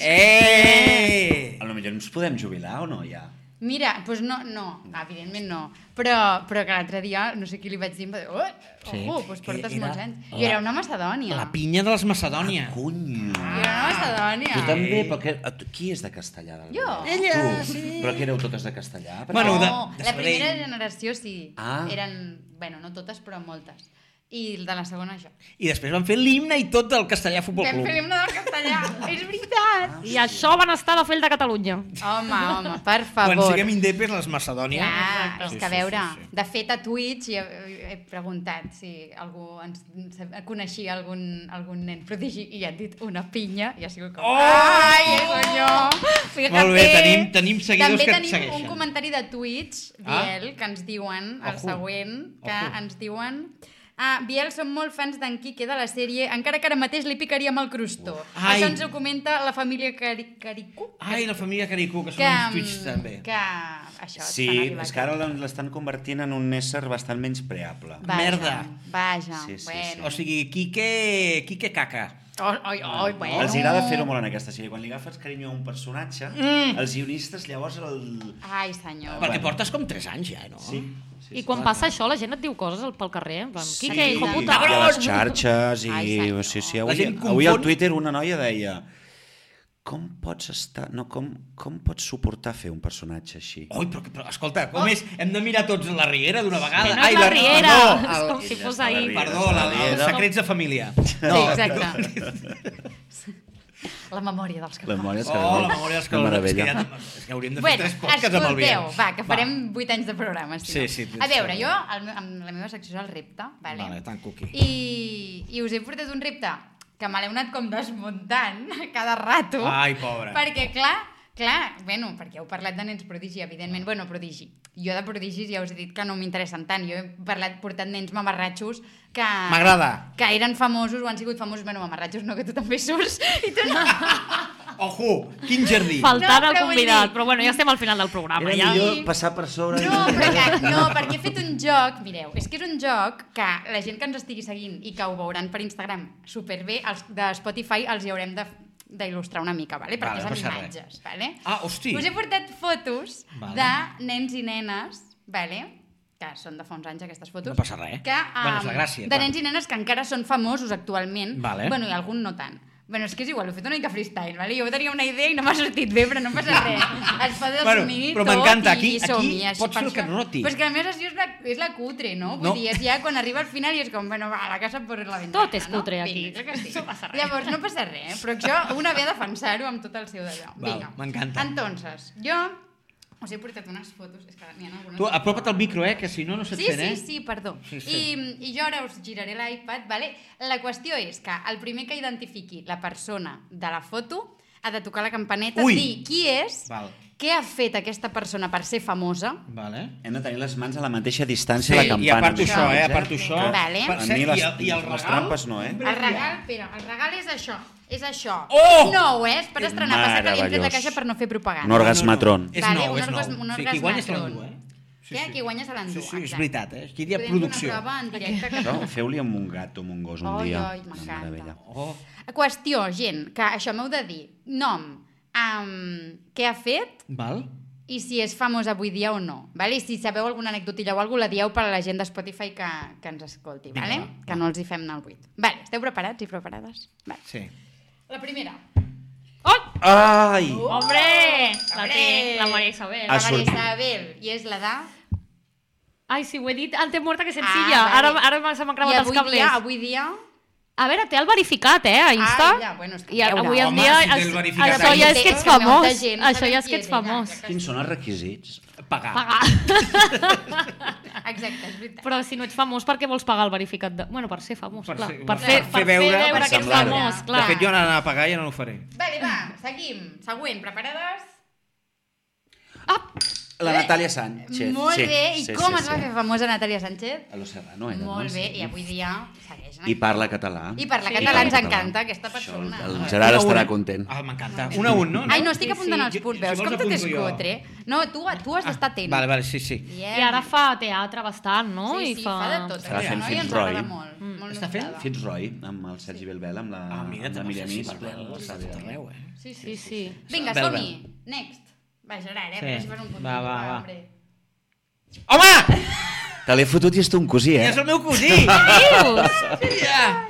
Speaker 2: Eh!
Speaker 4: A lo millor ens podem jubilar o no, ja?
Speaker 5: Mira, doncs no, no, evidentment no. Però, però que l'altre dia, no sé qui li vaig dir, em va dir, oh,
Speaker 2: Sí.
Speaker 5: oh, doncs portes
Speaker 2: Era
Speaker 5: molts anys.
Speaker 4: la-
Speaker 5: Jo era una macedònia.
Speaker 2: La pinya de les Macedònia.
Speaker 1: Ah,
Speaker 4: Cunyo.
Speaker 5: Jo era una macedònia.
Speaker 4: Tu també, perquè... a tu- Qui és de castellà? Del
Speaker 5: Jo.
Speaker 4: Vallès?
Speaker 2: Ella,
Speaker 4: tu. sí. Però que éreu totes de castellà? Perquè...
Speaker 2: Bueno,
Speaker 5: no,
Speaker 2: de- de
Speaker 5: la
Speaker 2: Sabadell.
Speaker 5: primera generació sí.
Speaker 4: Ah.
Speaker 5: Eren, bueno, no totes, però moltes. I de la segona jo.
Speaker 2: I després van fer l'himne i tot del castellà futbol
Speaker 5: Vam
Speaker 2: club.
Speaker 5: fer l'himne del castellà. És
Speaker 2: Ah,
Speaker 5: veritat.
Speaker 1: I això van estar a la Fel de Catalunya.
Speaker 5: Home, home, per
Speaker 2: Quan
Speaker 5: favor.
Speaker 2: siguem indepes, les Macedònia...
Speaker 5: Clar,
Speaker 1: Exacte.
Speaker 5: és que a veure, de fet a Twitch he, he preguntat si algú ens sab- coneixia algun, algun nen prodigi i han dit una pinya i ha sigut com...
Speaker 2: Oh!
Speaker 5: Ai, senyor! Fíjate.
Speaker 2: Molt bé, tenim- tenim seguidors
Speaker 5: També
Speaker 2: que et
Speaker 5: tenim
Speaker 2: segueixen.
Speaker 5: un comentari de Twitch,
Speaker 2: Ah.
Speaker 5: Biel, que ens diuen el
Speaker 2: Ojo.
Speaker 5: següent, que
Speaker 2: Ojo.
Speaker 5: ens diuen... Ah, Biel, som molt fans d'en Quique de la sèrie, encara que ara mateix li picaríem el crustó.
Speaker 2: Ai.
Speaker 5: Això ens ho comenta la família Cari Caricú.
Speaker 2: Ai, la família Caricú, que són
Speaker 5: Que, mm,
Speaker 2: uns tuits també.
Speaker 5: que això,
Speaker 4: Sí, és que ara l'estan convertint en un ésser bastant menys preable.
Speaker 5: Vaja,
Speaker 2: Merda.
Speaker 5: Vaja,
Speaker 4: Sí, sí,
Speaker 5: bueno.
Speaker 2: O sigui, Quique, Quique Caca.
Speaker 5: Oi, oi, oi, bueno.
Speaker 4: Els agrada fer-ho molt en aquesta sèrie. Quan li agafes carinyo a un personatge, mm. els guionistes llavors el...
Speaker 5: Ai, senyor.
Speaker 2: Perquè
Speaker 4: Bueno.
Speaker 2: portes com 3 anys ja, no?
Speaker 4: Sí. sí
Speaker 1: I quan passa això, la gent et diu coses al- pel carrer. eh? En plan,
Speaker 4: Sí,
Speaker 1: Quique, hijo
Speaker 4: i
Speaker 1: puta.
Speaker 4: a les xarxes i...
Speaker 5: Ai,
Speaker 4: Ai,
Speaker 5: senyor.
Speaker 4: sí, sí,
Speaker 2: La
Speaker 4: avui,
Speaker 2: gent
Speaker 4: avui al
Speaker 2: confon-
Speaker 4: Twitter una noia deia com pots estar... No, com, com pots suportar fer un personatge així?
Speaker 2: Ui, però, però escolta,
Speaker 5: Oh.
Speaker 2: com és? Hem de mirar tots la Riera d'una vegada.
Speaker 1: Que no és la Riera,
Speaker 2: Perdó,
Speaker 1: és
Speaker 2: el,
Speaker 1: com si
Speaker 4: Ella
Speaker 1: fos
Speaker 4: està a la
Speaker 1: ahir.
Speaker 4: Riera.
Speaker 2: perdó la, la, els
Speaker 1: Riera.
Speaker 2: secrets de família.
Speaker 5: No. Sí, exacte. la memòria dels
Speaker 4: La
Speaker 5: catalans.
Speaker 4: memòria és que...
Speaker 2: Oh, la memòria és que,
Speaker 4: Una
Speaker 2: és que,
Speaker 4: meravella.
Speaker 2: ja, és que hauríem de fer
Speaker 5: Bueno,
Speaker 2: tres podcasts amb el Biel.
Speaker 5: escolteu, va, que farem vuit anys de programa. Si
Speaker 2: Sí,
Speaker 5: no.
Speaker 2: sí,
Speaker 5: A veure,
Speaker 2: sí.
Speaker 5: jo, el, me- amb la meva secció és el repte, vale?
Speaker 2: Vale, tant, cuqui.
Speaker 5: I, I us he portat un repte que me l'he anat com desmuntant a cada rato.
Speaker 2: Ai, pobra.
Speaker 5: Perquè, clar, clar, bueno, perquè heu parlat de nens prodigi, evidentment. Bueno, prodigi. Jo de prodigis ja us he dit que no m'interessen tant. Jo he parlat, portat nens mamarratxos que...
Speaker 2: M'agrada.
Speaker 5: Que eren famosos o han sigut famosos. Bueno, mamarratxos no, que tu també surts i tu no.
Speaker 2: Ojo, quin jardí.
Speaker 1: Faltant
Speaker 5: No,
Speaker 1: al
Speaker 5: però vull
Speaker 1: convidat.
Speaker 5: dir-
Speaker 1: Però bueno, ja estem al final del programa.
Speaker 4: Era
Speaker 1: Ja.
Speaker 4: millor passar per sobre...
Speaker 5: No, però que, no, perquè he fet un joc, mireu, és que és un joc que la gent que ens estigui seguint i que ho veuran per Instagram superbé, els de Spotify els hi haurem de d'il·lustrar una mica, vale? perquè
Speaker 2: Vale, no
Speaker 5: vale,
Speaker 2: passa
Speaker 5: són
Speaker 2: res.
Speaker 5: imatges. Vale?
Speaker 2: Ah, hosti.
Speaker 5: Us he portat fotos
Speaker 2: Vale.
Speaker 5: vale. de nens i nenes, vale? que són de fa uns anys aquestes fotos.
Speaker 2: No passa res.
Speaker 5: Que, um,
Speaker 2: eh? Bueno, és la gràcia,
Speaker 5: de
Speaker 2: clar.
Speaker 5: nens i nenes que encara són famosos actualment.
Speaker 2: Vale.
Speaker 5: Bueno, i algun no tant. Bueno, és que és igual, ho he fet una mica freestyle, vale? jo tenia una idea i no m'ha sortit bé, però no passa res. Es pot
Speaker 2: Bueno,
Speaker 5: assumir
Speaker 2: però
Speaker 5: tot
Speaker 2: m'encanta,
Speaker 5: i
Speaker 2: aquí-
Speaker 5: som-hi,
Speaker 2: aquí
Speaker 5: així
Speaker 2: pots
Speaker 5: per
Speaker 2: fer el
Speaker 5: això.
Speaker 2: que et roti.
Speaker 5: Però és que la meva sessió és la, és la cutre, no? Vull
Speaker 2: No.
Speaker 5: dir, és ja quan arriba al final i és com, bueno, va, la casa per la ventana.
Speaker 1: Tot és cutre,
Speaker 5: no?
Speaker 1: aquí.
Speaker 5: Vinga, clar que sí.
Speaker 1: No passa res.
Speaker 5: Llavors, no passa res, eh? però això, una ve a defensar-ho amb tot el seu d'allò.
Speaker 2: Val,
Speaker 5: Vinga.
Speaker 2: m'encanta.
Speaker 5: Entonces, jo us he portat unes fotos, és que n'hi ha algunes...
Speaker 2: Tu apropa't al micro, eh, que si no, no se't
Speaker 5: Sí,
Speaker 2: sent, eh?
Speaker 5: sí, sí, perdó.
Speaker 2: Sí,
Speaker 5: Sí,
Speaker 2: sí.
Speaker 5: sí. I, I jo ara us giraré l'iPad, vale? La qüestió és que el primer que identifiqui la persona de la foto ha de tocar la campaneta,
Speaker 2: Ui!
Speaker 5: dir qui és,
Speaker 2: Val.
Speaker 5: què ha fet aquesta persona per ser famosa,
Speaker 2: Vale.
Speaker 4: Hem de tenir les mans a la mateixa distància
Speaker 2: Sí,
Speaker 4: de la campana.
Speaker 2: i a part això, eh, a
Speaker 4: Exacte.
Speaker 2: part això.
Speaker 5: Vale.
Speaker 2: Per
Speaker 4: A
Speaker 2: cert,
Speaker 4: mi les,
Speaker 2: i el- i el
Speaker 4: les
Speaker 2: regal?
Speaker 4: trampes no, eh?
Speaker 5: El regal, espera, el regal és això. És això.
Speaker 2: Oh!
Speaker 5: No, eh? És per estrenar. Passa que li hem tret la
Speaker 4: Meravellós.
Speaker 5: caixa per no fer propaganda.
Speaker 4: Un orgasmatron.
Speaker 2: No, no, És
Speaker 5: Vale,
Speaker 2: nou,
Speaker 5: un
Speaker 2: és nou.
Speaker 5: orgas- un
Speaker 2: Sí, qui guanya se l'endú, eh?
Speaker 5: orgasmatron. Què? Qui guanya se l'endú,
Speaker 2: Sí, sí, és
Speaker 5: exacte.
Speaker 2: veritat, eh? Aquí hi ha
Speaker 5: Podem fer
Speaker 2: producció.
Speaker 5: Una prova en directe. Que...
Speaker 4: Això, feu-li amb un gat o amb un gos un
Speaker 5: Oi,
Speaker 4: dia.
Speaker 5: oi,
Speaker 4: Una
Speaker 5: m'encanta.
Speaker 4: meravella.
Speaker 2: Oh,
Speaker 5: Qüestió, gent, que això m'heu de dir. Nom, um, què ha fet
Speaker 2: val.
Speaker 5: i si és famós avui dia o no. Vale? I si sabeu alguna anecdotilla o alguna cosa, la dieu per a la gent de Spotify que, que ens escolti, vale?
Speaker 2: va.
Speaker 5: que no els hi fem anar al buit. Vale, esteu preparats i preparades? Vale.
Speaker 2: Sí.
Speaker 5: La primera.
Speaker 1: Oh,
Speaker 4: Ai!
Speaker 1: hombre! La
Speaker 5: Hombre!
Speaker 1: té la Maria Isabel.
Speaker 5: La
Speaker 4: Ha
Speaker 5: Maria
Speaker 4: sortit.
Speaker 5: Isabel, i és la de...
Speaker 1: Ai, sí, ho he dit, el té morta que sencilla.
Speaker 5: Ah,
Speaker 1: ara,
Speaker 5: vale.
Speaker 1: ara se m'han cremat
Speaker 5: I
Speaker 1: els
Speaker 5: avui
Speaker 1: cables.
Speaker 5: Dia, avui dia...
Speaker 1: A veure, té el verificat, eh, a Insta.
Speaker 5: Ah, ja, bueno, és que
Speaker 1: I a-
Speaker 5: veure.
Speaker 1: avui en
Speaker 2: Home,
Speaker 1: dia...
Speaker 2: si té el
Speaker 1: es-
Speaker 2: verificat
Speaker 1: això
Speaker 2: ahí.
Speaker 1: ja és que ets
Speaker 5: Té molta
Speaker 1: famós.
Speaker 5: gent, no
Speaker 1: Això
Speaker 5: sabem
Speaker 1: ja és
Speaker 5: qui
Speaker 1: que ets
Speaker 5: és ella,
Speaker 1: famós.
Speaker 5: exacte.
Speaker 4: Quins són els requisits?
Speaker 2: Pagar.
Speaker 1: Pagar.
Speaker 5: Exacte, és veritat.
Speaker 1: Però si no ets famós, per què vols pagar el verificat? De... Bueno, per ser famós,
Speaker 2: Per
Speaker 1: per clar.
Speaker 2: ser-
Speaker 1: Ser,
Speaker 2: per
Speaker 1: per, fer,
Speaker 2: fer
Speaker 1: per, fer
Speaker 2: veure-
Speaker 1: veure,
Speaker 4: per
Speaker 1: que ets
Speaker 4: semblar.
Speaker 1: famós,
Speaker 2: De
Speaker 1: clar.
Speaker 2: fet, jo anant a pagar ja no ho faré.
Speaker 5: Vale, va, seguim. Següent, preparades?
Speaker 4: La Natàlia Sánchez.
Speaker 5: Eh, Molt
Speaker 4: sí,
Speaker 5: bé. I
Speaker 4: sí,
Speaker 5: com
Speaker 4: sí,
Speaker 5: es va
Speaker 4: sí.
Speaker 5: fer famosa Natàlia Sánchez?
Speaker 4: A lo Serrano era, no?
Speaker 5: Molt bé,
Speaker 4: Sí.
Speaker 5: i avui dia segueix. en
Speaker 4: I parla català.
Speaker 5: I parla
Speaker 4: Sí.
Speaker 5: català,
Speaker 4: I
Speaker 5: ens
Speaker 4: parla
Speaker 5: encanta, aquesta
Speaker 4: Això,
Speaker 5: persona.
Speaker 4: el Gerard
Speaker 2: Una a
Speaker 4: estarà
Speaker 2: una.
Speaker 4: content.
Speaker 2: Ah, m'encanta. Un a un, no?
Speaker 5: Ai, no, estic apuntant
Speaker 1: sí.
Speaker 5: els punts,
Speaker 2: Jo-
Speaker 5: veus?
Speaker 2: si vols
Speaker 5: Com tot és
Speaker 2: apunto jo. Ah.
Speaker 5: cutre. No, tu, tu
Speaker 4: Ah,
Speaker 5: has d'estar atent.
Speaker 2: Vale, vale, sí, sí.
Speaker 5: Yeah.
Speaker 1: I ara fa teatre bastant, no?
Speaker 5: Sí, Mm.
Speaker 1: I
Speaker 5: sí, fa... de tot.
Speaker 4: Estarà
Speaker 5: aquesta
Speaker 4: fent
Speaker 5: noia ens
Speaker 4: Fitzroy.
Speaker 5: agrada molt. molt
Speaker 2: Està fent
Speaker 5: notada.
Speaker 4: Fitzroy, amb el Sergi Belbel, amb la,
Speaker 2: Ah, mira,
Speaker 4: amb la
Speaker 2: també
Speaker 4: Miriam
Speaker 2: sí,
Speaker 4: Is.
Speaker 2: està tot arreu, eh?
Speaker 1: Sí, sí, sí.
Speaker 5: Vinga,
Speaker 2: Bel,
Speaker 5: som-hi. Next. Va, Gerard, eh?
Speaker 2: Sí.
Speaker 5: perquè si fas un punt.
Speaker 2: Va, va, va.
Speaker 5: hombre.
Speaker 2: eh? Home!
Speaker 4: Te l'he fotut i és un cosí, eh?
Speaker 2: És el meu cosí!
Speaker 1: Dius?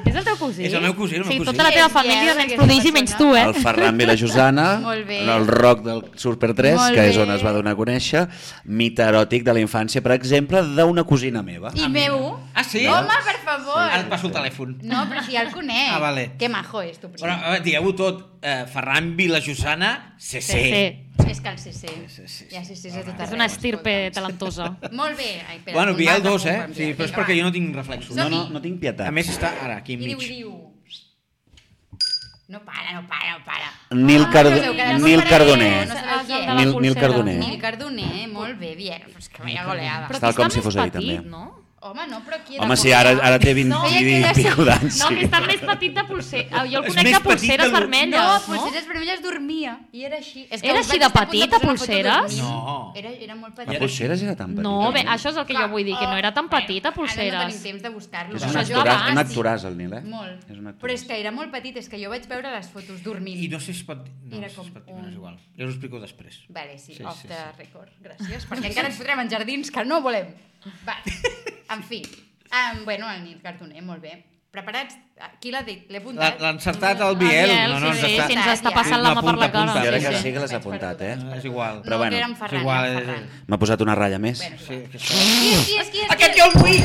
Speaker 1: És el teu cosí?
Speaker 2: És el meu cosí, el meu
Speaker 1: sí,
Speaker 2: cosí.
Speaker 1: tota la teva
Speaker 5: Sí,
Speaker 1: família
Speaker 5: eh,
Speaker 1: nens
Speaker 5: perquè
Speaker 1: prodigi
Speaker 5: aquesta
Speaker 1: menys tu,
Speaker 5: persona-
Speaker 1: eh?
Speaker 4: el Ferran Vilajosana,
Speaker 5: Molt bé.
Speaker 4: en el rock del Super 3,
Speaker 5: Molt
Speaker 4: que és
Speaker 5: bé.
Speaker 4: on es va donar a conèixer, mite eròtic de la infància, per exemple, d'una cosina meva.
Speaker 5: I meu?
Speaker 2: Ah, sí?
Speaker 5: Home, per favor.
Speaker 2: Ara et passo el telèfon.
Speaker 5: No, però si ja el conec.
Speaker 2: Ah, vale.
Speaker 5: Que majo és, tu
Speaker 2: Però,
Speaker 5: primer.
Speaker 2: a veure, digueu-ho tot. Eh, Ferran Vilajosana, CC.
Speaker 1: Sí, sí.
Speaker 5: És que el CC.
Speaker 2: Sí, sí, sí.
Speaker 5: Ja, sí, sí, sí, tot
Speaker 1: És
Speaker 5: arreu,
Speaker 1: una estirpe
Speaker 5: escolta'm.
Speaker 1: talentosa.
Speaker 5: Molt bé. Ai, espera,
Speaker 2: Bueno,
Speaker 5: un
Speaker 2: Biel
Speaker 5: altre
Speaker 2: dos,
Speaker 5: punt
Speaker 2: eh?
Speaker 5: per mi.
Speaker 2: Sí, però és
Speaker 5: Vinga,
Speaker 2: perquè
Speaker 5: va.
Speaker 2: jo no tinc reflexos.
Speaker 4: No, no, no tinc pietat.
Speaker 2: A més està ara, aquí
Speaker 5: I diu, i
Speaker 2: enmig.
Speaker 5: diu... No para, no para, no para.
Speaker 4: Nil,
Speaker 5: Ah,
Speaker 4: Cardo...
Speaker 5: Déu, que ara no
Speaker 4: Nil
Speaker 5: pararé.
Speaker 4: Cardoner.
Speaker 5: No sabeu qui és.
Speaker 1: De la
Speaker 4: Nil- Nil
Speaker 1: pulsera.
Speaker 4: Cardoner.
Speaker 5: eh? Nil Cardoner, molt bé, Biel. Però és que veia goleada.
Speaker 1: Però
Speaker 4: Tal
Speaker 1: que està
Speaker 4: com si
Speaker 1: més
Speaker 4: fos ahir,
Speaker 1: petit,
Speaker 4: també.
Speaker 1: no?
Speaker 5: Home, no, però aquí... he de
Speaker 4: Home, sí,
Speaker 5: posar-
Speaker 4: ara, ara té 20
Speaker 5: No,
Speaker 4: i,
Speaker 5: aquella
Speaker 4: i pico d'anys.
Speaker 1: No, que
Speaker 4: sí.
Speaker 1: està més petit de pulser. Ah, Jo el
Speaker 2: És
Speaker 1: conec
Speaker 2: més
Speaker 1: de
Speaker 2: petit
Speaker 1: pulseres
Speaker 2: que el-
Speaker 1: vermelles,
Speaker 5: No,
Speaker 1: no?
Speaker 5: Pulseres Vermelles dormia, i era així. És
Speaker 1: Era
Speaker 5: us
Speaker 1: així
Speaker 5: vaig
Speaker 1: de
Speaker 5: estar a punt
Speaker 1: petita,
Speaker 5: posar una foto
Speaker 1: Pulseres?
Speaker 5: dormint.
Speaker 2: No.
Speaker 5: Era, era molt
Speaker 4: La
Speaker 5: petita.
Speaker 4: pulseres era tan petita.
Speaker 1: No, bé, això és el que jo vull dir, que no era tan petita,
Speaker 5: Ara Ah, no tenim
Speaker 1: pulseres.
Speaker 5: temps de buscar-lo.
Speaker 4: És
Speaker 1: Això
Speaker 4: un
Speaker 1: jo
Speaker 4: actoràs,
Speaker 1: abans, sí.
Speaker 4: un actoràs el Nil, eh?
Speaker 5: Ah, Molt.
Speaker 4: És un
Speaker 5: Però
Speaker 4: actoràs.
Speaker 5: és que era molt petit, és que jo vaig veure les fotos dormint.
Speaker 2: I no sé si es pot... No, no
Speaker 5: Era
Speaker 2: sé si
Speaker 5: com
Speaker 2: es pot dir, no
Speaker 5: un-
Speaker 2: és igual. Ja us ho explico després.
Speaker 5: Vale, sí,
Speaker 2: Sí,
Speaker 5: sí off
Speaker 2: sí,
Speaker 5: the
Speaker 2: sí.
Speaker 5: record. Gràcies, perquè encara ens fotrem en jardins que no volem. Va, en fi. Um, bueno, el Nil Cartoner, molt bé. Preparats? Aquí l'ha dit, l'he
Speaker 2: L'ha-
Speaker 5: apuntat.
Speaker 2: l'ha encertat el
Speaker 5: No,
Speaker 1: Ah,
Speaker 2: Biel.
Speaker 1: Biel,
Speaker 2: No, no,
Speaker 1: sí,
Speaker 2: ens
Speaker 1: sí,
Speaker 2: està...
Speaker 1: sí, ens està
Speaker 5: Ja.
Speaker 1: passant la mà per la
Speaker 2: Apunta,
Speaker 1: cara.
Speaker 2: apunta.
Speaker 4: Jo crec
Speaker 1: Sí,
Speaker 4: que
Speaker 1: sí.
Speaker 4: sí que l'has
Speaker 5: Vaig
Speaker 4: apuntat, eh?
Speaker 2: No, És igual.
Speaker 5: No,
Speaker 4: Però bueno,
Speaker 5: que era en Ferran,
Speaker 2: és igual,
Speaker 5: era en
Speaker 2: és-
Speaker 5: Ferran.
Speaker 4: M'ha posat una ratlla més.
Speaker 5: Bueno,
Speaker 2: Sí, que està...
Speaker 5: Qui és, qui és, qui és?
Speaker 2: Aquest jo el vull!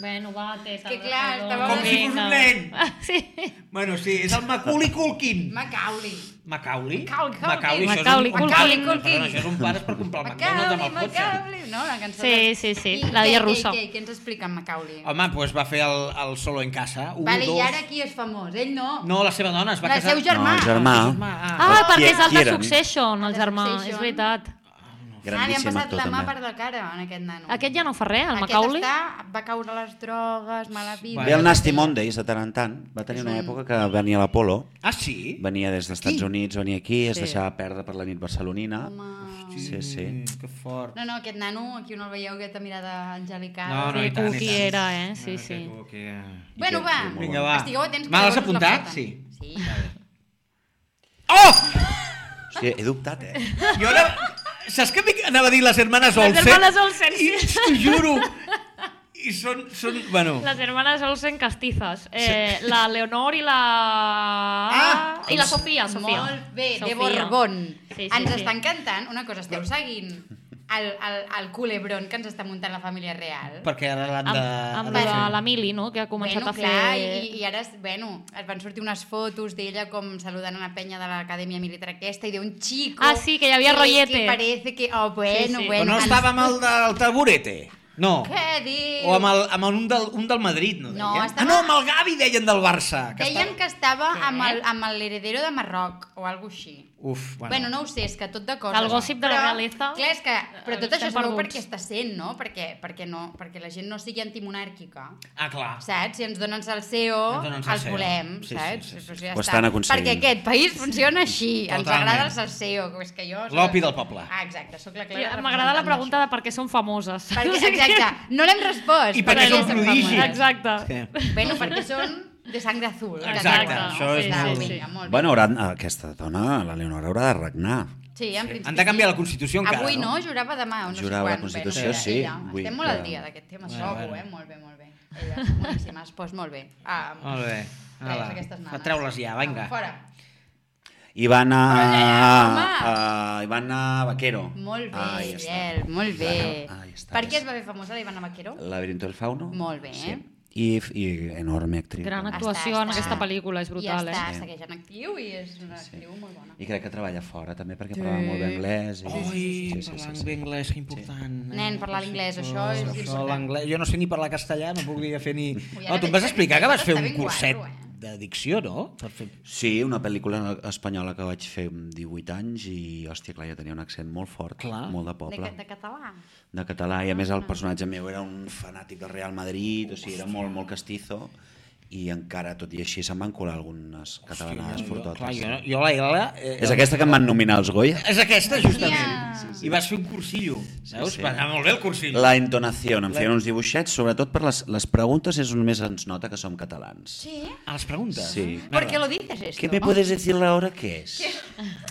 Speaker 1: Bueno, va, Tessa.
Speaker 5: Que clar,
Speaker 1: perdó.
Speaker 5: estava-
Speaker 2: Com si fos un
Speaker 1: Vinga.
Speaker 2: nen.
Speaker 1: Ah, Sí.
Speaker 2: Bueno, sí, és el Macaulay Culkin.
Speaker 5: Macaulay.
Speaker 2: Macaulay?
Speaker 5: Macaulay,
Speaker 2: Macaulay, això és un, un
Speaker 1: Macaulay, Culkin.
Speaker 2: pare,
Speaker 5: Macaulay,
Speaker 2: perdona, això és un pare per comprar el McDonald's amb
Speaker 5: Macaulay,
Speaker 2: el cotxe.
Speaker 5: Macaulay. No, la cançó.
Speaker 1: Sí, sí, sí, la
Speaker 5: què,
Speaker 1: via
Speaker 5: què,
Speaker 1: russa.
Speaker 5: Què, què ens explica en Macaulay?
Speaker 2: Home, doncs va fer el, el solo en casa. Un,
Speaker 5: vale,
Speaker 2: dos...
Speaker 5: I ara qui és famós? Ell no. Ah,
Speaker 2: No, la seva dona es va
Speaker 5: La
Speaker 2: casar...
Speaker 5: seu germà.
Speaker 4: No, el germà,
Speaker 2: Ah,
Speaker 1: Ah,
Speaker 4: Qui-
Speaker 1: perquè és el
Speaker 4: qui
Speaker 1: de
Speaker 4: eren?
Speaker 1: Succession, el
Speaker 5: El de
Speaker 1: germà,
Speaker 5: Succession.
Speaker 1: és veritat.
Speaker 5: Ah, li han
Speaker 4: grandíssim
Speaker 5: passat
Speaker 4: actor,
Speaker 5: la mà per
Speaker 4: també.
Speaker 5: la cara, en aquest nano.
Speaker 1: Aquest ja no fa res, el
Speaker 5: Aquest
Speaker 1: Macaulay.
Speaker 5: està, va caure a les drogues, mala vida...
Speaker 4: Ve el Nasty
Speaker 5: Sí.
Speaker 4: Mondays de tant en tant. Va tenir
Speaker 5: Mm.
Speaker 4: una època que venia a l'Apolo,
Speaker 2: ah, sí?
Speaker 4: venia des dels Estats Units, venia aquí, es
Speaker 1: Sí.
Speaker 4: deixava perdre per la nit barcelonina.
Speaker 5: Home.
Speaker 4: Sí, sí.
Speaker 2: Mm, que fort.
Speaker 5: No, no, aquest nano, aquí no el veieu, aquesta mirada angelical.
Speaker 2: No, no,
Speaker 1: Sí,
Speaker 2: i tant,
Speaker 1: Cookie
Speaker 2: i tant.
Speaker 1: era, eh? Sí,
Speaker 2: No,
Speaker 1: sí.
Speaker 2: que Cookie, eh.
Speaker 5: Bueno, va.
Speaker 4: Molt
Speaker 2: Vinga,
Speaker 4: bona.
Speaker 2: va.
Speaker 5: Estigueu atents. que
Speaker 2: Me l'has
Speaker 5: llavors us la
Speaker 2: apuntat?
Speaker 5: foten.
Speaker 2: Sí.
Speaker 5: Sí.
Speaker 2: Oh!
Speaker 4: Hòstia, he dubtat, eh?
Speaker 2: Jo ara... Saps que m'hi- anava a dir les hermanes
Speaker 1: Les
Speaker 2: Olsen?
Speaker 1: hermanes Olsen, sí.
Speaker 2: I t'ho juro. I són... són bueno,
Speaker 1: Les hermanes Olsen castizas. Eh, La Leonor i la...
Speaker 2: Ah,
Speaker 1: I la Sofia, Sofia.
Speaker 5: Molt bé, de
Speaker 1: Sofia.
Speaker 5: Borbón.
Speaker 1: Sí, sí,
Speaker 5: ens
Speaker 1: sí.
Speaker 5: estan cantant una cosa, esteu seguint el, el, el culebron que ens està muntant la família real.
Speaker 2: perquè ara l'han
Speaker 1: Amb,
Speaker 2: de...
Speaker 1: amb
Speaker 2: ara
Speaker 1: la,
Speaker 2: sí.
Speaker 1: la Mili, no?, que ha començat
Speaker 5: bueno,
Speaker 1: a fer...
Speaker 5: clar, i, i ara, es- bueno, es van sortir unes fotos d'ella com saludant a la penya de l'acadèmia militar aquesta i d'un xico...
Speaker 1: Ah, sí, que hi havia
Speaker 5: Que
Speaker 1: rollete.
Speaker 5: parece que... Oh, bueno,
Speaker 1: Sí, sí.
Speaker 2: Però
Speaker 5: bueno...
Speaker 2: no
Speaker 5: ens-
Speaker 2: estava amb el del taburete. No.
Speaker 5: Què dius?
Speaker 2: O amb, el, amb un, del, un del Madrid, no deien?
Speaker 5: No, estava-
Speaker 2: Ah, no, amb el Gavi deien del Barça. Que
Speaker 5: Deien
Speaker 2: estava...
Speaker 5: que estava
Speaker 1: Què?
Speaker 5: amb el, amb l'heredero de Marroc o alguna així.
Speaker 2: Uf, bueno.
Speaker 5: Bueno, no ho sé, és que tot de coses.
Speaker 1: El gossip de la
Speaker 5: Però,
Speaker 1: realeza.
Speaker 5: Clar, és que, però tot
Speaker 1: Estem
Speaker 5: això es veu
Speaker 1: perduts.
Speaker 5: perquè està sent, no? Perquè, perquè, no, perquè la gent no sigui antimonàrquica.
Speaker 2: Ah, clar.
Speaker 5: Saps? Si ens donen el CEO,
Speaker 2: Ens donen el
Speaker 5: els
Speaker 2: CEO.
Speaker 5: volem,
Speaker 2: Sí, sí,
Speaker 5: saps?
Speaker 2: sí, sí.
Speaker 5: Doncs
Speaker 4: Ho
Speaker 5: ja està.
Speaker 4: estan aconseguint.
Speaker 5: Perquè aquest país funciona així. Ens
Speaker 2: Totalment.
Speaker 5: agrada el salseo, que és que jo...
Speaker 2: L'opi del poble.
Speaker 5: Ah, exacte, sóc la
Speaker 1: I
Speaker 5: clara.
Speaker 1: M'agrada la
Speaker 5: representant
Speaker 1: pregunta
Speaker 5: d'això.
Speaker 1: de per què són famoses.
Speaker 5: Perquè, exacte, no l'hem respost.
Speaker 2: I perquè
Speaker 5: però ja
Speaker 2: són
Speaker 5: som
Speaker 2: prodigis.
Speaker 5: famoses.
Speaker 1: Exacte.
Speaker 2: Sí.
Speaker 5: Bueno, perquè són de sang d'azul. que
Speaker 2: Exacte,
Speaker 5: diuen, no?
Speaker 2: això és
Speaker 5: Clar,
Speaker 1: molt-
Speaker 5: Vinga, molt bé.
Speaker 4: Bueno, haurà, aquesta dona, la Leonora, haurà de regnar.
Speaker 5: Sí, en principi.
Speaker 2: Han de canviar la Constitució encara,
Speaker 5: Avui no,
Speaker 2: no?
Speaker 5: jurava demà. o No
Speaker 4: Jurava
Speaker 5: sé
Speaker 4: la
Speaker 5: quan.
Speaker 4: Constitució,
Speaker 5: Bé, no sé,
Speaker 4: sí.
Speaker 5: Ella.
Speaker 4: Vull
Speaker 5: Estem molt
Speaker 4: que-
Speaker 5: al dia d'aquest tema,
Speaker 2: Bueno,
Speaker 5: segur,
Speaker 2: bueno.
Speaker 5: eh? Molt bé, molt bé. Ella, boníssimes. Doncs molt bé. Ah,
Speaker 2: Molt bé.
Speaker 5: res, aquestes nanes.
Speaker 2: Va, Treu-les ja, vinga.
Speaker 5: Ah, Fora.
Speaker 4: I va anar...
Speaker 5: Home!
Speaker 4: Uh, I va anar Vaquero.
Speaker 5: Molt bé,
Speaker 4: Ai, ja està.
Speaker 5: Biel, molt bé.
Speaker 4: Ah, ja està,
Speaker 5: per
Speaker 4: ja
Speaker 5: què es
Speaker 4: està.
Speaker 5: va fer famosa la Ivana Vaquero?
Speaker 4: Laberinto del fauno.
Speaker 5: Molt bé.
Speaker 4: Sí. I, I enorme actriu.
Speaker 1: Gran
Speaker 4: també.
Speaker 1: actuació en aquesta pel·lícula, és brutal,
Speaker 5: I ja està,
Speaker 1: eh?
Speaker 5: eh? segueix en actiu i és una actriu molt bona.
Speaker 4: I crec que treballa fora, també, perquè parlava molt bé anglès. I...
Speaker 2: Ui, parlant bé anglès, que important.
Speaker 5: Nen, parlar l'anglès, això és important.
Speaker 2: l'anglès. Jo no sé ni parlar castellà, no podria fer ni...
Speaker 5: ara
Speaker 2: No, tu em vas
Speaker 5: veig que
Speaker 2: explicar que vas fer
Speaker 5: està
Speaker 2: un
Speaker 5: ben
Speaker 2: curset
Speaker 5: guarro, eh?
Speaker 2: de dicció, no? Per fer...
Speaker 4: Sí, una pel·lícula espanyola que vaig fer amb 18 anys i, hòstia, clar, ja tenia un accent molt fort,
Speaker 2: Clar.
Speaker 4: molt de
Speaker 5: De,
Speaker 4: poble,
Speaker 5: ca- de Ah. català.
Speaker 4: de... català, i a més el personatge meu era un fanàtic del Real Madrid, o sigui, era molt, molt castizo, i encara, tot i així, se'n van colar algunes catalanes
Speaker 2: Jo,
Speaker 4: fortotes.
Speaker 2: clar, jo, jo la Ela... Eh,
Speaker 4: És aquesta que em van nominar els Goya?
Speaker 2: És aquesta, justament.
Speaker 5: Hòstia.
Speaker 2: Sí, sí. I vas fer un cursillo, veus?
Speaker 4: sí.
Speaker 2: Va anar molt bé el cursillo.
Speaker 4: La entonació, em feien uns dibuixets, sobretot per les, les preguntes és on més ens nota que som catalans.
Speaker 5: Sí? Oh.
Speaker 2: A les preguntes?
Speaker 4: Sí.
Speaker 5: Per què lo dices, esto?
Speaker 4: Què me puedes decir la hora que és?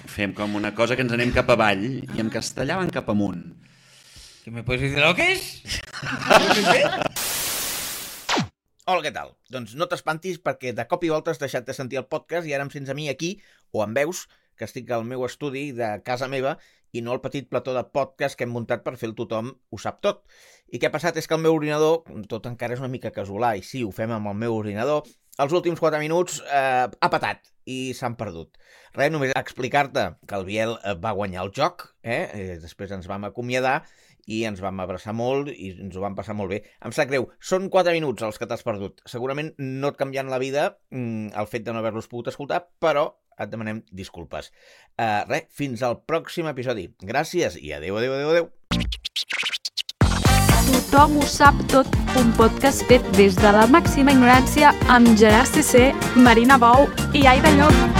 Speaker 4: Fem com una cosa que ens anem cap avall i en castellà van cap amunt.
Speaker 2: Que me puedes decir lo que es?
Speaker 6: Hola, què tal? Doncs no t'espantis perquè de cop i volta has deixat de sentir el podcast i ara em sents a mi aquí, o em veus, que estic al meu estudi de casa meva i no al petit plató de podcast que hem muntat per fer el tothom ho sap tot. I què ha passat és que el meu ordinador, tot encara és una mica casolà, i sí, ho fem amb el meu ordinador, els últims 4 minuts eh, ha patat i s'han perdut. Res, només explicar-te que el Biel eh, va guanyar el joc, eh? eh? després ens vam acomiadar i ens vam abraçar molt i ens ho vam passar molt bé. Em sap greu, són 4 minuts els que t'has perdut. Segurament no et canviant la vida mm, el fet de no haver-los pogut escoltar, però et demanem disculpes. Uh, res, fins al pròxim episodi. Gràcies i adeu, adeu, adeu, adeu.
Speaker 3: Tothom Tothom ho sap tot, un podcast fet des de la màxima ignorància amb Gerard CC, Marina Bou i Aida Llop.